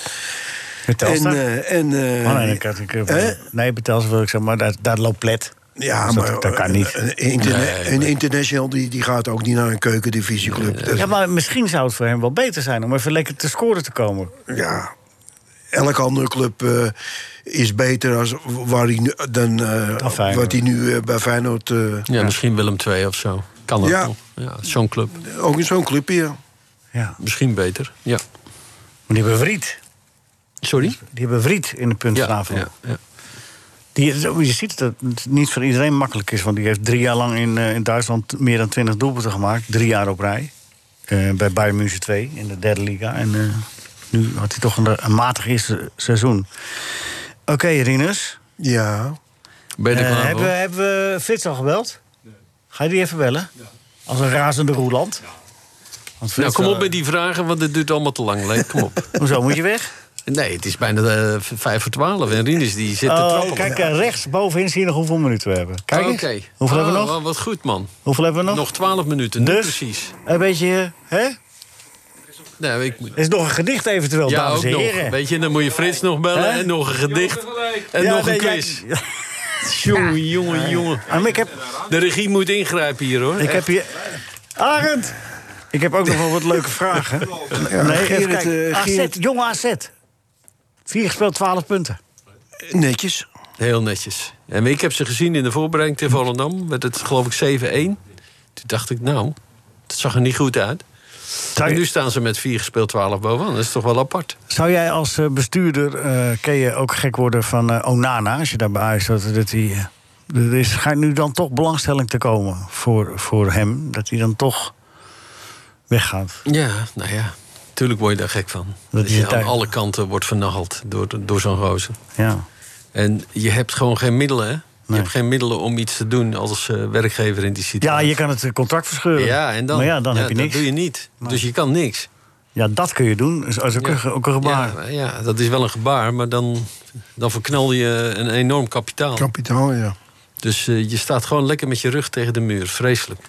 D: en,
C: Telstar?
D: eh, en, eh,
C: Oh, nee, ik had, ik,
D: hè?
C: nee, bij Telstar wil ik zeggen, maar daar, daar loopt plet.
D: Ja,
C: Dus dat-
D: maar eh,
C: dat kan niet.
D: Een, een interna-
K: Nee, maar-
D: een international die, die gaat ook niet naar een keukendivisieclub. Dat-
C: Ja, maar misschien zou het voor hem wel beter zijn om even lekker te scoren te komen.
D: ja, elke andere club eh, is beter als waar hij nu, dan eh,
C: Dan Feyenoord.
D: wat hij nu eh, bij Feyenoord. eh,
K: Ja, misschien Willem II of zo. Kan dat
D: Ja.
K: nog. Ja, Zo'n club.
D: Ook in zo'n club hier.
C: Ja.
K: Misschien beter. Ja.
C: Maar die hebben Vriet.
K: Sorry?
C: Die hebben Vriet in de punt
K: Ja,
C: vanavond.
K: ja, ja.
C: Die, je ziet dat het niet voor iedereen makkelijk is. Want die heeft drie jaar lang in, eh, in Duitsland meer dan twintig doelpunten gemaakt. Drie jaar op rij. Eh, bij Bayern München 2 in de derde liga. En eh, nu had hij toch een, een matig eerste seizoen. Oké, Rinus.
D: Ja.
K: Ben je er
C: Eh,
K: klaar
C: hebben, we,
K: voor?
C: hebben we Frits al gebeld? Ga je die even bellen? Als een razende roeland? Want
K: Nou,
C: Frits,
K: kom op
C: eh,
K: met die vragen, want het duurt allemaal te lang. Lee. Kom op.
C: Hoezo, moet je weg?
K: Nee, het is bijna eh, v- vijf voor twaalf. En Rinus die zit te
C: Oh,
K: trappelen.
C: kijk, eh, rechts bovenin zie je nog hoeveel minuten we hebben. Kijk
K: Oké.
C: eens. Hoeveel
K: Ah,
C: hebben we nog?
K: wa- Wat goed, man.
C: Hoeveel hebben we nog?
K: Nog twaalf minuten, nu
C: Dus?
K: precies.
C: Een beetje, hè?
K: Nee, ik moet...
C: Er is nog een gedicht eventueel,
K: Ja,
C: dames
K: ook
C: en
K: nog.
C: heren.
K: Weet je, dan moet je Frits nog bellen
C: Hè?
K: en nog een gedicht en
C: Ja, Ah,
K: nog een
C: nee, jij-
K: quiz. Jongen, jongen, jongen. De regie moet ingrijpen hier, hoor.
C: Ik heb hier...
K: oh.
C: Arend! Ik heb ook nog wel wat leuke vragen.
D: Ja,
C: nee, even
D: Gerrit,
C: kijken.
D: eh,
C: AZ,
D: Gerrit-
C: jonge AZ. Vier gespeeld, 12 punten.
D: Netjes.
K: Heel netjes. En ik heb ze gezien in de voorbereiding
C: Mm.
K: tegen Volendam. Werd het geloof ik 7-1. Toen dacht ik, nou, dat zag er niet goed uit. En nu staan ze met 4 gespeeld 12 bovenaan. Dat is toch wel apart.
C: Zou jij als eh, bestuurder, eh ken je ook gek worden van eh, Onana... als je daarbij Ajax zat, dat hij... eh, er is, schijnt nu dan toch belangstelling te komen voor, voor hem. Dat hij dan toch weggaat.
K: Ja, nou ja. Tuurlijk word je daar gek van.
C: Dat
K: Dat,
C: is
K: je
C: het
K: aan
C: eigenlijk.
K: alle kanten wordt vernageld door, door zo'n gozer.
C: Ja.
K: En je hebt gewoon geen middelen, hè? Je hebt geen middelen om iets te doen als eh, werkgever in die situatie.
C: Ja, je kan het eh, contract verscheuren.
K: Ja, en dan,
C: maar ja, dan
K: ja,
C: heb je
K: dat
C: niks.
K: doe je niet. Dus je kan niks.
C: Ja, dat kun je doen. Dat is ook, een, ge- ook een gebaar.
K: Ja, ja, dat is wel een gebaar, maar dan, dan verknal je een enorm kapitaal.
D: Kapitaal, ja.
K: Oh. Dus eh, je staat gewoon lekker met je rug tegen de muur. Vreselijk.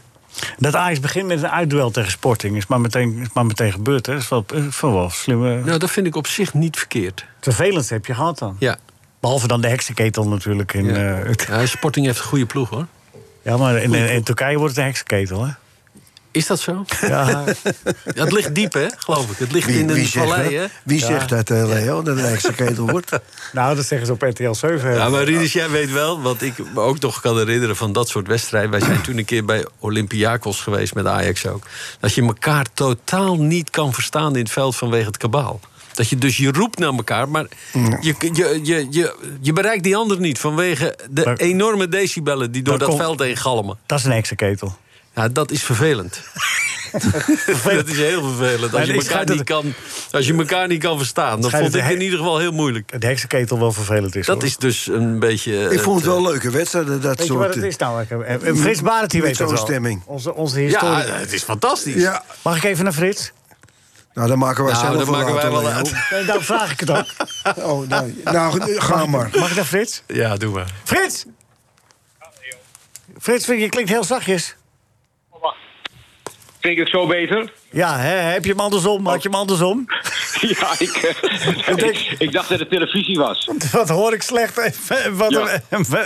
C: Dat Ajax begint met een uitduel tegen Sporting. Is maar meteen, is maar meteen gebeurd. Hè. Dat is wel, is wel wel slimme...
K: Nou, dat vind ik op zich niet verkeerd.
C: Vervelend heb je gehad dan.
K: Ja.
C: Behalve dan de heksenketel natuurlijk. In,
K: Ja.
C: eh,
K: Ja, Sporting heeft een goede ploeg, hoor.
C: ja, maar in, in Turkije wordt het een heksenketel, hè?
K: Is dat zo?
C: Ja.
K: het ligt diep, hè, geloof ik. Het ligt in een
D: zegt
K: vallei, hè?
D: dat? Wie zegt dat, eh, Leo, dat het een ketel wordt?
C: Nou, dat zeggen ze op RTL 7.
K: Ja, maar Rinus, jij weet wel, wat ik me ook nog kan herinneren van dat soort wedstrijden. Wij zijn toen een keer bij Olympiakos geweest met Ajax ook. Dat je elkaar totaal niet kan verstaan in het veld vanwege het kabaal. Dat je dus je roept naar elkaar, maar je, je, je, je, je bereikt die ander niet vanwege de enorme decibellen die door
C: dat
K: dat,
C: komt-
K: veld heen galmen.
C: Dat is een heksenketel.
K: Ja, dat is vervelend. dat is heel vervelend.
C: Maar
K: Als
C: ik
K: je, elkaar
C: schijnt
K: niet
C: het-
K: kan, als je elkaar niet kan verstaan, dan
C: Schijnt
K: vond
C: het
K: ik
C: de
K: in
C: he-
K: ieder geval heel moeilijk.
C: Het heksenketel wel vervelend is.
K: Dat
C: hoor.
K: is dus een beetje. eh,
D: Ik vond het wel
K: eh,
D: leuke wedstrijden, dat
C: Weet je
D: soort...
C: wat het is nou? Ik heb- eh, eh, Frits Barend, die
D: Met
C: weet het
D: zo'n
C: wel.
D: stemming.
C: Onze, onze historie.
K: Ja, het is fantastisch.
D: Ja.
C: Mag ik even naar Frits?
D: Nou, dan maken wij
K: Nou,
D: zelf
K: dat maken wij wel
D: Leo.
K: uit.
C: Nee, daarom vraag ik het ook.
D: Oh, nou, nou, ga maar.
C: Mag ik naar Frits?
K: Ja, doe maar.
C: Frits! Frits, vind je je klinkt heel zachtjes.
P: Vind ik het zo beter?
C: Ja, hè, heb je hem andersom? Had je hem andersom?
P: ja, ik, eh, ik, ik dacht dat het televisie was.
C: Wat hoor ik slecht? en Wat,
P: Ja.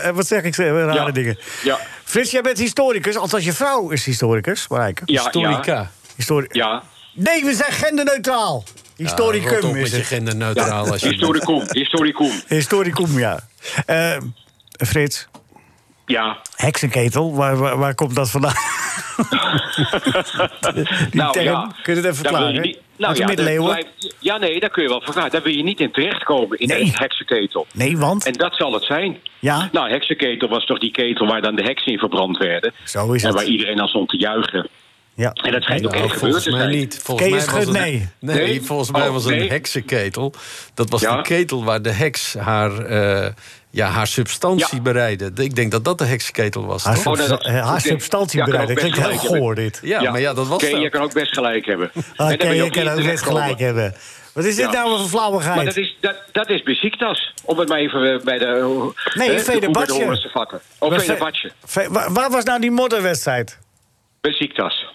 C: en wat zeg ik? ze- Rare
P: Ja.
C: dingen.
P: Ja,
C: Frits, jij bent historicus. Althans, je vrouw is historicus. Marijke.
P: Ja, Historica. ja.
C: Histori-
P: ja.
C: Nee, we zijn genderneutraal.
K: Ja,
C: Historicum
K: rot op
C: is
K: met je
C: het.
K: genderneutraal als je
P: Historicum, historicum.
C: Historicum, ja. Eh, Frits,
P: Ja.
C: heksenketel, waar, waar, waar komt dat vandaan?
P: nou,
C: term,
P: ja.
C: kun je
P: Daar wil
C: het even
P: je
C: verklaren?
P: niet-
C: Uit
P: Nou,
C: de
P: ja, dat
C: middeleeuwen?
P: blijft- ja, nee, daar kun je wel vergaan. Daar wil je niet in terechtkomen, in een heksenketel.
C: Nee, want?
P: En dat zal het zijn.
C: Ja.
P: Nou, heksenketel was toch die ketel waar dan de heksen in verbrand werden.
C: Zo is
P: en
C: het.
P: waar iedereen aan stond te juichen.
C: Ja.
P: En dat schijnt ook
K: Nou,
P: echt gebeurd
K: volgens
P: te
K: mij
P: zijn.
K: niet. Volgens
C: Ken
K: mij
C: je
K: was
C: Schut?
K: het-
C: Nee.
K: nee.
P: Nee?
K: volgens mij
P: Oh,
K: was het
P: nee.
K: een heksenketel. Dat was
P: Ja.
K: de ketel waar de heks haar, eh, ja, haar substantie bereidde. Ik denk dat dat de heksenketel was.
C: Haar,
K: toch?
P: Oh,
C: subs- eh, haar substantie bereid. Dat klinkt heel goor, dit.
K: Ja, maar ja, dat was
P: Ken,
K: zo.
P: je kan ook best gelijk hebben.
C: Ah,
P: En dan
C: ken
P: ben
C: je
P: ook
C: kan
P: niet
C: ook net
P: terechtkomen.
C: gelijk hebben. Wat is dit
P: Ja.
C: nou voor flauwigheid?
P: Maar dat is, dat, dat is Besiktas. Om het maar even eh, bij de...
C: Nee,
P: eh, de koe bij de
C: Fenerbahce.
P: horens te vatten. Oh,
C: Waar ze-
P: Fenerbahce.
C: Fe- waar, waar was nou die modderwedstrijd?
P: Besiktas.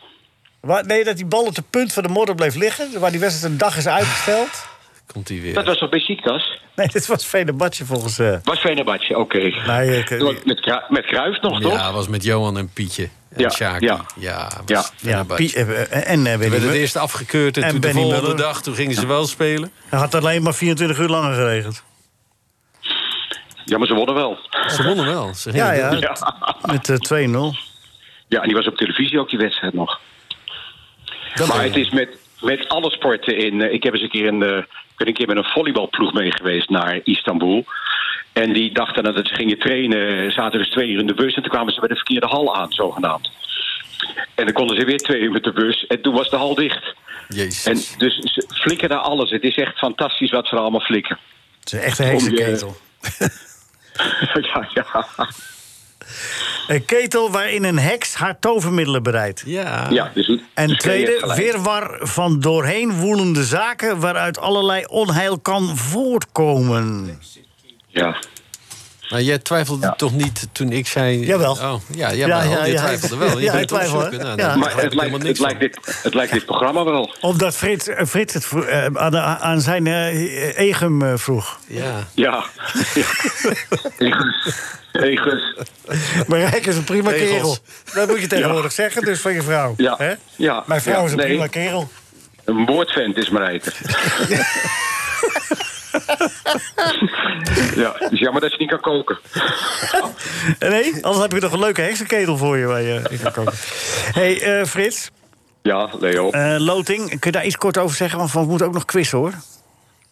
C: Waar, nee, dat die bal op de punt van de modder bleef liggen. Waar die wedstrijd een dag is uitgesteld.
K: Komt die
P: Dat
K: weer.
P: was toch Besiktas?
C: Nee, dit was Venebatje volgens... eh
P: Was Fenerbahce, oké.
C: nee, ik-
P: Door- Met, Kru- met Kruif nog, toch?
K: Ja, was met Johan en Pietje. En
P: Ja,
K: Sjaki.
P: ja.
K: ja,
P: Ja.
K: was Fenerbahçe.
C: Pie- eh, eh, en eh
K: Ze
C: Willy
K: werden het
C: Mur-
K: eerst afgekeurd en,
C: En
K: toen de
C: Benny
K: volgende
C: Muller.
K: dag toen gingen ze wel spelen.
C: Hij had alleen maar 24 uur langer geregeld.
P: Ja, maar ze wonnen wel.
K: Ze wonnen wel. Ze
C: Ja,
K: gingen-
C: ja. Met eh, 2-0.
P: Ja, en die was op televisie ook, die wedstrijd nog. maar het is met, met alle sporten in... eh, Ik heb eens een keer, een, eh, ik ben een keer met een volleybalploeg mee geweest naar Istanbul. En die dachten dat ze gingen trainen. Zaten dus twee uur in de bus en toen kwamen ze bij de verkeerde hal aan, zogenaamd. En dan konden ze weer twee uur met de bus en toen was de hal dicht.
K: Jezus.
P: En dus ze flikken daar alles. Het is echt fantastisch wat ze er allemaal flikken.
C: Het is echt een
P: Om je-
C: heksenketel.
P: ja, ja.
C: Een ketel waarin een heks haar tovermiddelen bereidt.
K: Ja.
P: ja dus, dus kreeg
C: En
P: je het
C: tweede,
P: gelijk.
C: weerwar van doorheen woelende zaken... waaruit allerlei onheil kan voortkomen.
P: Ja.
K: Maar jij twijfelde toch niet toen ik zei... Jawel. Oh, ja, ja, maar
C: ja,
K: je
C: ja.
K: twijfelde wel. Je
C: Ja,
K: bent
C: ik twijfel,
K: opzoeken.
C: hè.
K: Nou,
C: Ja.
K: dan
C: Maar
K: begrijp ik
C: het lijkt-
K: helemaal niks
P: het, lijkt dit, het lijkt dit programma wel.
C: Omdat Frits, eh, Frits het vro- eh, aan, aan zijn eh, Egem eh, vroeg.
K: Ja.
P: Ja. Egus. Egus.
C: Maar Rijk is een prima
P: Egels.
C: kerel. Dat moet je tegenwoordig
P: Ja.
C: zeggen, dus van je vrouw.
P: Ja.
C: Hè?
P: Ja.
C: Mijn vrouw
P: Ja.
C: is een
P: Nee.
C: prima kerel.
P: Een moordvent is Marijke. ja, het is jammer dat je niet kan koken.
C: Nee, anders heb ik nog een leuke heksenketel voor je. Waar je in kan komen. hey, eh, Frits.
P: Ja, Leo.
C: Eh, loting, kun je daar iets kort over zeggen? Want we moeten ook nog quizzen, hoor.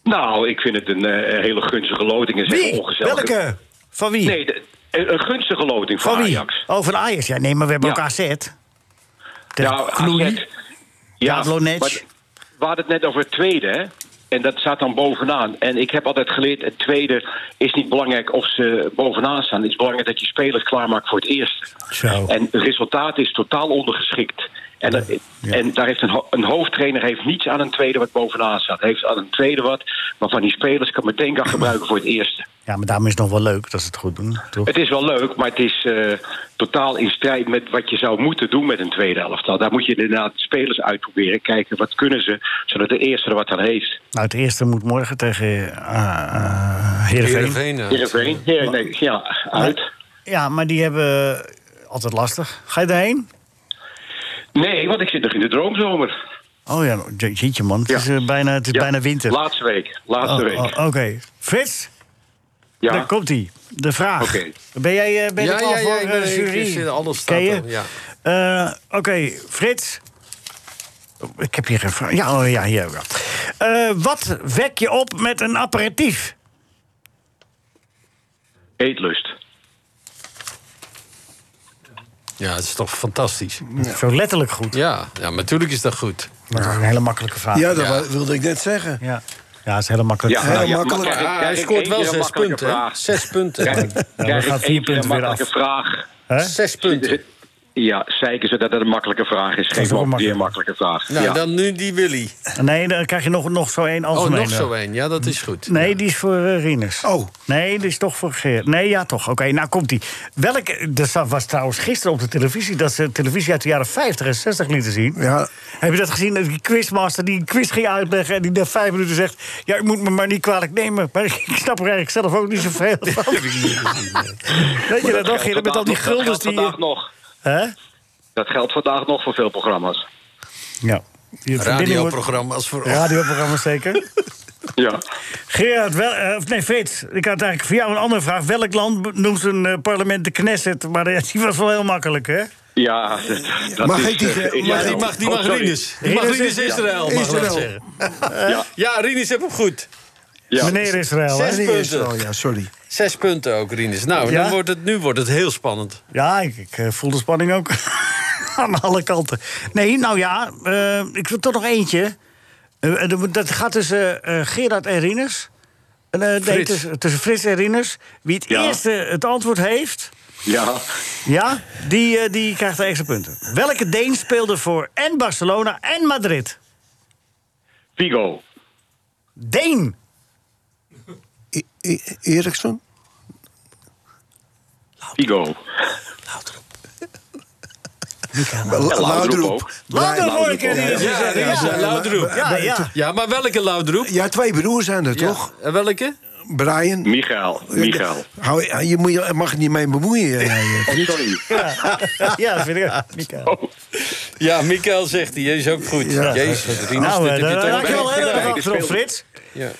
P: Nou, ik vind het een eh, hele gunstige loting. en zeg
C: Wie?
P: ongezellig.
C: Welke? Van wie?
P: Nee, de- een een gunstige loting van,
C: Van wie?
P: Ajax.
C: Oh, van Ajax. Ja, nee, maar we hebben
P: Ja.
C: ook AZ.
P: Ja, AZ. Ja,
C: Jablonec.
P: maar We hadden het net over het tweede, hè? En dat staat dan bovenaan. En ik heb altijd geleerd, het tweede is niet belangrijk of ze bovenaan staan. Het is belangrijk dat je spelers klaarmaakt voor het eerste. En het resultaat is totaal ondergeschikt. En, dat- en daar heeft een, ho- een hoofdtrainer heeft niets aan een tweede wat bovenaan staat. Hij heeft aan een tweede wat waarvan die spelers kan meteen kan gebruiken voor het eerste.
C: Ja, maar daarom is het nog wel leuk dat ze het goed doen. Toch?
P: Het is wel leuk, maar het is eh, totaal in strijd met wat je zou moeten doen met een tweede elftal. Daar moet je inderdaad spelers uitproberen, kijken wat kunnen ze, zodat de eerste er wat aan heeft.
C: Nou, het eerste moet morgen tegen eh, eh, Heerenveen.
K: eh.
P: Heerenveen, ja, nee, ja, uit.
C: Ja, maar die hebben altijd lastig. Ga je daarheen?
P: Nee, want ik zit nog in de droomzomer.
C: Oh ja, je- jeetje man, het is, eh, bijna, het is bijna winter.
P: Laatste week, laatste
C: Oh,
P: week.
C: oh, Oké, Frits,
P: Ja.
C: daar komt hij. De vraag.
P: Oké.
C: Ben jij eh, ben je
K: Ja,
C: klaar
K: ja, ja,
C: voor
K: ik
C: eh,
K: ben- ik-
C: jury?
K: ik- alles staat
C: Ken je?
K: al, ja.
C: Eh, Oké, Frits. Ik heb hier geen vraag. Ja, oh, ja, hier ook wel. Eh, wat wek je op met een aperitief?
P: Eetlust.
K: Ja, het is toch fantastisch.
C: Zo letterlijk goed.
K: Ja, ja maar natuurlijk is dat goed.
C: Dat is een hele makkelijke vraag.
K: Ja, dat
D: wilde ik net zeggen.
C: Ja, ja dat is hele makkelijk.
K: Ja, heel makkelijk. Ah, hij scoort wel zes punten. hè? Zes punten.
P: Krijg- krijg ik
C: gaat vier
P: één keer
C: punten
P: een
C: weer af.
P: makkelijke vraag.
K: Zes punten.
P: Ja, zeker ze dat dat een makkelijke vraag is. Geen
C: wel
P: weer makkelijke vraag.
K: Nou,
P: ja.
K: dan nu die Willy.
C: Nee, dan krijg je nog, nog zo één algemene.
K: Oh, nog zo één. Ja, dat is goed.
C: Nee, die is voor eh, Rinus. Oh. Nee, die is toch voor Geert. Nee, ja, toch. Oké, nou komt die. Welke. Dat was trouwens gisteren op de televisie. Dat ze televisie uit de jaren 50 en 60 lieten zien. Ja. Heb je dat gezien? Dat Die quizmaster die een quiz ging uitleggen. en die na vijf minuten zegt. Ja, u moet me maar niet kwalijk nemen. Maar ik snap er eigenlijk zelf ook niet zoveel van. Weet
P: Maar
C: je dat
P: geldt
C: nog, Geert? Met
P: vandaag nog-
C: al die
P: dat
C: guldens
P: geldt
C: die.
P: vandaag nog.
C: Hè?
P: Dat geldt vandaag nog voor veel programma's.
C: Ja. Die verbinding wordt-
K: Radioprogramma's voor
C: Radioprogramma's zeker.
P: Ja.
C: Gerard, wel, eh, of nee, Frits, ik had eigenlijk voor jou een andere vraag. Welk land be- noemt zijn eh, parlement de Knesset? Maar eh, die was wel heel makkelijk, hè?
P: Ja, dat, dat
K: Mag
P: is,
K: ik die-
P: eh,
K: mag-
P: Israël.
K: die mag- die mag
P: sorry.
K: Rinus. Die mag Rinus Rinus is- Israël, mag ik wel
P: Israël.
K: zeggen. Ja, Rinus heb hem goed.
P: Ja.
C: Eh? Meneer Israël, hè?
K: Zes
C: Meneer
K: punten.
C: Israël,
K: ja, sorry. Zes punten ook, Rinus. Nou,
C: Ja?
K: dan wordt het, nu wordt het heel spannend.
C: Ja, ik, ik, eh, voel de spanning ook aan alle kanten. Nee, nou ja, eh, ik wil toch nog eentje. Eh, eh, dat- dat gaat tussen eh, Gerard en Rinus. En, eh, nee,
K: Frits.
C: tussen, tussen Frits en Rinus. Wie het
K: Ja.
C: eerste het antwoord heeft,
P: Ja.
C: ja, die, eh, die krijgt de extra punten. Welke Deen speelde voor en Barcelona en Madrid?
P: Vigo.
C: Deen!
D: Eriksson?
P: Vigo.
K: Laudroep
D: Laudroep
K: hoor ik,
D: ook.
K: Rinus. Ja, Rinus, ja, Laudroep.
D: Ja, ja.
K: Ja, maar welke Laudroep?
D: Ja, twee broers zijn er,
K: Ja.
D: toch?
K: En welke?
D: Brian.
P: Michael. Michael.
D: Hou, je, moet, je mag er niet mee bemoeien. eh, Frits.
C: Ja, ja dat vind ik ook. Mika.
K: Ja, Mikael zegt die, is ook goed.
P: Ja.
K: Jezus, Rinus,
C: Nou,
K: dit
C: eh,
K: heb je
C: daar
K: toch
C: raak je wel
K: bij-
C: heel erg
K: bij-
C: achter op, Frits.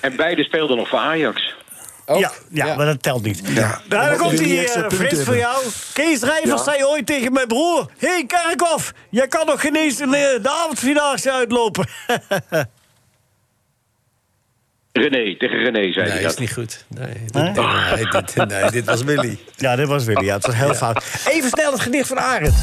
P: En beide speelden nog voor Ajax.
C: Ja, ja, maar dat telt niet. Nou, daar
P: Omdat
C: komt
P: jullie
C: hij,
P: extra
C: eh,
P: punten
C: Frits, voor
P: hebben.
C: jou. Kees Rijvers
P: Ja.
C: zei ooit tegen mijn broer... Hé, hey, Kerkhoff, jij kan nog geen eens de, de avondvierdaagse uitlopen.
P: René, tegen René zei hij
K: Nee,
P: dat.
K: is niet goed. Nee,
C: Hè?
K: dit, nee, dit, nee, dit was Willy.
C: ja, dit was Willy. Ja, het was heel fout. Even snel het gedicht van Arend.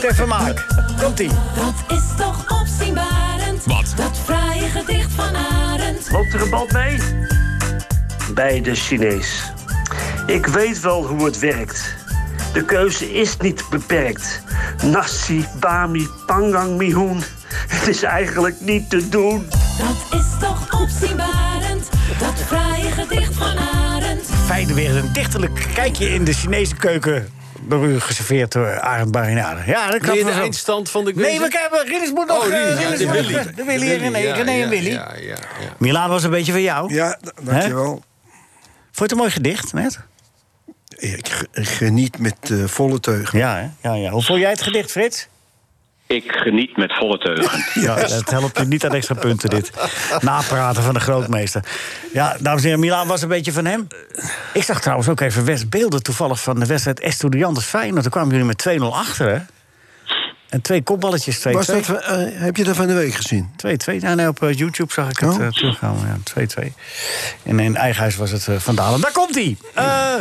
C: Ter vermaak. Komt-ie.
H: Dat is toch opzienbarend. Wat? Dat fraaie gedicht van Arend.
Q: Loopt er een band mee? Bij de Chinees. Ik weet wel hoe het werkt. De keuze is niet beperkt. Nasi, bami, pangang, mihun. Het is eigenlijk niet te doen.
H: Dat is toch opzienbarend. Dat fraaie gedicht van Arend.
C: feiten weer een dichterlijk kijkje in de Chinese keuken. Door u geserveerd door Arend Barinade. Ja, dat
K: Wil
C: kan
K: je
C: wel
K: de
C: zo.
K: eindstand van de quiz?
C: Nee, we hebben Rinus moet nog...
K: Oh,
C: eh,
K: Rinus, ja,
C: Rinus
K: de
C: moet-
K: Willy.
C: De Willy en
K: Willy,
C: René,
K: ja,
C: René
K: ja,
C: en Willy.
K: ja,
C: Milaan was een beetje van jou.
D: Ja, dankjewel.
C: Vond je het een mooi gedicht net?
D: Ik geniet met eh, volle teugen.
C: Ja, ja, ja. Hoe vond jij het gedicht, Frits?
P: Ik geniet met volle teugen.
C: Ja, dat helpt je niet aan extra punten, dit. Napraten van de grootmeester. Ja, dames en heren, Milaan was een beetje van hem. Ik zag trouwens ook even West beelden toevallig van de wedstrijd Estudiantes Feyenoord. Toen kwamen jullie met 2-0 achter, hè? En twee kopballetjes, 2-2.
D: Was dat, eh, heb je dat van de week gezien?
C: 2-2. Ja, nee, op eh, YouTube zag ik het
D: Oh.
C: eh, terugkomen. Ja, 2-2. En in eigen huis was het eh, Van Dalen. Daar komt hij. Eh,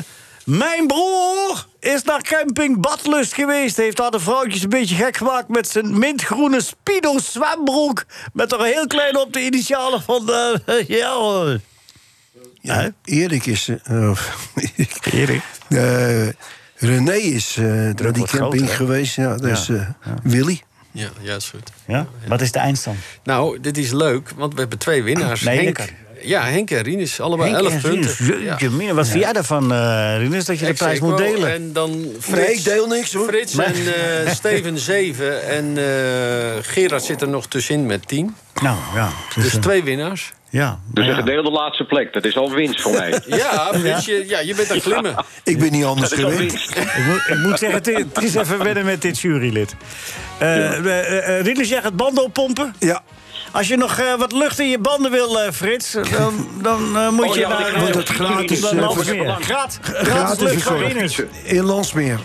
C: mijn broer is naar camping Badlust geweest. Heeft daar de vrouwtjes een beetje gek gemaakt met zijn mintgroene Speedo zwembroek. Met er heel klein op de initialen van de. ja, hoor.
D: Ja, Erik is. eh, of-
C: Erik?
D: Eh, René is eh naar die
K: wordt groot,
D: camping
K: hè?
D: geweest. Ja, dat is
K: Ja,
D: eh, Willy.
K: Ja, ja, is goed.
C: Ja? Wat is de eindstand?
K: Nou, dit is leuk, want we hebben twee winnaars.
C: Nee,
K: Henk,
C: lekker.
K: ja, Henk en Rinus, allebei
C: Henk
K: 11
C: en
K: punten.
C: Rinus, jeetje
K: Ja.
C: mina, wat vind jij daarvan, eh Rinus, dat je de
K: Ex
C: prijs moet
K: aequo
C: delen?
K: En dan Frits.
D: ik deel niks, hoor.
K: Frits
D: Maar-
K: en eh, Steven 7 en eh, Gerard zit er nog tussenin met 10.
C: Nou, ja.
K: Dus twee winnaars.
C: Ja.
P: Dus een gedeelde laatste plek, dat is al winst voor mij.
K: Ja, Frits, je, ja, je bent aan het glimmen.
D: Ik ben niet anders
P: Dat is al
D: gewend.
P: winst.
C: ik, moet, ik moet zeggen, het is, het is even wennen met dit jurylid. Eh eh, eh, Rinus, jij gaat banden oppompen?
D: Ja.
C: Als je nog eh, wat lucht in je banden wil, eh, Frits, dan, dan eh, moet
D: Oh
C: je
D: ja, want ik
C: naar...
D: ga- Want het gratis,
C: Dan
D: eh,
C: Landsmeer.
D: verzorgd.
C: Gratis, gratis
D: Gratis
C: lucht van
D: verzorgd.
C: Rinus.
D: In Landsmeer.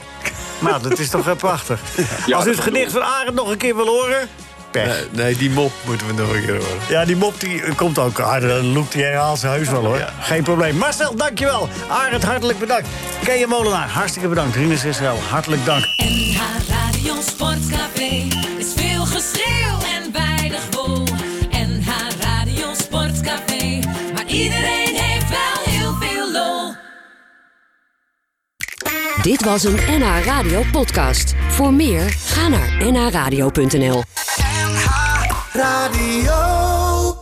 C: Nou, dat is toch eh, prachtig.
D: Ja,
C: Als u
D: dat
C: het gedicht van Arend nog een keer wil horen...
K: Nee, nee, die mop moeten we nog een keer horen.
C: Ja, die mop die eh, komt ook. Ah, de Loek die herhaalt zijn heus wel hoor. Geen probleem. Marcel, dankjewel. Arend, hartelijk bedankt. Keijer Molenaar, hartstikke bedankt. Rinus Israël, hartelijk dank.
H: NH Radio Sportcafé is veel geschreeuw en weinig wol. NH Radio Sportcafé, maar iedereen heeft wel heel veel lol.
A: Dit was een NH Radio podcast. Voor meer, ga naar nhradio.nl.
H: Radio.